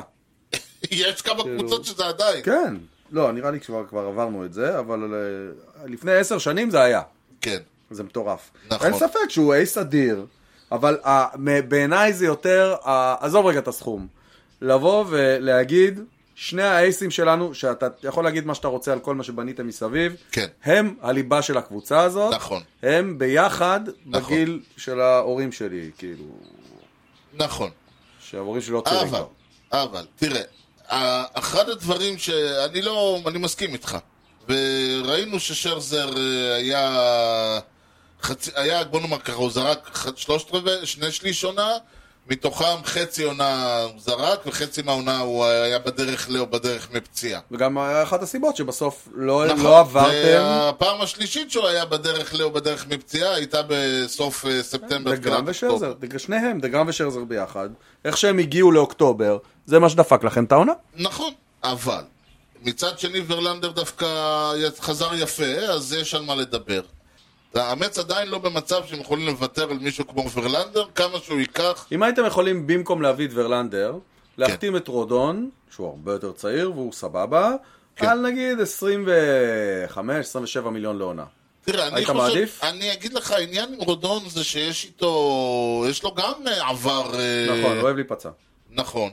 Speaker 2: יש כמה
Speaker 1: כאילו-
Speaker 2: קבוצות שזה עדיין.
Speaker 1: כן. לא, נראה לי כבר כבר עברנו את זה, אבל אה, לפני עשר שנים זה היה.
Speaker 2: כן.
Speaker 1: זה מטורף.
Speaker 2: נכון.
Speaker 1: אין ספק שהוא אייס אדיר, אבל ה- מ- בעיניי זה יותר, ה- עזוב רגע את הסכום. לבוא ולהגיד, שני האייסים שלנו, שאתה יכול להגיד מה שאתה רוצה על כל מה שבניתם מסביב,
Speaker 2: כן.
Speaker 1: הם הליבה של הקבוצה הזאת,
Speaker 2: נכון.
Speaker 1: הם ביחד
Speaker 2: נכון.
Speaker 1: בגיל של ההורים שלי, כאילו,
Speaker 2: נכון.
Speaker 1: שההורים שלי לא צעירים
Speaker 2: אה, אבל,
Speaker 1: כבר.
Speaker 2: אבל, תראה, ה- אחד הדברים שאני לא, אני מסכים איתך, וראינו ששרזר אה, היה, חצי, היה, בוא נאמר ככה, הוא זרק ח- שלושת רבעי, שני שליש עונה, מתוכם חצי עונה הוא זרק, וחצי מהעונה הוא היה בדרך ל- או בדרך מפציעה.
Speaker 1: וגם היה אחת הסיבות שבסוף לא,
Speaker 2: נכון,
Speaker 1: לא עברתם
Speaker 2: והפעם השלישית שהוא היה בדרך ל- או בדרך מפציעה הייתה בסוף אה, ספטמבר.
Speaker 1: דגרם
Speaker 2: תחילת
Speaker 1: ושרזר,
Speaker 2: אוקטובר.
Speaker 1: דג- שניהם, דגרם ושרזר ביחד, איך שהם הגיעו לאוקטובר, זה מה שדפק לכם את העונה.
Speaker 2: נכון, אבל מצד שני ורלנדר דווקא חזר יפה, אז יש על מה לדבר. האמץ עדיין לא במצב שהם יכולים לוותר על מישהו כמו ורלנדר, כמה שהוא ייקח,
Speaker 1: אם הייתם יכולים במקום להביא את ורלנדר,
Speaker 2: כן.
Speaker 1: להחתים את רודון, שהוא הרבה יותר צעיר והוא סבבה,
Speaker 2: כן.
Speaker 1: על נגיד 25-27 מיליון לעונה.
Speaker 2: אה. תראה, אני
Speaker 1: היית
Speaker 2: חושב,
Speaker 1: מעדיף?
Speaker 2: אני אגיד לך, העניין עם רודון זה שיש איתו, יש לו גם אה, עבר, אה,
Speaker 1: נכון, אוהב להיפצע.
Speaker 2: נכון.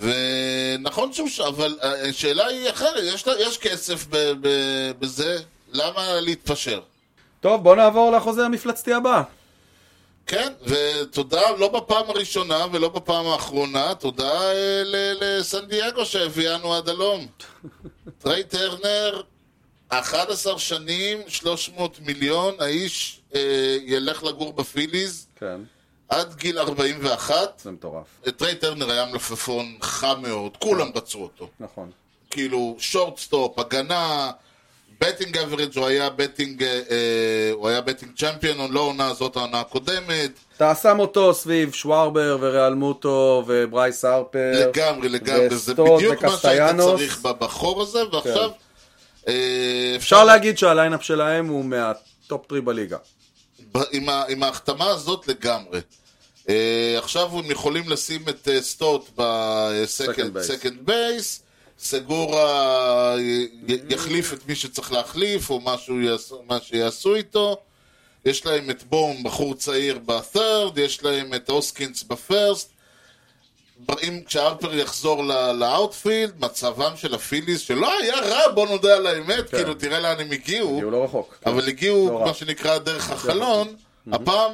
Speaker 2: ונכון שהוא, ש- אבל אה, השאלה היא אחרת, יש, לה- יש כסף ב, ב, בזה, למה להתפשר?
Speaker 1: טוב, בוא נעבור לחוזה המפלצתי הבא.
Speaker 2: כן, ותודה לא בפעם הראשונה ולא בפעם האחרונה, תודה אה, ל- לסן דייגו שהביאנו עד הלום. טריי טרנר, 11 שנים, 300 מיליון, האיש אה, ילך לגור בפיליז
Speaker 1: כן,
Speaker 2: עד גיל 41.
Speaker 1: זה מטורף.
Speaker 2: אה, טריי טרנר היה מלפפון חם מאוד, כולם רצו אותו.
Speaker 1: נכון.
Speaker 2: כאילו, שורטסטופ, הגנה, בטינג אברג' הוא היה בטינג, אה, אה, הוא היה בטינג צ'מפיון, לא העונה הזאת, העונה הקודמת.
Speaker 1: אתה שם אותו סביב שווארבר וריאל מוטו וברייס הרפר.
Speaker 2: לגמרי, לגמרי, זה
Speaker 1: וסטוט
Speaker 2: בדיוק מה שהיית
Speaker 1: וקסטיאנוס.
Speaker 2: צריך בבחור הזה, ועכשיו... אה,
Speaker 1: אפשר להגיד שהליינאפ שלהם הוא מהטופ טרי בליגה.
Speaker 2: ב- עם ה- עם ההחתמה הזאת לגמרי. אה, עכשיו הם יכולים לשים את אה, סטוט אה,
Speaker 1: Second base.
Speaker 2: בסקנד בייס, סגורה י- י- יחליף את מי שצריך להחליף, או משהו יעשו- מה שיעשו איתו. יש להם את בום, בחור צעיר בת'רד, יש להם את אוסקינס בפרסט. אם כשהרפר יחזור ל- לאאוטפילד, מצבם של הפיליס, שלא היה רע, בוא נודה על האמת,
Speaker 1: כן.
Speaker 2: כאילו תראה לאן הם הגיעו.
Speaker 1: כי הוא לא רחוק.
Speaker 2: אבל הגיעו,
Speaker 1: נורא.
Speaker 2: מה שנקרא, דרך החלון, הפעם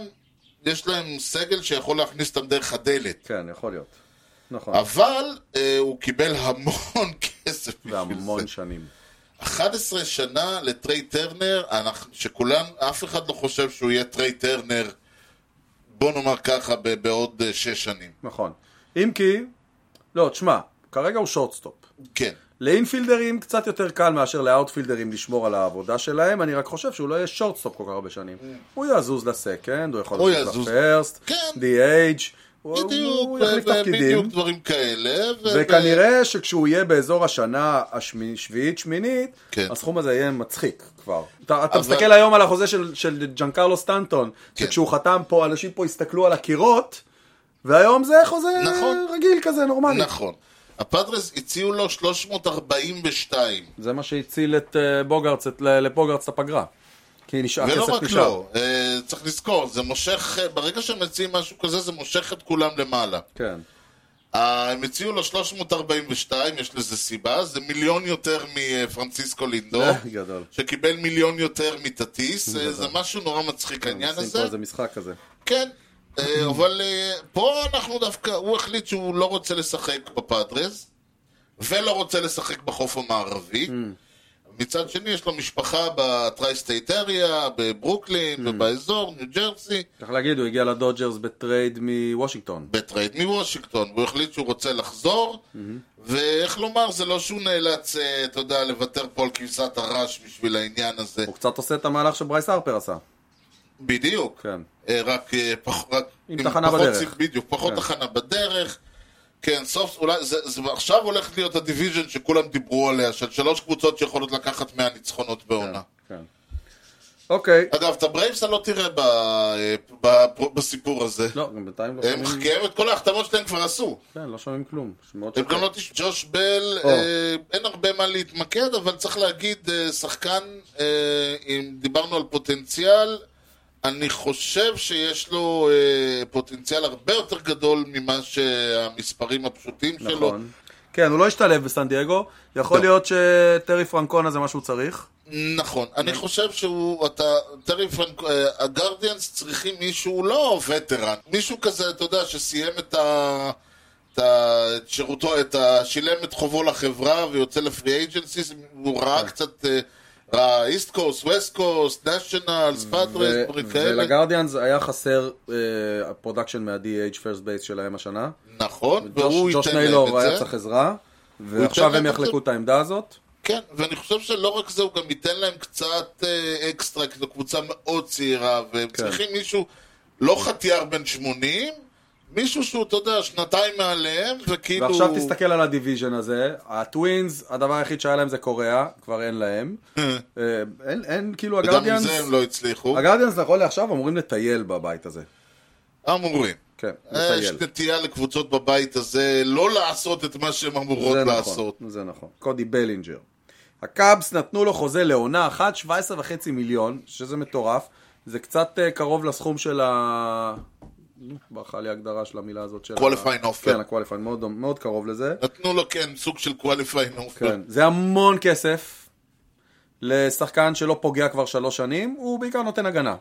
Speaker 2: יש להם סגל שיכול להכניס אותם דרך הדלת.
Speaker 1: כן, יכול להיות. נכון.
Speaker 2: אבל אה, הוא קיבל המון כסף
Speaker 1: והמון שנים.
Speaker 2: 11 שנה לטריי טרנר, אנחנו- שכולם, אף אחד לא חושב שהוא יהיה טריי טרנר, בוא נאמר ככה, ב- בעוד אה, שש שנים.
Speaker 1: נכון. אם כי, לא, תשמע, כרגע הוא שורטסטופ.
Speaker 2: כן.
Speaker 1: לאינפילדרים קצת יותר קל מאשר לאאוטפילדרים לשמור על העבודה שלהם, אני רק חושב שהוא לא יהיה שורטסטופ כל כך הרבה שנים. הוא יזוז לסקנד, הוא יכול
Speaker 2: כן. הוא
Speaker 1: לזוז
Speaker 2: יזוז.
Speaker 1: לפרסט,
Speaker 2: כן.
Speaker 1: די.אייג', הוא
Speaker 2: בדיוק,
Speaker 1: הוא
Speaker 2: ב-
Speaker 1: יחליף
Speaker 2: ב-
Speaker 1: תפקידים,
Speaker 2: בדיוק דברים כאלה. ו-
Speaker 1: וכנראה שכשהוא יהיה באזור השנה השביעית-שמינית,
Speaker 2: כן.
Speaker 1: הסכום הזה יהיה מצחיק כבר. אתה אתה
Speaker 2: אבל-
Speaker 1: מסתכל היום על החוזה של- של ג'נקרלו סטנטון,
Speaker 2: כן.
Speaker 1: שכשהוא חתם פה, אנשים פה הסתכלו על הקירות, והיום זה חוזה
Speaker 2: נכון.
Speaker 1: רגיל כזה, נורמלי.
Speaker 2: נכון. הפאדרס הציעו לו 342.
Speaker 1: זה מה שהציל את אה, בוגרץ, את- ל- לבוגרץ את הפגרה. כי נשאר
Speaker 2: ולא
Speaker 1: כסף
Speaker 2: לא רק
Speaker 1: נשאר.
Speaker 2: לו, אה, צריך לזכור, זה מושך, אה, ברגע שהם מציעים משהו כזה, זה מושך את כולם למעלה.
Speaker 1: כן.
Speaker 2: אה, הם הציעו לו 342, יש לזה סיבה, זה מיליון יותר מפרנסיסקו לינדו,
Speaker 1: גדול.
Speaker 2: שקיבל מיליון יותר מטטיס, אה, זה משהו נורא מצחיק העניין
Speaker 1: כן, עושים
Speaker 2: הזה.
Speaker 1: פה איזה משחק כזה.
Speaker 2: כן, אה, אבל אה, פה אנחנו דווקא, הוא החליט שהוא לא רוצה לשחק בפאדרס, ולא רוצה לשחק בחוף המערבי. מצד שני, יש לו משפחה בטרייסטייט אריה, בברוקלין ובאזור, ניו ג'רסי,
Speaker 1: צריך להגיד, הוא הגיע לדודג'רס בטרייד מוושינגטון.
Speaker 2: בטרייד מוושינגטון, והוא החליט שהוא רוצה לחזור, ואיך לומר, זה לא שהוא נאלץ, אה, אתה יודע, לוותר פה על כבשת הרש בשביל העניין הזה.
Speaker 1: הוא קצת עושה את המהלך שברייס הרפר עשה.
Speaker 2: בדיוק.
Speaker 1: כן.
Speaker 2: אה, רק, אה, פח, רק
Speaker 1: עם תחנה
Speaker 2: פחות
Speaker 1: בדרך.
Speaker 2: סיב- בדיוק, פחות
Speaker 1: כן.
Speaker 2: תחנה בדרך. כן, סוף, אולי, זה, זה עכשיו הולך להיות הדיוויז'ן שכולם דיברו עליה, של שלוש קבוצות שיכולות לקחת 100 ניצחונות בעונה.
Speaker 1: כן. אוקיי.
Speaker 2: אגב, את הברייבס אתה לא תראה ב, אה, ב, בסיפור הזה.
Speaker 1: לא, גם בינתיים לא
Speaker 2: הם,
Speaker 1: שומעים...
Speaker 2: כי הם את כל ההחתמות שלהם כבר עשו.
Speaker 1: כן, לא שומעים כלום. מאוד
Speaker 2: הם
Speaker 1: שקט.
Speaker 2: גם לא תשמעו, ג'וש בל,
Speaker 1: או.
Speaker 2: אה, אין הרבה מה להתמקד, אבל צריך להגיד, אה, שחקן, אה, אם דיברנו על פוטנציאל, אני חושב שיש לו אה, פוטנציאל הרבה יותר גדול ממה שהמספרים הפשוטים שלו.
Speaker 1: נכון. כן, הוא לא השתלב בסן דייגו. יכול
Speaker 2: לא.
Speaker 1: להיות שטרי פרנקונה זה מה שהוא צריך.
Speaker 2: נכון. אני
Speaker 1: כן.
Speaker 2: חושב שהוא, אתה, טרי פרנק, אה, הגרדיאנס צריכים מישהו, לא וטרן, מישהו כזה, אתה יודע, שסיים את ה... את ה- את שירותו, את ה... שילם את חובו לחברה ויוצא לפרי אייג'נסיס, הוא ראה
Speaker 1: כן.
Speaker 2: קצת, אה, ראה איסט קוסט, ווסט קוסט, נשיונלס, פאטרס,
Speaker 1: ו-
Speaker 2: דברים כאלה.
Speaker 1: ולגרדיאנס היה חסר אה, הפרודקשן מה-DH פרסט בייס שלהם השנה.
Speaker 2: נכון, והוא
Speaker 1: ג'וש ג'וש
Speaker 2: ייתן להם
Speaker 1: ניילור היה
Speaker 2: את זה.
Speaker 1: צריך עזרה. ועכשיו
Speaker 2: להם
Speaker 1: הם
Speaker 2: את זה.
Speaker 1: יחלקו את העמדה הזאת.
Speaker 2: כן, ואני חושב שלא רק זה, הוא גם ייתן להם קצת אה, אקסטרה, כי זו קבוצה מאוד צעירה, והם
Speaker 1: כן.
Speaker 2: צריכים מישהו, לא חטיאר בן 80, מישהו שהוא, אתה יודע, שנתיים מעליהם, וכאילו...
Speaker 1: ועכשיו תסתכל על הדיוויז'ן הזה, הטווינס, הדבר היחיד שהיה להם זה קוריאה, כבר אין להם. אה, אין, אין, כאילו
Speaker 2: וגם עם
Speaker 1: הגרדיאנס,
Speaker 2: זה הם לא הצליחו.
Speaker 1: הגרדיאנס נכון לעכשיו אמורים לטייל בבית הזה.
Speaker 2: אמורים.
Speaker 1: כן,
Speaker 2: אה, יש
Speaker 1: לטייל.
Speaker 2: נטייה לקבוצות בבית הזה לא לעשות את מה שהן אמורות
Speaker 1: זה
Speaker 2: לעשות.
Speaker 1: נכון, זה נכון. קודי בלינג'ר. הקאבס נתנו לו חוזה לעונה אחת, 17 וחצי מיליון, שזה מטורף. זה קצת אה, קרוב לסכום של ה... נו, ברחה לי ההגדרה של המילה הזאת. של ה-
Speaker 2: Qualifying offer.
Speaker 1: כן, ה-qualifying, מאוד, מאוד קרוב לזה.
Speaker 2: נתנו לו, כן, סוג של qualifying offer.
Speaker 1: כן, זה המון כסף לשחקן שלא פוגע כבר שלוש שנים, הוא בעיקר נותן הגנה.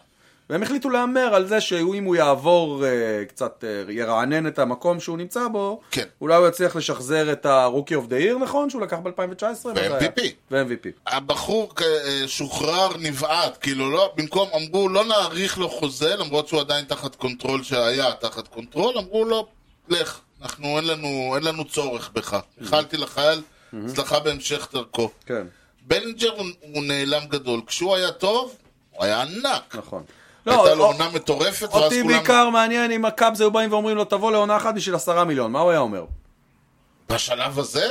Speaker 1: והם החליטו להמר על זה שאם הוא יעבור אה, קצת, אה, ירענן את המקום שהוא נמצא בו,
Speaker 2: כן.
Speaker 1: אולי הוא יצליח לשחזר את ה-Rookie of the Year, נכון? שהוא לקח ב-2019?
Speaker 2: ו-MVP.
Speaker 1: ו-MVP.
Speaker 2: הבחור אה, שוחרר נבעט, כאילו לא, במקום, אמרו לא נאריך לו חוזה, למרות שהוא עדיין תחת קונטרול שהיה תחת קונטרול, אמרו לו, לך, אנחנו, אין לנו, אין לנו צורך בך. איחלתי לחייל, הצלחה בהמשך דרכו.
Speaker 1: כן,
Speaker 2: בלינג'ר הוא, הוא נעלם גדול, כשהוא היה טוב, הוא היה ענק.
Speaker 1: נכון.
Speaker 2: הייתה לו
Speaker 1: או-
Speaker 2: עונה מטורפת, ואז
Speaker 1: אותי
Speaker 2: כולם...
Speaker 1: בעיקר מעניין אם הקאבס היו באים ואומרים לו, תבוא לעונה אחת בשביל עשרה מיליון, מה הוא היה אומר?
Speaker 2: בשלב הזה?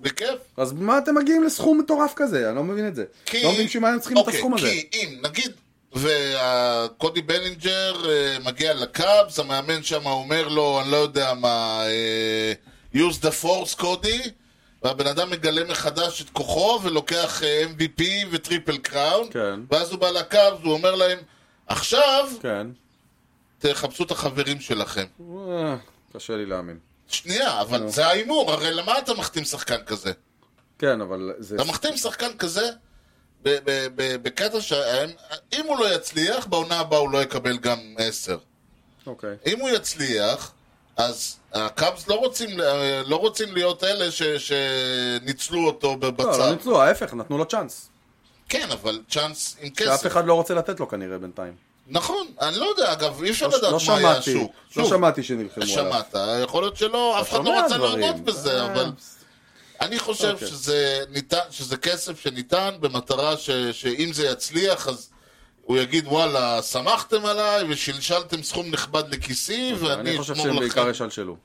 Speaker 2: בכיף.
Speaker 1: אז מה אתם מגיעים לסכום מטורף כזה? אני לא מבין את זה.
Speaker 2: כי...
Speaker 1: לא מבין שמה הם צריכים את
Speaker 2: אוקיי,
Speaker 1: הסכום הזה.
Speaker 2: כי אם, נגיד, וקודי בלינג'ר אה, מגיע לקאבס, המאמן שם אומר לו, אני לא יודע מה, אה, use the force קודי, והבן אדם מגלה מחדש את כוחו ולוקח אה, MVP וטריפל קראון,
Speaker 1: כן.
Speaker 2: ואז הוא בא לקאבס, הוא אומר להם, עכשיו
Speaker 1: כן.
Speaker 2: תחפשו את החברים שלכם.
Speaker 1: אה, קשה לי להאמין.
Speaker 2: שנייה, אבל זה ההימור, הרי למה אתה מחתים שחקן כזה?
Speaker 1: כן, אבל זה...
Speaker 2: אתה מחתים שחקן כזה ב- ב- ב- בקטע שאם הוא לא יצליח, בעונה הבאה הוא לא יקבל גם 10.
Speaker 1: אוקיי.
Speaker 2: אם הוא יצליח, אז הקאבס לא רוצים, ל- לא רוצים להיות אלה ש, שניצלו אותו
Speaker 1: לא, לא
Speaker 2: בצד.
Speaker 1: ניצלו, ההפך, נתנו לו צ'אנס.
Speaker 2: כן, אבל צ'אנס עם
Speaker 1: שאף
Speaker 2: כסף.
Speaker 1: אחד לא רוצה לתת לו כנראה בינתיים.
Speaker 2: נכון, אני לא יודע, אגב, אי אפשר
Speaker 1: לא
Speaker 2: לדעת
Speaker 1: לא
Speaker 2: מה היה
Speaker 1: שמעתי,
Speaker 2: השוק.
Speaker 1: לא
Speaker 2: שוב,
Speaker 1: שמעתי שנלחמו עליו.
Speaker 2: שמעת, יכול להיות שלא, אף אחד
Speaker 1: שומע
Speaker 2: לא רצה
Speaker 1: דברים.
Speaker 2: להודות בזה,
Speaker 1: אה,
Speaker 2: אבל... אני חושב
Speaker 1: אוקיי.
Speaker 2: שזה, ניתן, שזה כסף שניתן במטרה ש, שאם זה יצליח אז הוא יגיד וואלה, שמחתם עליי ושלשלתם סכום נכבד לכיסי ואני
Speaker 1: אוקיי, אני חושב
Speaker 2: אשמור
Speaker 1: שהם בעיקר
Speaker 2: לכם.
Speaker 1: ישלשלו.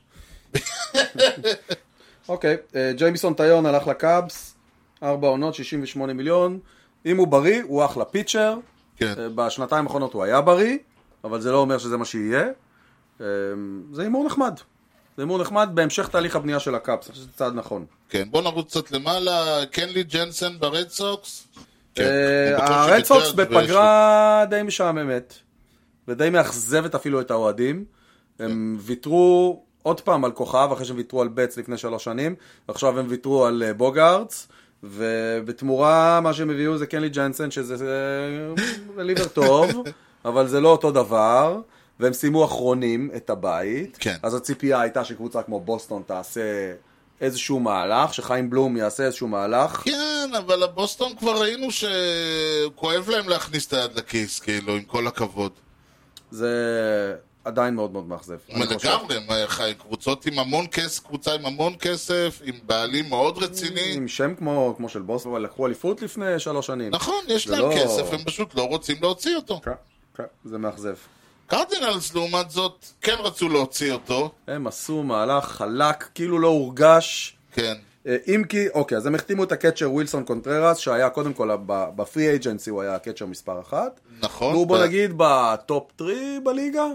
Speaker 1: אוקיי, אה, ג'יימיסון טיון הלך לקאבס, ארבע עונות, 68 מיליון. אם הוא בריא, הוא אחלה פיצ'ר.
Speaker 2: כן.
Speaker 1: אה, בשנתיים האחרונות הוא היה בריא, אבל זה לא אומר שזה מה שיהיה. אה, זה הימור נחמד. זה הימור נחמד בהמשך תהליך הבנייה של הקאפס, אני חושב שזה צעד נכון.
Speaker 2: כן, בוא נרוץ קצת למעלה, קנלי ג'נסן ברד סוקס? כן,
Speaker 1: אה,
Speaker 2: הוא בקושי
Speaker 1: הרד סוקס
Speaker 2: ביטל
Speaker 1: בפגרה די משעממת, ודי מאכזבת אפילו את האוהדים. הם
Speaker 2: כן.
Speaker 1: ויתרו עוד פעם על כוכב, אחרי שהם ויתרו על בץ לפני שלוש שנים, ועכשיו הם ויתרו על אה, בוגארטס, ובתמורה מה שהם הביאו זה קנלי ג'נסן, שזה אה, ליבר טוב, אבל זה לא אותו דבר. והם סיימו אחרונים את הבית,
Speaker 2: כן.
Speaker 1: אז הציפייה הייתה שקבוצה כמו בוסטון תעשה איזשהו מהלך, שחיים בלום יעשה איזשהו מהלך.
Speaker 2: כן, אבל הבוסטון כבר ראינו שכואב להם להכניס את היד לכיס, כאילו, עם כל הכבוד.
Speaker 1: זה עדיין מאוד מאוד מאכזב.
Speaker 2: מה,
Speaker 1: אני חושב.
Speaker 2: לגמרי, מה, חי- קבוצות עם המון כסף, קבוצה עם המון כסף, עם בעלים מאוד רציני.
Speaker 1: עם שם כמו, כמו של בוס, אבל לקחו אליפות לפני שלוש שנים.
Speaker 2: נכון, יש
Speaker 1: זה
Speaker 2: להם
Speaker 1: לא-
Speaker 2: כסף, הם פשוט לא רוצים להוציא אותו.
Speaker 1: כן, כן, זה מאכזב.
Speaker 2: קרדינלס, לעומת זאת, כן רצו להוציא אותו,
Speaker 1: הם עשו מהלך חלק, כאילו לא הורגש.
Speaker 2: כן.
Speaker 1: אה, אם כי, אוקיי, אז הם החתימו את הקצ'ר ווילסון קונטררס, שהיה קודם כל ב- בפרי אייג'נסי הוא היה הקצ'ר מספר אחת.
Speaker 2: נכון.
Speaker 1: והוא בוא
Speaker 2: ב-
Speaker 1: נגיד בטופ 3 בליגה?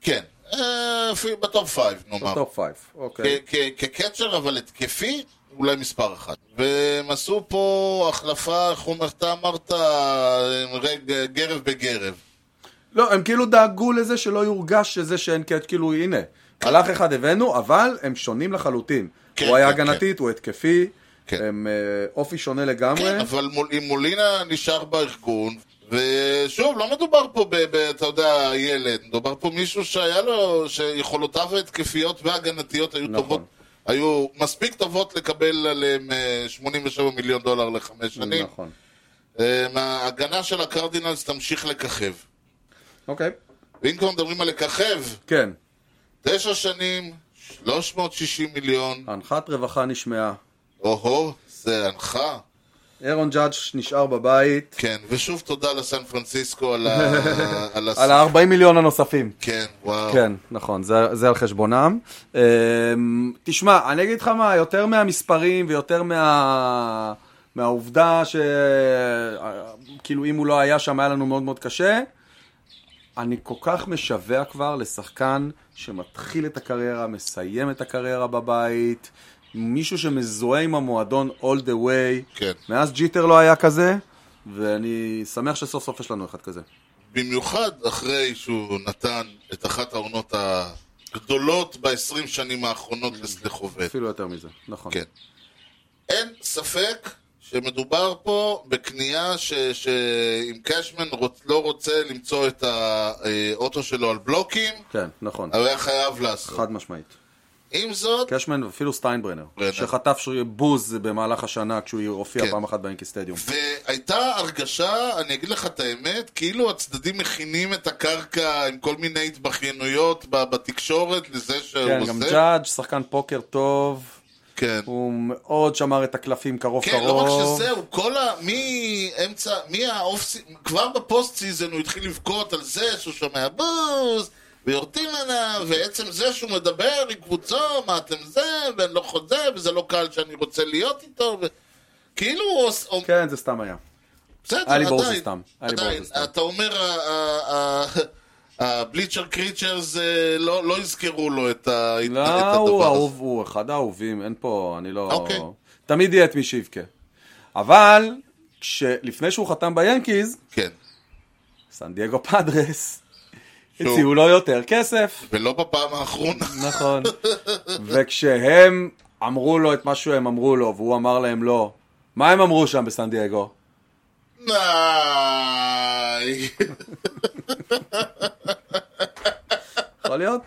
Speaker 2: כן. אה, אפילו בטופ פייב, נאמר.
Speaker 1: טופ 5, אוקיי.
Speaker 2: כ- כ- כקצ'ר, אבל התקפי, אולי מספר אחת. והם עשו פה החלפה, איך אומר, אתה אמרת, אה, רג- גרב בגרב.
Speaker 1: לא, הם כאילו דאגו לזה שלא יורגש שזה שאין קאץ', כאילו הנה, הלך אחד הבאנו, אבל הם שונים לחלוטין.
Speaker 2: כן,
Speaker 1: הוא היה
Speaker 2: כן,
Speaker 1: הגנתית, הוא התקפי,
Speaker 2: כן.
Speaker 1: הם אה, אופי שונה לגמרי.
Speaker 2: כן, אבל מול, אם מולינה נשאר בארגון, ושוב, לא מדובר פה, ב, ב, אתה יודע, ילד, מדובר פה מישהו שהיה לו, שיכולותיו ההתקפיות וההגנתיות היו
Speaker 1: נכון.
Speaker 2: טובות, היו מספיק טובות לקבל עליהם אה, 87 מיליון דולר לחמש שנים. נכון.
Speaker 1: נכון.
Speaker 2: ההגנה של הקרדינלס תמשיך לככב.
Speaker 1: אוקיי.
Speaker 2: ואם כבר מדברים על לככב,
Speaker 1: כן,
Speaker 2: תשע שנים, 360 מיליון,
Speaker 1: הנחת רווחה נשמעה.
Speaker 2: או-הו, זה הנחה.
Speaker 1: אירון ג'אדג' נשאר בבית.
Speaker 2: כן, ושוב תודה לסן פרנסיסקו על ה... על, הס-
Speaker 1: על ה-40 מיליון הנוספים.
Speaker 2: כן, וואו.
Speaker 1: כן, נכון, זה, זה על חשבונם. אמ, תשמע, אני אגיד לך מה, יותר מהמספרים ויותר מה, מהעובדה ש... כאילו, אם הוא לא היה שם, היה לנו מאוד מאוד קשה. אני כל כך משווע כבר לשחקן שמתחיל את הקריירה, מסיים את הקריירה בבית, מישהו שמזוהה עם המועדון all the way.
Speaker 2: כן.
Speaker 1: מאז ג'יטר לא היה כזה, ואני שמח שסוף סוף יש לנו אחד כזה.
Speaker 2: כן. במיוחד אחרי שהוא נתן את אחת העונות הגדולות ב-20 שנים האחרונות לסליחובט.
Speaker 1: אפילו יותר מזה, נכון.
Speaker 2: כן. אין ספק שמדובר פה בקנייה ש- שאם קשמן רוצ- לא רוצה למצוא את האוטו שלו על בלוקים,
Speaker 1: כן, נכון.
Speaker 2: הוא היה חייב לעשות.
Speaker 1: חד משמעית.
Speaker 2: עם זאת,
Speaker 1: קשמן ואפילו סטיינברנר,
Speaker 2: ברנר.
Speaker 1: שחטף ש- בוז במהלך השנה כשהוא הופיע
Speaker 2: כן.
Speaker 1: פעם אחת באנקי סטדיום.
Speaker 2: והייתה הרגשה, אני אגיד לך את האמת, כאילו הצדדים מכינים את הקרקע עם כל מיני התבכיינויות ב- בתקשורת לזה שהוא
Speaker 1: כן,
Speaker 2: עושה.
Speaker 1: גם ג'אדג', שחקן פוקר טוב,
Speaker 2: כן.
Speaker 1: הוא מאוד שמר את הקלפים קרוב
Speaker 2: כן,
Speaker 1: קרוב.
Speaker 2: לא רק שזהו, כל ה... מאמצע, מהאוף סיזן, כבר בפוסט סיזן הוא התחיל לבכות על זה שהוא שומע בוז, ויורדים עליו, ועצם זה שהוא מדבר עם קבוצה, מה אתם זה, ואני לא חוזה, וזה לא קהל שאני רוצה להיות איתו, ו... כאילו הוא עוש- הוא...
Speaker 1: כן, זה סתם היה.
Speaker 2: בסדר,
Speaker 1: היה לי ברור
Speaker 2: עדיין,
Speaker 1: שזה סתם, היה לי ברור
Speaker 2: עדיין,
Speaker 1: שזה סתם.
Speaker 2: אתה אומר, ה- ה- ה- הבליצ'ר קריצ'רס אה, לא לא יזכרו לו את ה- את הדבר
Speaker 1: לא,
Speaker 2: הזה.
Speaker 1: הוא אהוב, הוא אחד האהובים, אין פה, אני לא...
Speaker 2: אוקיי.
Speaker 1: תמיד יהיה את מי שיבכה. אבל, כשלפני שהוא חתם ביאנקיז,
Speaker 2: כן,
Speaker 1: סן דייגו פאדרס,
Speaker 2: שוב.
Speaker 1: הציעו לו יותר כסף.
Speaker 2: ולא בפעם האחרונה.
Speaker 1: נכון. וכשהם אמרו לו את מה שהם אמרו לו, והוא אמר להם לא, מה הם אמרו שם בסן דייגו?
Speaker 2: ניי.
Speaker 1: יכול להיות?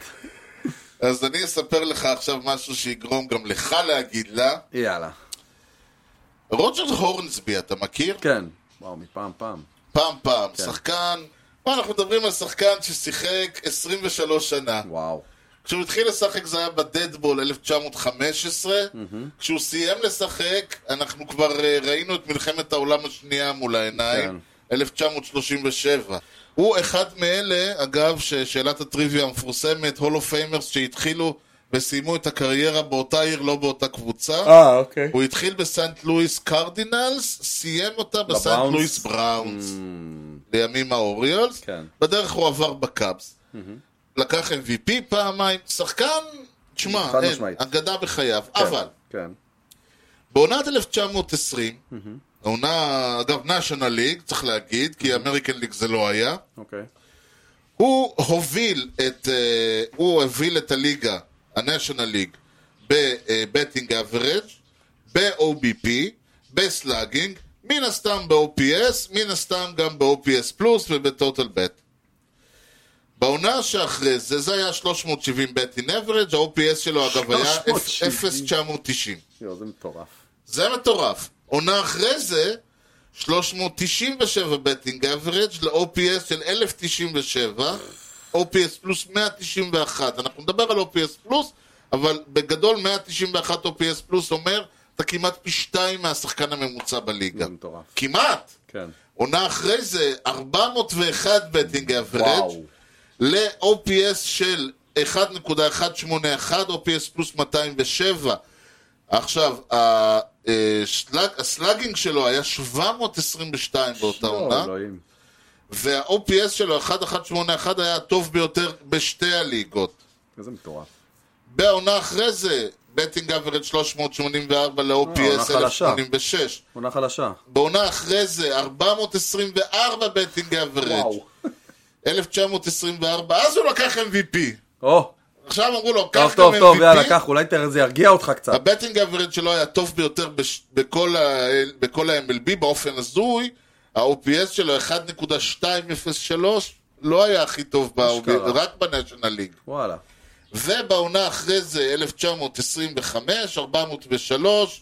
Speaker 2: אז אני אספר לך עכשיו משהו שיגרום גם לך להגיד לה.
Speaker 1: יאללה.
Speaker 2: רוג'ר הורנסבי, אתה מכיר?
Speaker 1: כן. וואו, מפעם פעם.
Speaker 2: פעם פעם, שחקן... מה, אנחנו מדברים על שחקן ששיחק 23 שנה.
Speaker 1: וואו.
Speaker 2: כשהוא התחיל לשחק זה היה בדדבול 1915, כשהוא סיים לשחק, אנחנו כבר אה, ראינו את מלחמת העולם השנייה מול העיניים,
Speaker 1: כן.
Speaker 2: 1937. הוא אחד מאלה, אגב, ששאלת הטריוויה המפורסמת, הולו פיימרס שהתחילו וסיימו את הקריירה באותה עיר, לא באותה קבוצה.
Speaker 1: אה, אוקיי.
Speaker 2: הוא התחיל בסנט לואיס קרדינלס, סיים אותה בסנט
Speaker 1: בבראונס?
Speaker 2: לואיס בראונס. לימים האוריולס.
Speaker 1: Mm. כן. Mm-hmm.
Speaker 2: בדרך הוא עבר בקאבס. לקח MVP פעמיים, שחקן תשמע,
Speaker 1: חד
Speaker 2: אין,
Speaker 1: משמעית.
Speaker 2: אגדה בחייו,
Speaker 1: כן,
Speaker 2: אבל
Speaker 1: כן.
Speaker 2: בעונת 1920,
Speaker 1: Mm-hmm.
Speaker 2: עונה, אגב, national league, צריך להגיד, כי אמריקן ליג זה לא היה,
Speaker 1: אוקיי.
Speaker 2: הוא הוביל את, אה, הוא הוביל את הליגה, ה-National League, בבטינג אברג', ב-OBP, בסלאגינג, מן הסתם ב-OPS, מן הסתם גם ב-OPS פלוס ובטוטל בט. בעונה שאחרי זה, זה היה 370 בטינג אברג', ה-OPS שלו אגב היה
Speaker 1: 370.
Speaker 2: 0.990.
Speaker 1: יואו, זה מטורף.
Speaker 2: זה מטורף. עונה אחרי זה, 397 בטינג אברג' ל-OPS של 1097, OPS פלוס 191. אנחנו נדבר על OPS פלוס, אבל בגדול 191 OPS פלוס אומר, אתה כמעט פי שתיים מהשחקן הממוצע בליגה.
Speaker 1: זה מטורף.
Speaker 2: כמעט!
Speaker 1: כן.
Speaker 2: עונה אחרי זה, 401 בטינג אברג'
Speaker 1: וואו.
Speaker 2: ל-OPS של 1.181, OPS פלוס 207. עכשיו, השלג, הסלאגינג שלו היה 722 באותה
Speaker 1: יואו,
Speaker 2: עונה,
Speaker 1: לא, אלוהים.
Speaker 2: וה-OPS שלו, 1181, היה הטוב ביותר בשתי הליגות.
Speaker 1: איזה מטורף.
Speaker 2: בעונה אחרי זה, בטינג אברד 384 ל-OPS
Speaker 1: אה, עונה חלשה.
Speaker 2: 1086.
Speaker 1: עונה חלשה.
Speaker 2: בעונה אחרי זה, 424 בטינג אברד.
Speaker 1: וואו.
Speaker 2: 1924, אז הוא לקח MVP.
Speaker 1: או,
Speaker 2: עכשיו אמרו לו,
Speaker 1: טוב,
Speaker 2: קח גם
Speaker 1: טוב, טוב, יאללה,
Speaker 2: MVP.
Speaker 1: קח, אולי ת- זה ירגיע אותך קצת.
Speaker 2: הבטינג אברד שלו היה הטוב ביותר בש... בכל, ה... בכל ה-MLB באופן הזוי, ה-OPS שלו 1.203 לא היה הכי טוב, ב...
Speaker 1: אשכרה.
Speaker 2: רק בניישנל ליג.
Speaker 1: וואלה.
Speaker 2: ובעונה אחרי זה 1925, 403,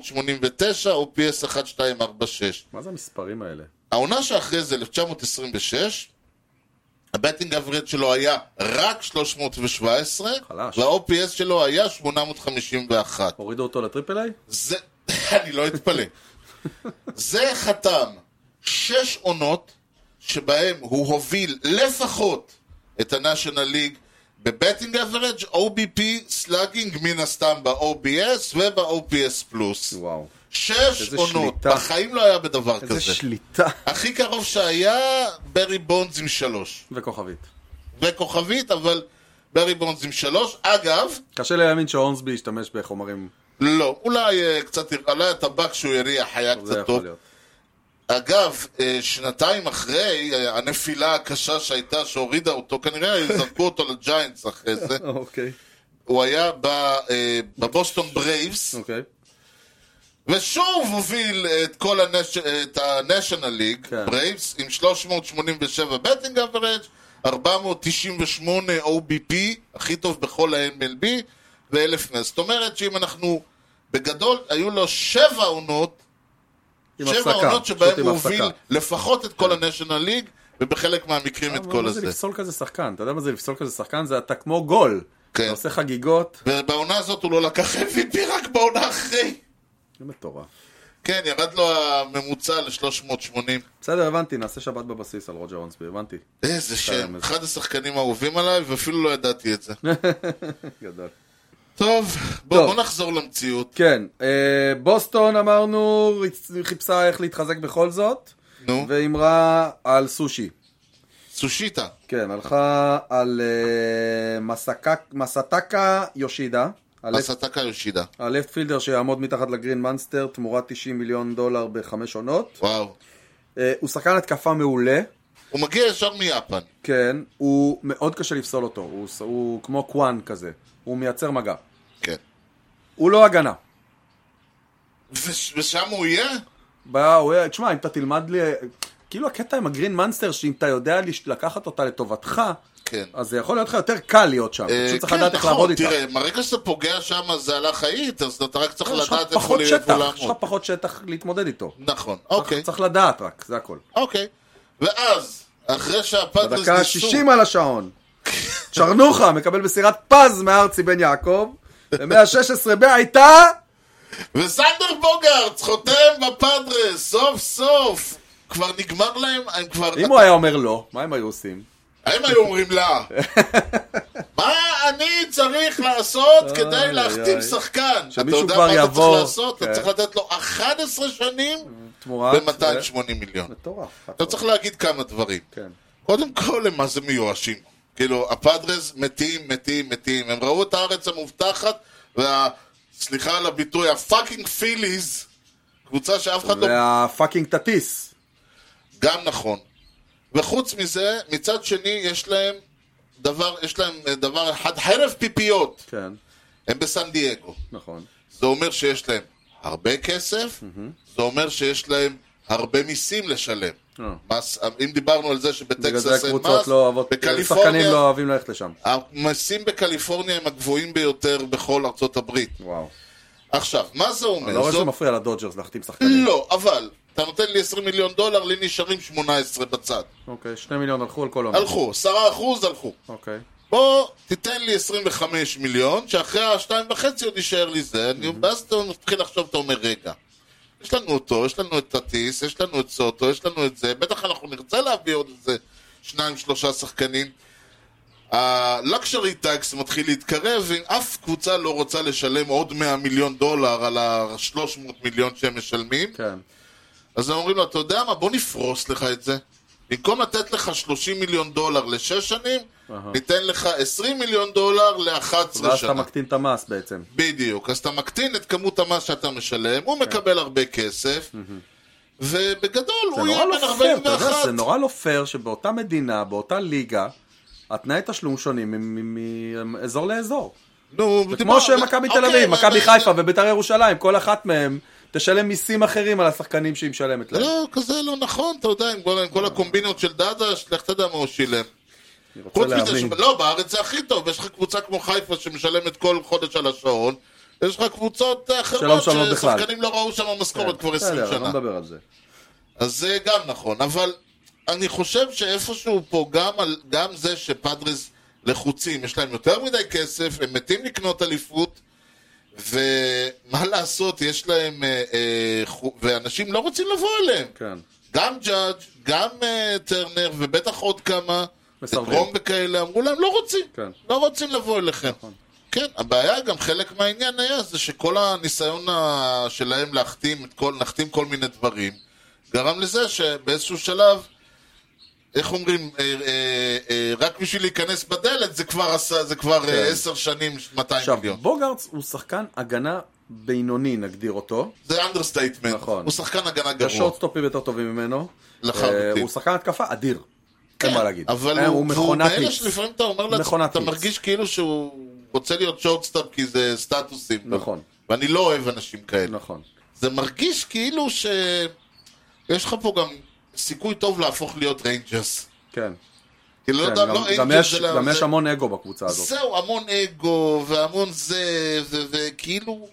Speaker 2: 489, OPS 1246.
Speaker 1: מה זה המספרים האלה?
Speaker 2: העונה שאחרי זה, 1926, הבטינג אברד שלו היה רק 317,
Speaker 1: חלש.
Speaker 2: וה-OPS שלו היה 851.
Speaker 1: הורידו אותו לטריפל איי?
Speaker 2: זה, אני לא אתפלא. זה חתם שש עונות שבהם הוא הוביל לפחות את ה-National League בבטינג אברג', OBP, סלאגינג מן הסתם ב-OBS וב-OPS פלוס.
Speaker 1: וואו.
Speaker 2: שש
Speaker 1: איזה
Speaker 2: עונות,
Speaker 1: שליטה.
Speaker 2: בחיים לא היה בדבר כזה.
Speaker 1: איזה שליטה.
Speaker 2: הכי קרוב שהיה, ברי בונדס עם שלוש.
Speaker 1: וכוכבית.
Speaker 2: וכוכבית, אבל ברי בונדס עם שלוש. אגב,
Speaker 1: קשה להאמין שהונסבי ישתמש בחומרים.
Speaker 2: לא, אולי אה, קצת, אולי הטבק שהוא הריח היה
Speaker 1: זה
Speaker 2: קצת
Speaker 1: יכול
Speaker 2: טוב.
Speaker 1: להיות.
Speaker 2: אגב, אה, שנתיים אחרי, אה, הנפילה הקשה שהייתה, שהורידה אותו, כנראה זרקו אותו לג'יינטס אחרי זה.
Speaker 1: אוקיי.
Speaker 2: הוא היה ב, אה, בבוסטון ברייבס,
Speaker 1: אוקיי.
Speaker 2: ושוב הוביל את כל הנש... את ה-National League,
Speaker 1: כן.
Speaker 2: ברייבס, עם 387 בטינג אברג', 498 OBP, הכי טוב בכל ה-MLB, ו-1000 נס. זאת אומרת שאם אנחנו, בגדול, היו לו שבע עונות,
Speaker 1: עם
Speaker 2: שבע
Speaker 1: הפסקה.
Speaker 2: עונות
Speaker 1: פשוט
Speaker 2: שבהן
Speaker 1: עם
Speaker 2: הוא
Speaker 1: הפסקה. כן.
Speaker 2: הוביל לפחות את כל ה-National League, ובחלק מהמקרים את
Speaker 1: מה-
Speaker 2: כל
Speaker 1: מה זה
Speaker 2: הזה.
Speaker 1: לפסול כזה שחקן? אתה יודע מה זה לפסול כזה שחקן? זה אתה כמו גול.
Speaker 2: כן.
Speaker 1: אתה עושה חגיגות.
Speaker 2: ובעונה הזאת הוא לא לקח MVP רק בעונה אחרי.
Speaker 1: זה מטורף.
Speaker 2: כן, ירד לו הממוצע ל-380.
Speaker 1: בסדר, הבנתי, נעשה שבת בבסיס על רוג'ר הונסבי, הבנתי.
Speaker 2: איזה שם,
Speaker 1: איזה-
Speaker 2: אחד השחקנים האהובים עליי, ואפילו לא ידעתי את זה.
Speaker 1: גדול.
Speaker 2: טוב, בואו
Speaker 1: טוב.
Speaker 2: בוא נחזור למציאות.
Speaker 1: כן, אה, בוסטון אמרנו, ריצ- חיפשה איך להתחזק בכל זאת,
Speaker 2: נו,
Speaker 1: והימרה על סושי.
Speaker 2: סושיטה.
Speaker 1: כן, הלכה על אה, מסקק- מסטקה יושידה,
Speaker 2: הסטקה יושידה.
Speaker 1: הלפט פילדר שיעמוד מתחת לגרין מנסטר תמורת 90 מיליון דולר בחמש עונות.
Speaker 2: וואו.
Speaker 1: אה, הוא שחקן התקפה מעולה,
Speaker 2: הוא מגיע ישר מיפן.
Speaker 1: כן, הוא מאוד קשה לפסול אותו, הוא, ס- הוא כמו קוואן כזה, הוא מייצר מגע.
Speaker 2: כן.
Speaker 1: הוא לא הגנה.
Speaker 2: וש- ושם הוא יהיה?
Speaker 1: בא, הוא היה, תשמע, אם אתה תלמד לי... כאילו הקטע עם הגרין מנסטר, שאם אתה יודע לש- לקחת אותה לטובתך,
Speaker 2: כן.
Speaker 1: אז זה יכול להיות לך יותר קל להיות שם.
Speaker 2: אה,
Speaker 1: פשוט צריך
Speaker 2: כן,
Speaker 1: לדעת איך
Speaker 2: נכון,
Speaker 1: לעבוד איתה.
Speaker 2: תראה, מהרגע שאתה פוגע שם זה הלך האיט, אז אתה רק צריך
Speaker 1: לא, יש לך
Speaker 2: לדעת איפה
Speaker 1: פחות
Speaker 2: ל- איפה
Speaker 1: שטח,
Speaker 2: לעמוד.
Speaker 1: יש לך פחות שטח להתמודד איתו.
Speaker 2: נכון,
Speaker 1: צריך-
Speaker 2: אוקיי,
Speaker 1: צריך לדעת רק, זה הכל.
Speaker 2: אוקיי. ואז, אחרי שהפאדרס
Speaker 1: בדקה
Speaker 2: ניסו...
Speaker 1: ה-60 על השעון. צ'רנוחה מקבל מסירת פז מארצי בן יעקב, במאה ה-16 בעיטה,
Speaker 2: וסנדר בוגארץ חותם בפאדרס, סוף סוף. כבר נגמר להם, הם כבר...
Speaker 1: אם הוא היה אומר לא, מה הם היו עושים?
Speaker 2: הם היו אומרים לה, מה אני צריך לעשות כדי
Speaker 1: אוי,
Speaker 2: להחתים
Speaker 1: אוי.
Speaker 2: שחקן? אתה
Speaker 1: שמישהו
Speaker 2: יודע
Speaker 1: כבר
Speaker 2: מה אתה צריך
Speaker 1: יבוא.
Speaker 2: לעשות? אתה
Speaker 1: כן.
Speaker 2: צריך לתת לו 11 שנים
Speaker 1: תמורת... אה,
Speaker 2: ב-280 מיליון.
Speaker 1: מטורף.
Speaker 2: אתה צריך להגיד כמה דברים.
Speaker 1: כן.
Speaker 2: קודם כל, הם מה זה מיואשים. כאילו, הפאדרס מתים, מתים, מתים. הם ראו את הארץ המובטחת, וה... סליחה על הביטוי, הפאקינג פיליז, קבוצה שאף אחד לא...
Speaker 1: והפאקינג תטיס.
Speaker 2: גם נכון. וחוץ מזה, מצד שני, יש להם דבר, יש להם אה, דבר אחד, חרב פיפיות.
Speaker 1: כן,
Speaker 2: הם בסן דייגו.
Speaker 1: נכון.
Speaker 2: זה אומר שיש להם הרבה כסף, זה אומר שיש להם הרבה מיסים לשלם.
Speaker 1: אה.
Speaker 2: מס, אם דיברנו על
Speaker 1: בגלל
Speaker 2: זה
Speaker 1: זה
Speaker 2: שבטקסס אין מס,
Speaker 1: הקבוצות לא אוהבות, שחקנים
Speaker 2: בקליפורניה,
Speaker 1: לא אוהבים ללכת לשם.
Speaker 2: המסים בקליפורניה הם הגבוהים ביותר בכל ארצות הברית.
Speaker 1: וואו.
Speaker 2: אה, עכשיו, מה זה אומר?
Speaker 1: לא רואה
Speaker 2: זה-
Speaker 1: שזה מפריע לדודג'רס להחתים שחקנים.
Speaker 2: לא, אבל, אתה נותן לי 20 מיליון דולר, לי נשארים 18 בצד.
Speaker 1: אוקיי, שני מיליון הלכו על כל עונה.
Speaker 2: הלכו, 10% הלכו.
Speaker 1: אוקיי.
Speaker 2: בוא תיתן לי 25 מיליון, שאחרי השתיים וחצי עוד יישאר לי זה, אני- ואז אתה מתחיל לחשוב, אתה אומר, רגע, יש לנו אותו, יש לנו את טטיס, יש לנו את סוטו, יש לנו את זה, בטח אנחנו נרצה להביא עוד איזה שניים, שלושה שחקנים. הלקשרי טקס מתחיל להתקרב, ואף קבוצה לא רוצה לשלם עוד 100 מיליון דולר על ה-300 מיליון שהם משלמים.
Speaker 1: כן.
Speaker 2: אז הם אומרים לו, אתה יודע מה, בוא נפרוס לך את זה. במקום לתת לך 30 מיליון דולר לשש שנים, ניתן לך 20 מיליון דולר ל-11
Speaker 1: ואז אתה
Speaker 2: שנה.
Speaker 1: מקטין את המס בעצם.
Speaker 2: בדיוק. אז אתה מקטין את כמות המס שאתה משלם,
Speaker 1: כן.
Speaker 2: הוא מקבל הרבה כסף, ובגדול
Speaker 1: זה
Speaker 2: הוא
Speaker 1: נורא
Speaker 2: יהיה
Speaker 1: לא
Speaker 2: בן
Speaker 1: פייר, אתה יודע,
Speaker 2: 41.
Speaker 1: זה נורא לא פייר שבאותה מדינה, באותה ליגה, התנאי תשלום שונים מאזור לאזור.
Speaker 2: נו,
Speaker 1: זה כמו
Speaker 2: דיברנו-
Speaker 1: שמכבי תל
Speaker 2: אוקיי,
Speaker 1: אביב,
Speaker 2: מה-
Speaker 1: מכבי
Speaker 2: מה-
Speaker 1: חיפה ובית"ר ירושלים, כל אחת מהן תשלם מיסים אחרים על השחקנים שהיא משלמת להם.
Speaker 2: לא, כזה לא נכון, אתה יודע, עם כל- עם כל הקומבינות של דדש, לך תדע מה הוא שילם.
Speaker 1: אני רוצה
Speaker 2: חוץ מזה,
Speaker 1: להבין.
Speaker 2: ש... לא, בארץ זה הכי טוב, יש לך קבוצה כמו חיפה שמשלמת כל חודש על השעון, יש לך קבוצות אה,
Speaker 1: שלא
Speaker 2: אחרות
Speaker 1: משלמות בכלל.
Speaker 2: ששחקנים לא ראו שם משכורת כבר 20
Speaker 1: בסדר,
Speaker 2: שנה. כן,
Speaker 1: לא נדבר על זה.
Speaker 2: אז זה גם נכון, אבל אני חושב שאיפשהו פה גם, על, גם זה שפאדריס לחוצים, יש להם יותר מדי כסף, הם מתים לקנות אליפות, ומה לעשות, יש להם, אה, אה, חו... ואנשים לא רוצים לבוא אליהם.
Speaker 1: כן.
Speaker 2: גם ג'אדג', גם אה, טרנר, ובטח עוד כמה,
Speaker 1: מסרבים.
Speaker 2: דרום וכאלה, אמרו להם, לא רוצים,
Speaker 1: כן. נכון.
Speaker 2: לא רוצים לבוא אליכם. כן, הבעיה גם חלק מהעניין היה זה שכל הניסיון ה- שלהם להחתים, את כל, להחתים כל מיני דברים, גרם לזה שבאיזשהו שלב, איך אומרים, אה, אה, אה, רק בשביל להיכנס בדלת זה כבר עשה, זה כבר אה, עשר שנים, 200
Speaker 1: כן. עכשיו,
Speaker 2: מיליון.
Speaker 1: בוגרדס הוא שחקן הגנה בינוני, נגדיר אותו.
Speaker 2: זה אנדרסטייטמנט.
Speaker 1: נכון.
Speaker 2: הוא שחקן הגנה
Speaker 1: יש
Speaker 2: גרוע.
Speaker 1: שורטסטופים יותר טובים ממנו.
Speaker 2: לחלוטין. כן,
Speaker 1: אה, הוא שחקן התקפה אדיר. אין מה להגיד.
Speaker 2: אבל
Speaker 1: אה,
Speaker 2: הוא,
Speaker 1: הוא מכונת
Speaker 2: והוא מאלה
Speaker 1: מיץ.
Speaker 2: שלפעמים אתה אומר לעצמך,
Speaker 1: מכונת
Speaker 2: אתה
Speaker 1: מיץ.
Speaker 2: מרגיש כאילו שהוא רוצה להיות שורטסטאפ כי זה סטטוסים.
Speaker 1: נכון.
Speaker 2: ואני לא אוהב אנשים כאלה.
Speaker 1: נכון.
Speaker 2: זה מרגיש כאילו ש... יש לך פה גם סיכוי טוב להפוך להיות ריינג'רס.
Speaker 1: כן.
Speaker 2: כאילו, לא
Speaker 1: כן,
Speaker 2: יודע,
Speaker 1: גם-
Speaker 2: לא
Speaker 1: גם
Speaker 2: ריינג'רס
Speaker 1: יש-
Speaker 2: אלא
Speaker 1: גם
Speaker 2: זה-
Speaker 1: יש המון אגו בקבוצה הזאת.
Speaker 2: זהו, המון אגו, והמון זה, ו- וכאילו...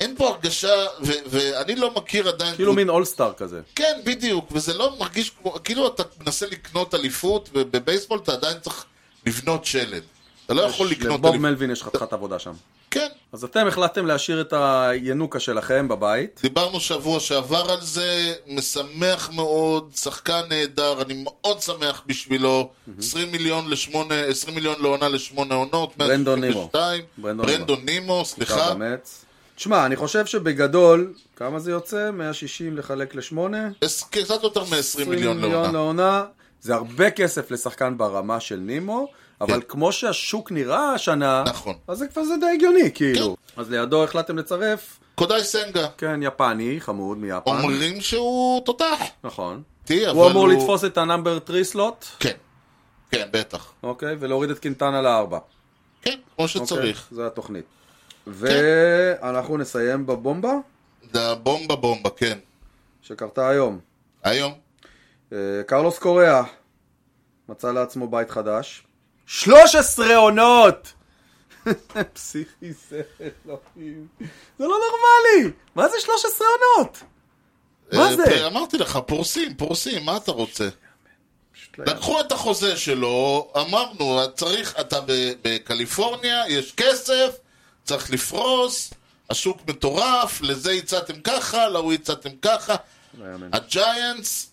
Speaker 2: אין פה הרגשה, ו- ואני לא מכיר עדיין...
Speaker 1: כאילו
Speaker 2: קבוצ-
Speaker 1: מין אולסטאר כזה.
Speaker 2: כן, בדיוק, וזה לא מרגיש כמו, כאילו אתה מנסה לקנות אליפות, ובבייסבול אתה עדיין צריך לבנות שלד. אתה לא יכול לקנות
Speaker 1: לבוב
Speaker 2: אליפות.
Speaker 1: מלווין יש חתיכת עבודה שם.
Speaker 2: כן,
Speaker 1: אז אתם החלטתם להשאיר את הינוקה שלכם בבית.
Speaker 2: דיברנו שבוע שעבר על זה, משמח מאוד, שחקן נהדר, אני מאוד שמח בשבילו. 20 מיליון לשמונה, 20 מיליון לעונה לשמונה עונות,
Speaker 1: ברנדון
Speaker 2: 162.
Speaker 1: נימו. ברנדון
Speaker 2: ברנדון נימו, סליחה.
Speaker 1: אתה במץ. תשמע, אני חושב שבגדול, כמה זה יוצא? 160 לחלק לשמונה?
Speaker 2: עש- כן, קצת יותר מ-20 מיליון
Speaker 1: מיליון לא.
Speaker 2: לעונה.
Speaker 1: לעונה. זה הרבה כסף לשחקן ברמה של נימו, אבל
Speaker 2: כן.
Speaker 1: כמו שהשוק נראה השנה,
Speaker 2: נכון. כן.
Speaker 1: אז זה כבר זה די הגיוני, כאילו. אז לידו החלטתם לצרף,
Speaker 2: קודאי סנגה,
Speaker 1: כן, יפני, חמוד מיפן.
Speaker 2: אומרים שהוא תותח.
Speaker 1: נכון.
Speaker 2: תהיה, אבל
Speaker 1: הוא אמור לתפוס את הנאמבר 3 סלוט,
Speaker 2: כן, כן, בטח.
Speaker 1: אוקיי, ולהוריד את קינטנה לארבע.
Speaker 2: כן, כמו שצריך.
Speaker 1: אוקיי, זו התוכנית. ואנחנו נסיים בבומבה
Speaker 2: אוקיי. זה הבומבה בומבה, כן.
Speaker 1: שקרתה היום.
Speaker 2: היום.
Speaker 1: אה, קרלוס קוריאה מצא לעצמו בית חדש. 13 עונות! פסיכי זה, אלוהים. זה לא נורמלי! מה זה 13 עונות? מה
Speaker 2: אה,
Speaker 1: זה?
Speaker 2: תראה, אמרתי לך, פורסים, פורסים, מה אתה רוצה?
Speaker 1: פשוט לא
Speaker 2: לקחו את החוזה שלו, אמרנו, צריך, אתה ב- בקליפורניה, יש כסף, צריך לפרוס, השוק מטורף, לזה הצעתם ככה, להוא הצעתם ככה.
Speaker 1: לא יאמן.
Speaker 2: הג'יינטס,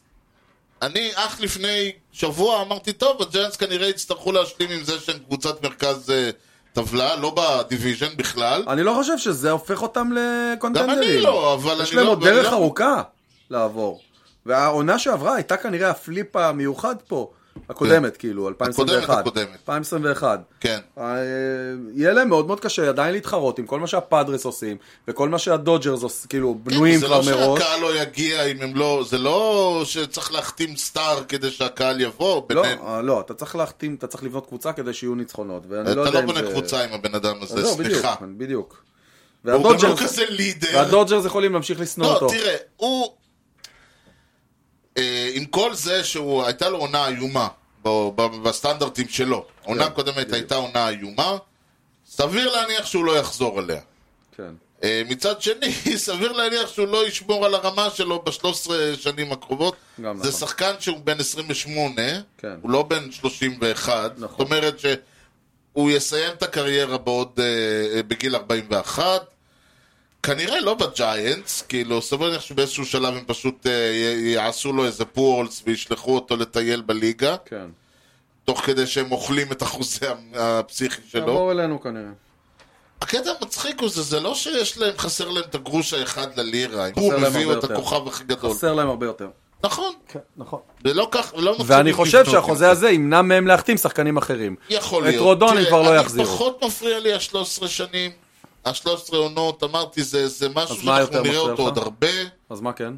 Speaker 2: אני אך לפני שבוע אמרתי, טוב, הג'יינטס כנראה יצטרכו להשלים עם זה שהם קבוצת מרכז אה, טבלה, לא בדיוויז'ן בכלל.
Speaker 1: אני לא חושב שזה הופך אותם לקונטנדרים.
Speaker 2: גם אני לא, אבל
Speaker 1: יש
Speaker 2: אני
Speaker 1: להם
Speaker 2: לא-
Speaker 1: עוד
Speaker 2: אני
Speaker 1: דרך
Speaker 2: לא-
Speaker 1: ארוכה לעבור. והעונה שעברה הייתה כנראה הפליפ המיוחד פה, הקודמת, כאילו, 2021.
Speaker 2: כן. הקודמת.
Speaker 1: 2021.
Speaker 2: כן.
Speaker 1: אה, יהיה להם מאוד מאוד קשה עדיין להתחרות עם כל מה שהפאדרס עושים, וכל מה שהדודג'רס עושים, כאילו, בנויים
Speaker 2: זה
Speaker 1: כבר
Speaker 2: לא
Speaker 1: מראש.
Speaker 2: שהקהל לא יגיע אם הם לא... זה לא שצריך להחתים סטאר כדי שהקהל יבוא.
Speaker 1: לא,
Speaker 2: ביניהם.
Speaker 1: אה, לא, אתה צריך להחתים, אתה צריך לבנות קבוצה כדי שיהיו ניצחונות, ואני לא
Speaker 2: אתה
Speaker 1: יודע
Speaker 2: לא
Speaker 1: אם זה...
Speaker 2: בונה קבוצה עם הבן אדם הזה,
Speaker 1: לא, בדיוק,
Speaker 2: סליחה.
Speaker 1: בדיוק.
Speaker 2: הוא גם לא
Speaker 1: והדודג'רס,
Speaker 2: כזה לידר.
Speaker 1: והדודג'רס יכולים להמשיך לשנוא
Speaker 2: לא,
Speaker 1: אותו.
Speaker 2: תראה, הוא... אה, עם כל זה שהוא... הייתה לו עונה איומה ב- ב- בסטנדרטים שלו. עונה
Speaker 1: כן,
Speaker 2: קודמת הייתה עונה איומה, סביר להניח שהוא לא יחזור אליה.
Speaker 1: כן.
Speaker 2: אה, מצד שני, סביר להניח שהוא לא ישמור על הרמה שלו בשלוש עשרה שנים הקרובות. זה
Speaker 1: גם נכון.
Speaker 2: שחקן שהוא בן 28,
Speaker 1: כן.
Speaker 2: הוא לא בן 31.
Speaker 1: נכון.
Speaker 2: זאת אומרת שהוא יסיים את הקריירה בעוד, אה, אה, בגיל 41. כנראה לא בג'יינטס, כאילו, סביר להניח שבאיזשהו שלב הם פשוט אה, י- יעשו לו איזה פורלס וישלחו אותו לטייל בליגה,
Speaker 1: כן.
Speaker 2: תוך כדי שהם אוכלים את החוזה הפסיכי שלו.
Speaker 1: תעבור אלינו כנראה.
Speaker 2: הקטע המצחיק הוא זה, זה לא שיש להם, חסר להם את הגרוש האחד ללירה. הוא
Speaker 1: חסר להם
Speaker 2: מביא
Speaker 1: הרבה
Speaker 2: את
Speaker 1: יותר.
Speaker 2: הכוכב הכי גדול.
Speaker 1: חסר להם הרבה יותר.
Speaker 2: נכון,
Speaker 1: נכון.
Speaker 2: ולא כך, ולא מצליחים
Speaker 1: ואני חושב
Speaker 2: לבנות את
Speaker 1: שהחוזה
Speaker 2: זה.
Speaker 1: הזה ימנע מהם להחתים שחקנים אחרים.
Speaker 2: יכול
Speaker 1: את
Speaker 2: להיות.
Speaker 1: רודון הם
Speaker 2: תראה,
Speaker 1: כבר לא
Speaker 2: אני-
Speaker 1: יחזירו.
Speaker 2: פחות מפריע לי ה-13 שנים, ה-13 עונות, אמרתי, זה זה משהו
Speaker 1: אז מה
Speaker 2: שאנחנו
Speaker 1: יותר
Speaker 2: נראה
Speaker 1: מפריע
Speaker 2: אותו
Speaker 1: לך?
Speaker 2: עוד הרבה.
Speaker 1: אז מה כן?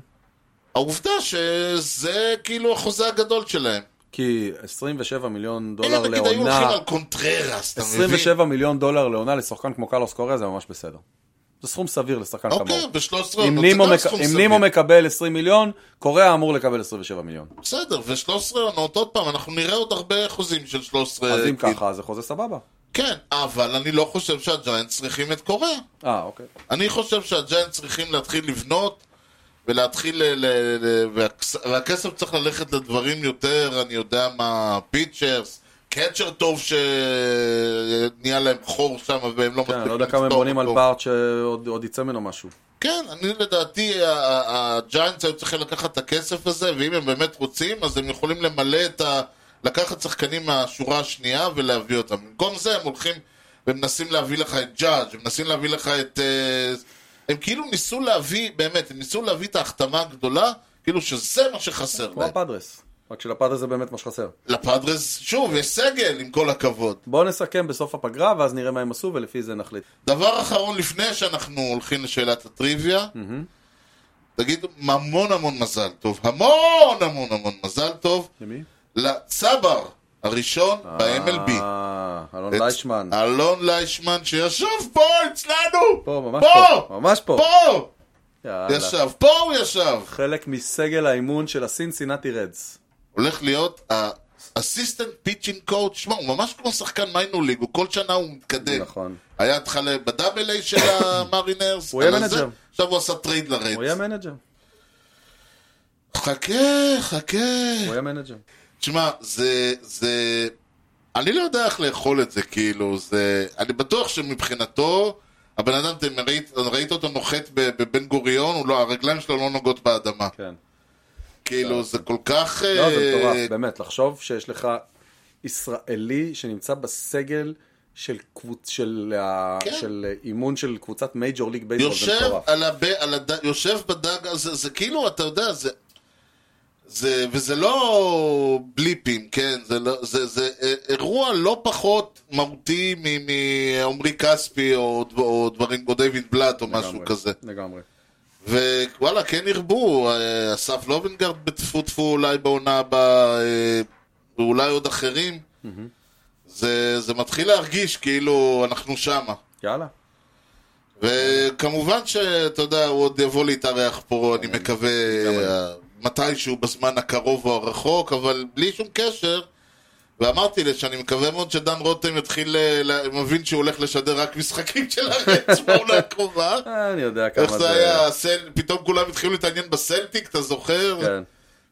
Speaker 2: העובדה שזה כאילו החוזה הגדול שלהם.
Speaker 1: כי 27 מיליון
Speaker 2: אלה
Speaker 1: דולר
Speaker 2: נגיד היו הולכים
Speaker 1: לעונה,
Speaker 2: על קונטררס, אתה מבין?
Speaker 1: 27 מיליון דולר לעונה לשחקן כמו קרלוס קוריאה זה ממש בסדר. זה סכום סביר לשחקן
Speaker 2: אוקיי,
Speaker 1: כמוהו.
Speaker 2: ב-13 עונות,
Speaker 1: אם
Speaker 2: זה
Speaker 1: נימו
Speaker 2: גם
Speaker 1: מק-
Speaker 2: סכום
Speaker 1: אם
Speaker 2: סביר.
Speaker 1: נימו מקבל 20 מיליון, קוריאה אמור לקבל 27 מיליון.
Speaker 2: בסדר, ו-13 עונות, עוד פעם, אנחנו נראה עוד הרבה חוזים של 13.
Speaker 1: אז אם
Speaker 2: כאילו.
Speaker 1: ככה, זה חוזה סבבה.
Speaker 2: כן, אבל אני לא חושב שהג'יינטס צריכים את קוריאה.
Speaker 1: אה, אוקיי.
Speaker 2: אני חושב שהג'יינטס צריכים להתחיל לבנות, ולהתחיל... ל- ל- ל- והכס- והכסף צריך ללכת לדברים יותר, אני יודע מה, פיצ'רס, קצ'ר טוב שנהיה להם חור שם, והם לא
Speaker 1: כן,
Speaker 2: מצליחים
Speaker 1: לא יודע כמה הם
Speaker 2: לפתור
Speaker 1: בונים על
Speaker 2: אותו.
Speaker 1: בארט שעוד עוד יצא ממנו משהו.
Speaker 2: כן, אני לדעתי, ה- ה- הג'יינטס היו צריכים לקחת את הכסף הזה, ואם הם באמת רוצים, אז הם יכולים למלא את ה... לקחת שחקנים מהשורה השנייה ולהביא אותם. במקום זה הם הולכים ומנסים להביא לך את ג'אג', הם מנסים להביא לך את... אה, הם כאילו ניסו להביא, באמת, הם ניסו להביא את ההחתמה הגדולה, כאילו שזה מה שחסר
Speaker 1: כמו
Speaker 2: להם.
Speaker 1: הפאדרס. רק שלפאדרס זה באמת מה שחסר.
Speaker 2: לפאדרס, שוב, יש סגל, עם כל הכבוד.
Speaker 1: בואו נסכם בסוף הפגרה, ואז נראה מה הם עשו, ולפי זה נחליט.
Speaker 2: דבר אחרון לפני שאנחנו הולכים לשאלת הטריוויה, תגיד המון המון מזל טוב, המון המון המון מזל טוב
Speaker 1: למי?
Speaker 2: לצבר הראשון ב-MLB.
Speaker 1: אה, אלון
Speaker 2: את
Speaker 1: ליישמן.
Speaker 2: אלון ליישמן שישב פה אצלנו!
Speaker 1: פה, ממש פה. ממש פה.
Speaker 2: פה!
Speaker 1: יאללה.
Speaker 2: ישב, פה הוא ישב!
Speaker 1: חלק מסגל האימון של הסינסינטי רדס.
Speaker 2: הולך להיות אסיסטנט פיצ'ינג קואוץ', שמע, הוא ממש כמו שחקן מיינור ליג, הוא כל שנה הוא מתקדם.
Speaker 1: נכון.
Speaker 2: היה התחלה בדאבל איי של המרינרס.
Speaker 1: הוא יהיה
Speaker 2: על הזה.
Speaker 1: מנג'ר.
Speaker 2: עכשיו הוא עשה טרייד לרדס.
Speaker 1: הוא יהיה מנג'ר.
Speaker 2: חכה, חכה.
Speaker 1: הוא יהיה מנג'ר.
Speaker 2: תשמע, זה, זה... אני לא יודע איך לאכול את זה, כאילו, זה... אני בטוח שמבחינתו, הבן אדם, אתם ראית, ראית אותו נוחת ב- בבן גוריון, הוא לא, הרגליים שלו לא נוגעות באדמה.
Speaker 1: כן.
Speaker 2: כאילו, זה כל כך...
Speaker 1: לא, זה
Speaker 2: אה,
Speaker 1: מטורף, באמת. לחשוב שיש לך ישראלי שנמצא בסגל של קבוצ... של ה-
Speaker 2: כן.
Speaker 1: של אימון של קבוצת מייג'ור ליג בייסבול, זה
Speaker 2: יושב
Speaker 1: מטורף.
Speaker 2: על הב... על הד... יושב בדג הזה, זה כאילו, אתה יודע, זה... זה, וזה לא בליפים, כן? זה, לא, זה, זה אה, אירוע לא פחות מהותי מ- מעומרי כספי או, דב- או דברים, או דיוויד בלאט או משהו
Speaker 1: לגמרי,
Speaker 2: כזה.
Speaker 1: לגמרי.
Speaker 2: ווואלה, כן ירבו, אה, אסף לובנגרד בטפו טפו אולי בעונה הבאה, אה, ואולי עוד אחרים. זה, זה מתחיל להרגיש כאילו אנחנו שמה.
Speaker 1: יאללה.
Speaker 2: וכמובן שאתה יודע, הוא עוד יבוא להתארח פה,
Speaker 1: כן,
Speaker 2: אני מקווה, אה, מתישהו בזמן הקרוב או הרחוק, אבל בלי שום קשר. ואמרתי לה שאני מקווה מאוד שדן רותם יתחיל, אה, לה- מבין שהוא הולך לשדר רק משחקים של הארץ בעונה הקרובה.
Speaker 1: אה, אני יודע כמה
Speaker 2: איך
Speaker 1: זה...
Speaker 2: זה היה, הסל- פתאום כולם התחילו להתעניין בסלטיק, אתה זוכר?
Speaker 1: כן,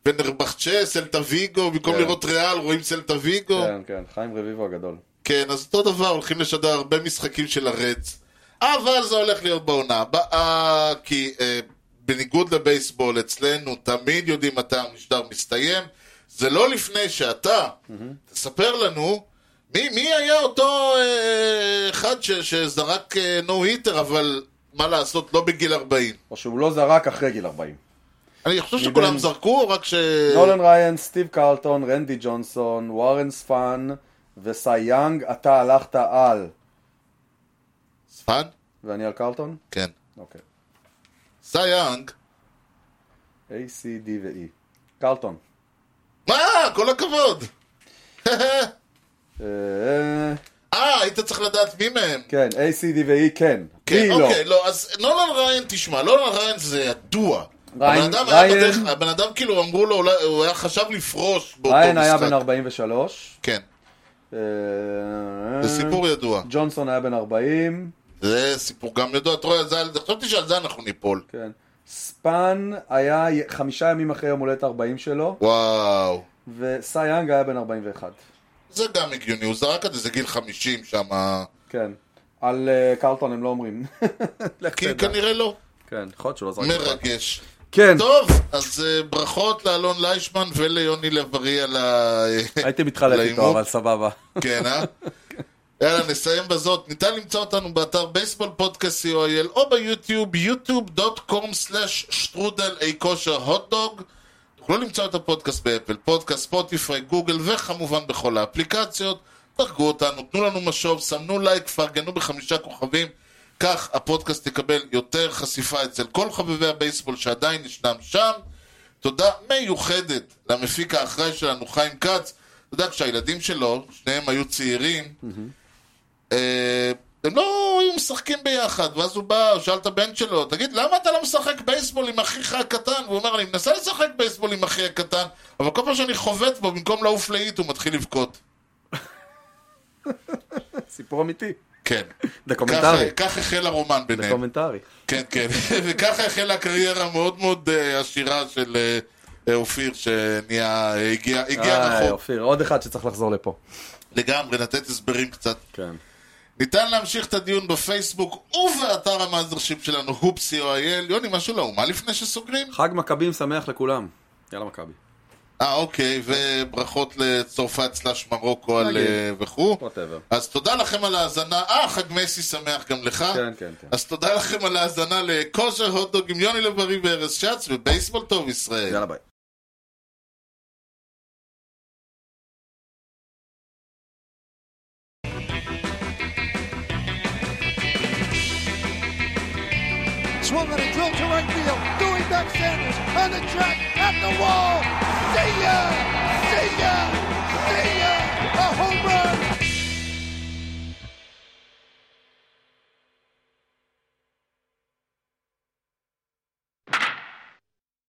Speaker 2: ונרבחצ'ה, סלטה ויגו, במקום
Speaker 1: כן.
Speaker 2: לראות ריאל רואים סלטה ויגו.
Speaker 1: כן, כן. חיים רביבו הגדול.
Speaker 2: כן, אז אותו דבר, הולכים לשדר הרבה משחקים של הרדס. אבל זה הולך להיות בעונה הבאה, כי אה, בניגוד לבייסבול, אצלנו תמיד יודעים מתי המשדר מסתיים. זה לא לפני שאתה תספר לנו מי, מי היה אותו אה, אחד ש, שזרק אה, נו היטר, אבל מה לעשות, לא בגיל 40.
Speaker 1: או שהוא לא זרק אחרי גיל 40.
Speaker 2: אני חושב שכולם זרקו, רק ש...
Speaker 1: נולן ריין, סטיב קרלטון, רנדי ג'ונסון, וורן ספאן וסייאנג, אתה הלכת על.
Speaker 2: פאן?
Speaker 1: ואני על קרלטון?
Speaker 2: כן.
Speaker 1: אוקיי.
Speaker 2: סייאנג.
Speaker 1: A, C, D ו-E. קרלטון.
Speaker 2: מה? כל הכבוד.
Speaker 1: אה,
Speaker 2: אה, היית צריך לדעת מי מהם.
Speaker 1: כן, A, C, D ו-E כן.
Speaker 2: כן,
Speaker 1: B, לא.
Speaker 2: אוקיי, לא, אז נולן ריין, תשמע, נולן ריין זה ידוע.
Speaker 1: ריין-
Speaker 2: הבן אדם היה
Speaker 1: ריין-
Speaker 2: בדרך, הבן אדם כאילו אמרו לו, אולי, הוא היה חשב לפרוש באותו משחק.
Speaker 1: ריין היה בן 43.
Speaker 2: כן,
Speaker 1: אה,
Speaker 2: זה סיפור ידוע.
Speaker 1: ג'ונסון היה בן 40.
Speaker 2: זה סיפור גם ידוע, אתה רואה, זה- חשבתי שעל זה אנחנו ניפול.
Speaker 1: כן. ספאן היה י- חמישה ימים אחרי יום הולדת 40 שלו,
Speaker 2: וואו.
Speaker 1: וסייאנג היה בן 41.
Speaker 2: זה גם הגיוני, הוא זרק את זה, זה גיל 50 שם.
Speaker 1: כן. על אה, קרלטון הם לא אומרים. לך
Speaker 2: כי
Speaker 1: תדע.
Speaker 2: כנראה לא.
Speaker 1: כן, יכול להיות שהוא לא זרק.
Speaker 2: מרגש.
Speaker 1: כן,
Speaker 2: טוב, אז אה, ברכות לאלון ליישמן וליוני לב-ארי על ה...
Speaker 1: הייתי מתחלק איתו,
Speaker 2: להימור.
Speaker 1: אבל סבבה.
Speaker 2: כן, אה? יאללה, נסיים בזאת. ניתן למצוא אותנו באתר בייסבול פודקאסט co.il או ביוטיוב, yוטיוב.com/שטרודל אי כושר הוטדוג. תוכלו למצוא את הפודקאסט באפל, פודקאסט, ספוטיפיי, גוגל וכמובן בכל האפליקציות. דרגו אותנו, תנו לנו משוב, סמנו לייק, פרגנו בחמישה כוכבים. כך הפודקאסט יקבל יותר חשיפה אצל כל חובבי הבייסבול שעדיין ישנם שם. תודה מיוחדת למפיק האחראי שלנו, חיים כץ. אתה יודע, כשהילדים שלו, שניהם היו צעירים, אה, הם לא היו משחקים ביחד, ואז הוא בא, הוא שאל את הבן שלו, תגיד, למה אתה לא משחק בייסבול עם אחיך הקטן? והוא אומר, אני מנסה לשחק בייסבול עם אחי הקטן, אבל כל פעם שאני חובט בו, במקום לעוף לאיט, הוא מתחיל לבכות.
Speaker 1: סיפור אמיתי.
Speaker 2: כן.
Speaker 1: דוקומנטרי.
Speaker 2: כך- כך החל הרומן ביניהם.
Speaker 1: קומנטרי.
Speaker 2: כן, כן. וככה החלה הקריירה המאוד מאוד אה, עשירה של אה, אה, אופיר, שנהיה, אה, הגיע הגיע
Speaker 1: איי,
Speaker 2: רחוק.
Speaker 1: אופיר, עוד אחד שצריך לחזור לפה.
Speaker 2: לגמרי, לתת הסברים קצת.
Speaker 1: כן.
Speaker 2: ניתן להמשיך את הדיון בפייסבוק ובאתר המאזרשיפ שלנו, הופסי.או.איי.ל. יוני, משהו לאומה לפני שסוגרים?
Speaker 1: חג מכבים שמח לכולם. יאללה מכבי.
Speaker 2: אה, אוקיי, וברכות לצרפת סלאש מרוקו על,
Speaker 1: נגיד.
Speaker 2: אה, וכו'.
Speaker 1: אוקיי. Whatever.
Speaker 2: אז תודה לכם על ההאזנה. אה, חג מסי שמח גם לך.
Speaker 1: כן, כן, כן.
Speaker 2: אז תודה לכם על ההאזנה לכושר הוטדוג עם יוני לב-ארי וארז שץ ובייסבול טוב ישראל.
Speaker 1: יאללה ביי.
Speaker 8: Swung on a drill to right field. Doing back Sanders on the track at the wall. See ya! See ya! See ya! A home run!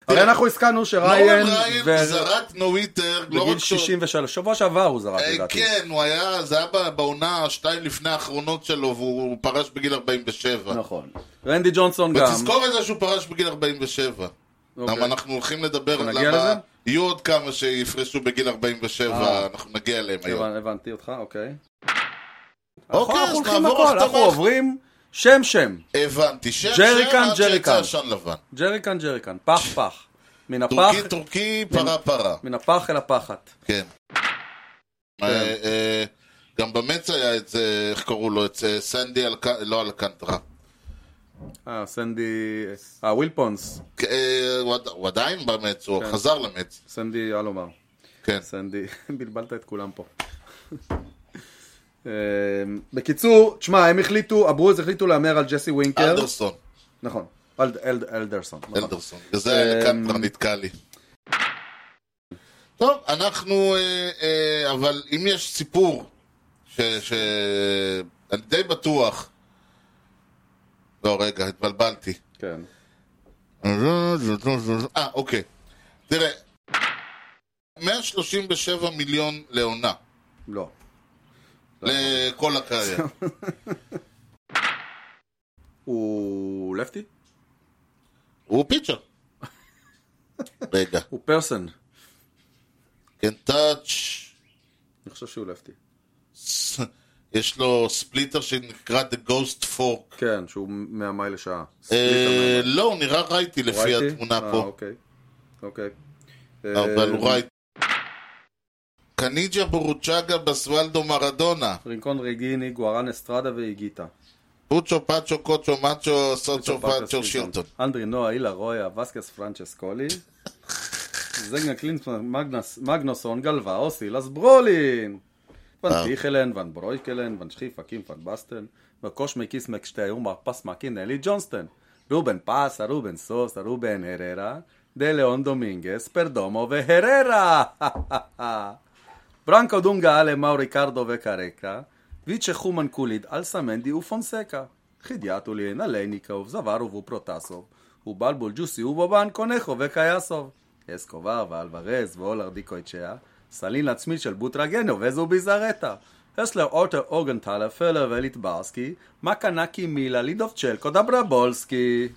Speaker 1: הרי אנחנו הסכמנו
Speaker 2: נורן
Speaker 1: שריין...
Speaker 2: ריין
Speaker 1: ו-
Speaker 2: זרק נוויטר, לא רק
Speaker 1: בגיל
Speaker 2: שהוא-
Speaker 1: 63, שבוע שעבר הוא זרק
Speaker 2: אה,
Speaker 1: לדעתי.
Speaker 2: כן, הוא היה, זה היה ב- בעונה שתיים לפני האחרונות שלו, והוא פרש בגיל 47.
Speaker 1: נכון. רנדי ג'ונסון גם.
Speaker 2: ותזכור את זה שהוא פרש בגיל 47.
Speaker 1: אוקיי.
Speaker 2: למה אנחנו הולכים לדבר
Speaker 1: אנחנו
Speaker 2: על
Speaker 1: נגיע
Speaker 2: למה...
Speaker 1: לזה?
Speaker 2: יהיו עוד כמה שיפרשו בגיל 47,
Speaker 1: אה.
Speaker 2: אנחנו נגיע אליהם היום.
Speaker 1: הבנ- הבנתי אותך, אוקיי.
Speaker 2: אוקיי, אז
Speaker 1: אנחנו הולכים
Speaker 2: נעבור
Speaker 1: הכל, אנחנו
Speaker 2: החתמות.
Speaker 1: עוברים שם שם.
Speaker 2: הבנתי. שם
Speaker 1: ג'ריקן,
Speaker 2: שם עד
Speaker 1: ג'ריקן.
Speaker 2: שיצא עשן לבן.
Speaker 1: ג'ריקן ג'ריקן, פח פח. מן הפח,
Speaker 2: טורקי טורקי, פרה פרה.
Speaker 1: מן הפח אל הפחת.
Speaker 2: כן.
Speaker 1: כן.
Speaker 2: אה, אה, גם במץ היה את זה, איך קראו לו? את אה, סנדי אלק- לא אלקנטרה.
Speaker 1: אה, סנדי... אה, ווילפונס.
Speaker 2: אה, הוא עד- הוא עדיין במץ, הוא חזר למץ.
Speaker 1: סנדי, מה לומר.
Speaker 2: כן.
Speaker 1: כן. סנדי, בלבלת את כולם פה. אה, בקיצור, תשמע, הם החליטו, הברוז החליטו להמר על ג'סי ווינקר.
Speaker 2: אלדרסון.
Speaker 1: נכון. אלד- אלד- אלדרסון. נכון.
Speaker 2: אלדרסון. וזה אלקנטרה נתקע לי. טוב, אנחנו... אה, אה, אבל אם יש סיפור, ש... ש- אני די בטוח... לא, רגע, התבלבלתי.
Speaker 1: כן.
Speaker 2: אה, אוקיי. תראה, 137 מיליון לעונה,
Speaker 1: לא.
Speaker 2: לכל הקריירה.
Speaker 1: הוא לפטי?
Speaker 2: הוא פיצ'ר. רגע,
Speaker 1: הוא פרסן.
Speaker 2: כן טאץ',
Speaker 1: אני חושב שהוא לפטי.
Speaker 2: יש לו ספליטר שנקרא The Ghost Fork.
Speaker 1: כן, שהוא 100 מייל לשעה.
Speaker 2: אה, לא, הוא נראה רייטי לפי
Speaker 1: ראיתי?
Speaker 2: התמונה
Speaker 1: אה,
Speaker 2: פה,
Speaker 1: אוקיי. אוקיי.
Speaker 2: אבל
Speaker 1: אה,
Speaker 2: הוא רייטי. קניג'ה בורוצ'אגה בסוולדו מרדונה.
Speaker 1: רינקון ריגיני, גוארן אסטרדה ואיגיטה.
Speaker 2: אוצ'ו, פאצ'ו, קוצ'ו, מאצ'ו, סוצ'ו, פאצ'ו, שירטון.
Speaker 1: אנדרי נועה, אילה רויה, וסקס פרנצ'ס קולי. זנגה קלינסמן, מגנס- מגנוסון, גלווה, אוסי, לסברולין. ון טיכלן, ון ברויקלן, ון שכיפה, קים, ון בסטן. וקוש מקיס מקשטי אומה, פס מקין, אלי ג'ונסטון. רובן פסה, רובן סוסה, רובן הררה. דה ליאון דומינגס, פרדומו והררה. ברנקו דונגה אלה מאו ריקרדו וקרקה, ויצ'ה חומן קוליד אלסמנדי ופונסקה. חידיאטולין, אלניקוב, זווארוב ופרוטסוב, ובלבול ג'וסי ובובן קונכו וקייסוב. אסקובר ואלוורז ואולר דיקויצ'יה, סלין עצמית של בוטרגנו וזובי זרטה. הסלר אוטר אוגנטלר פלר וליטברסקי, מקנקי מילה לידובצ'לקו דברבולסקי.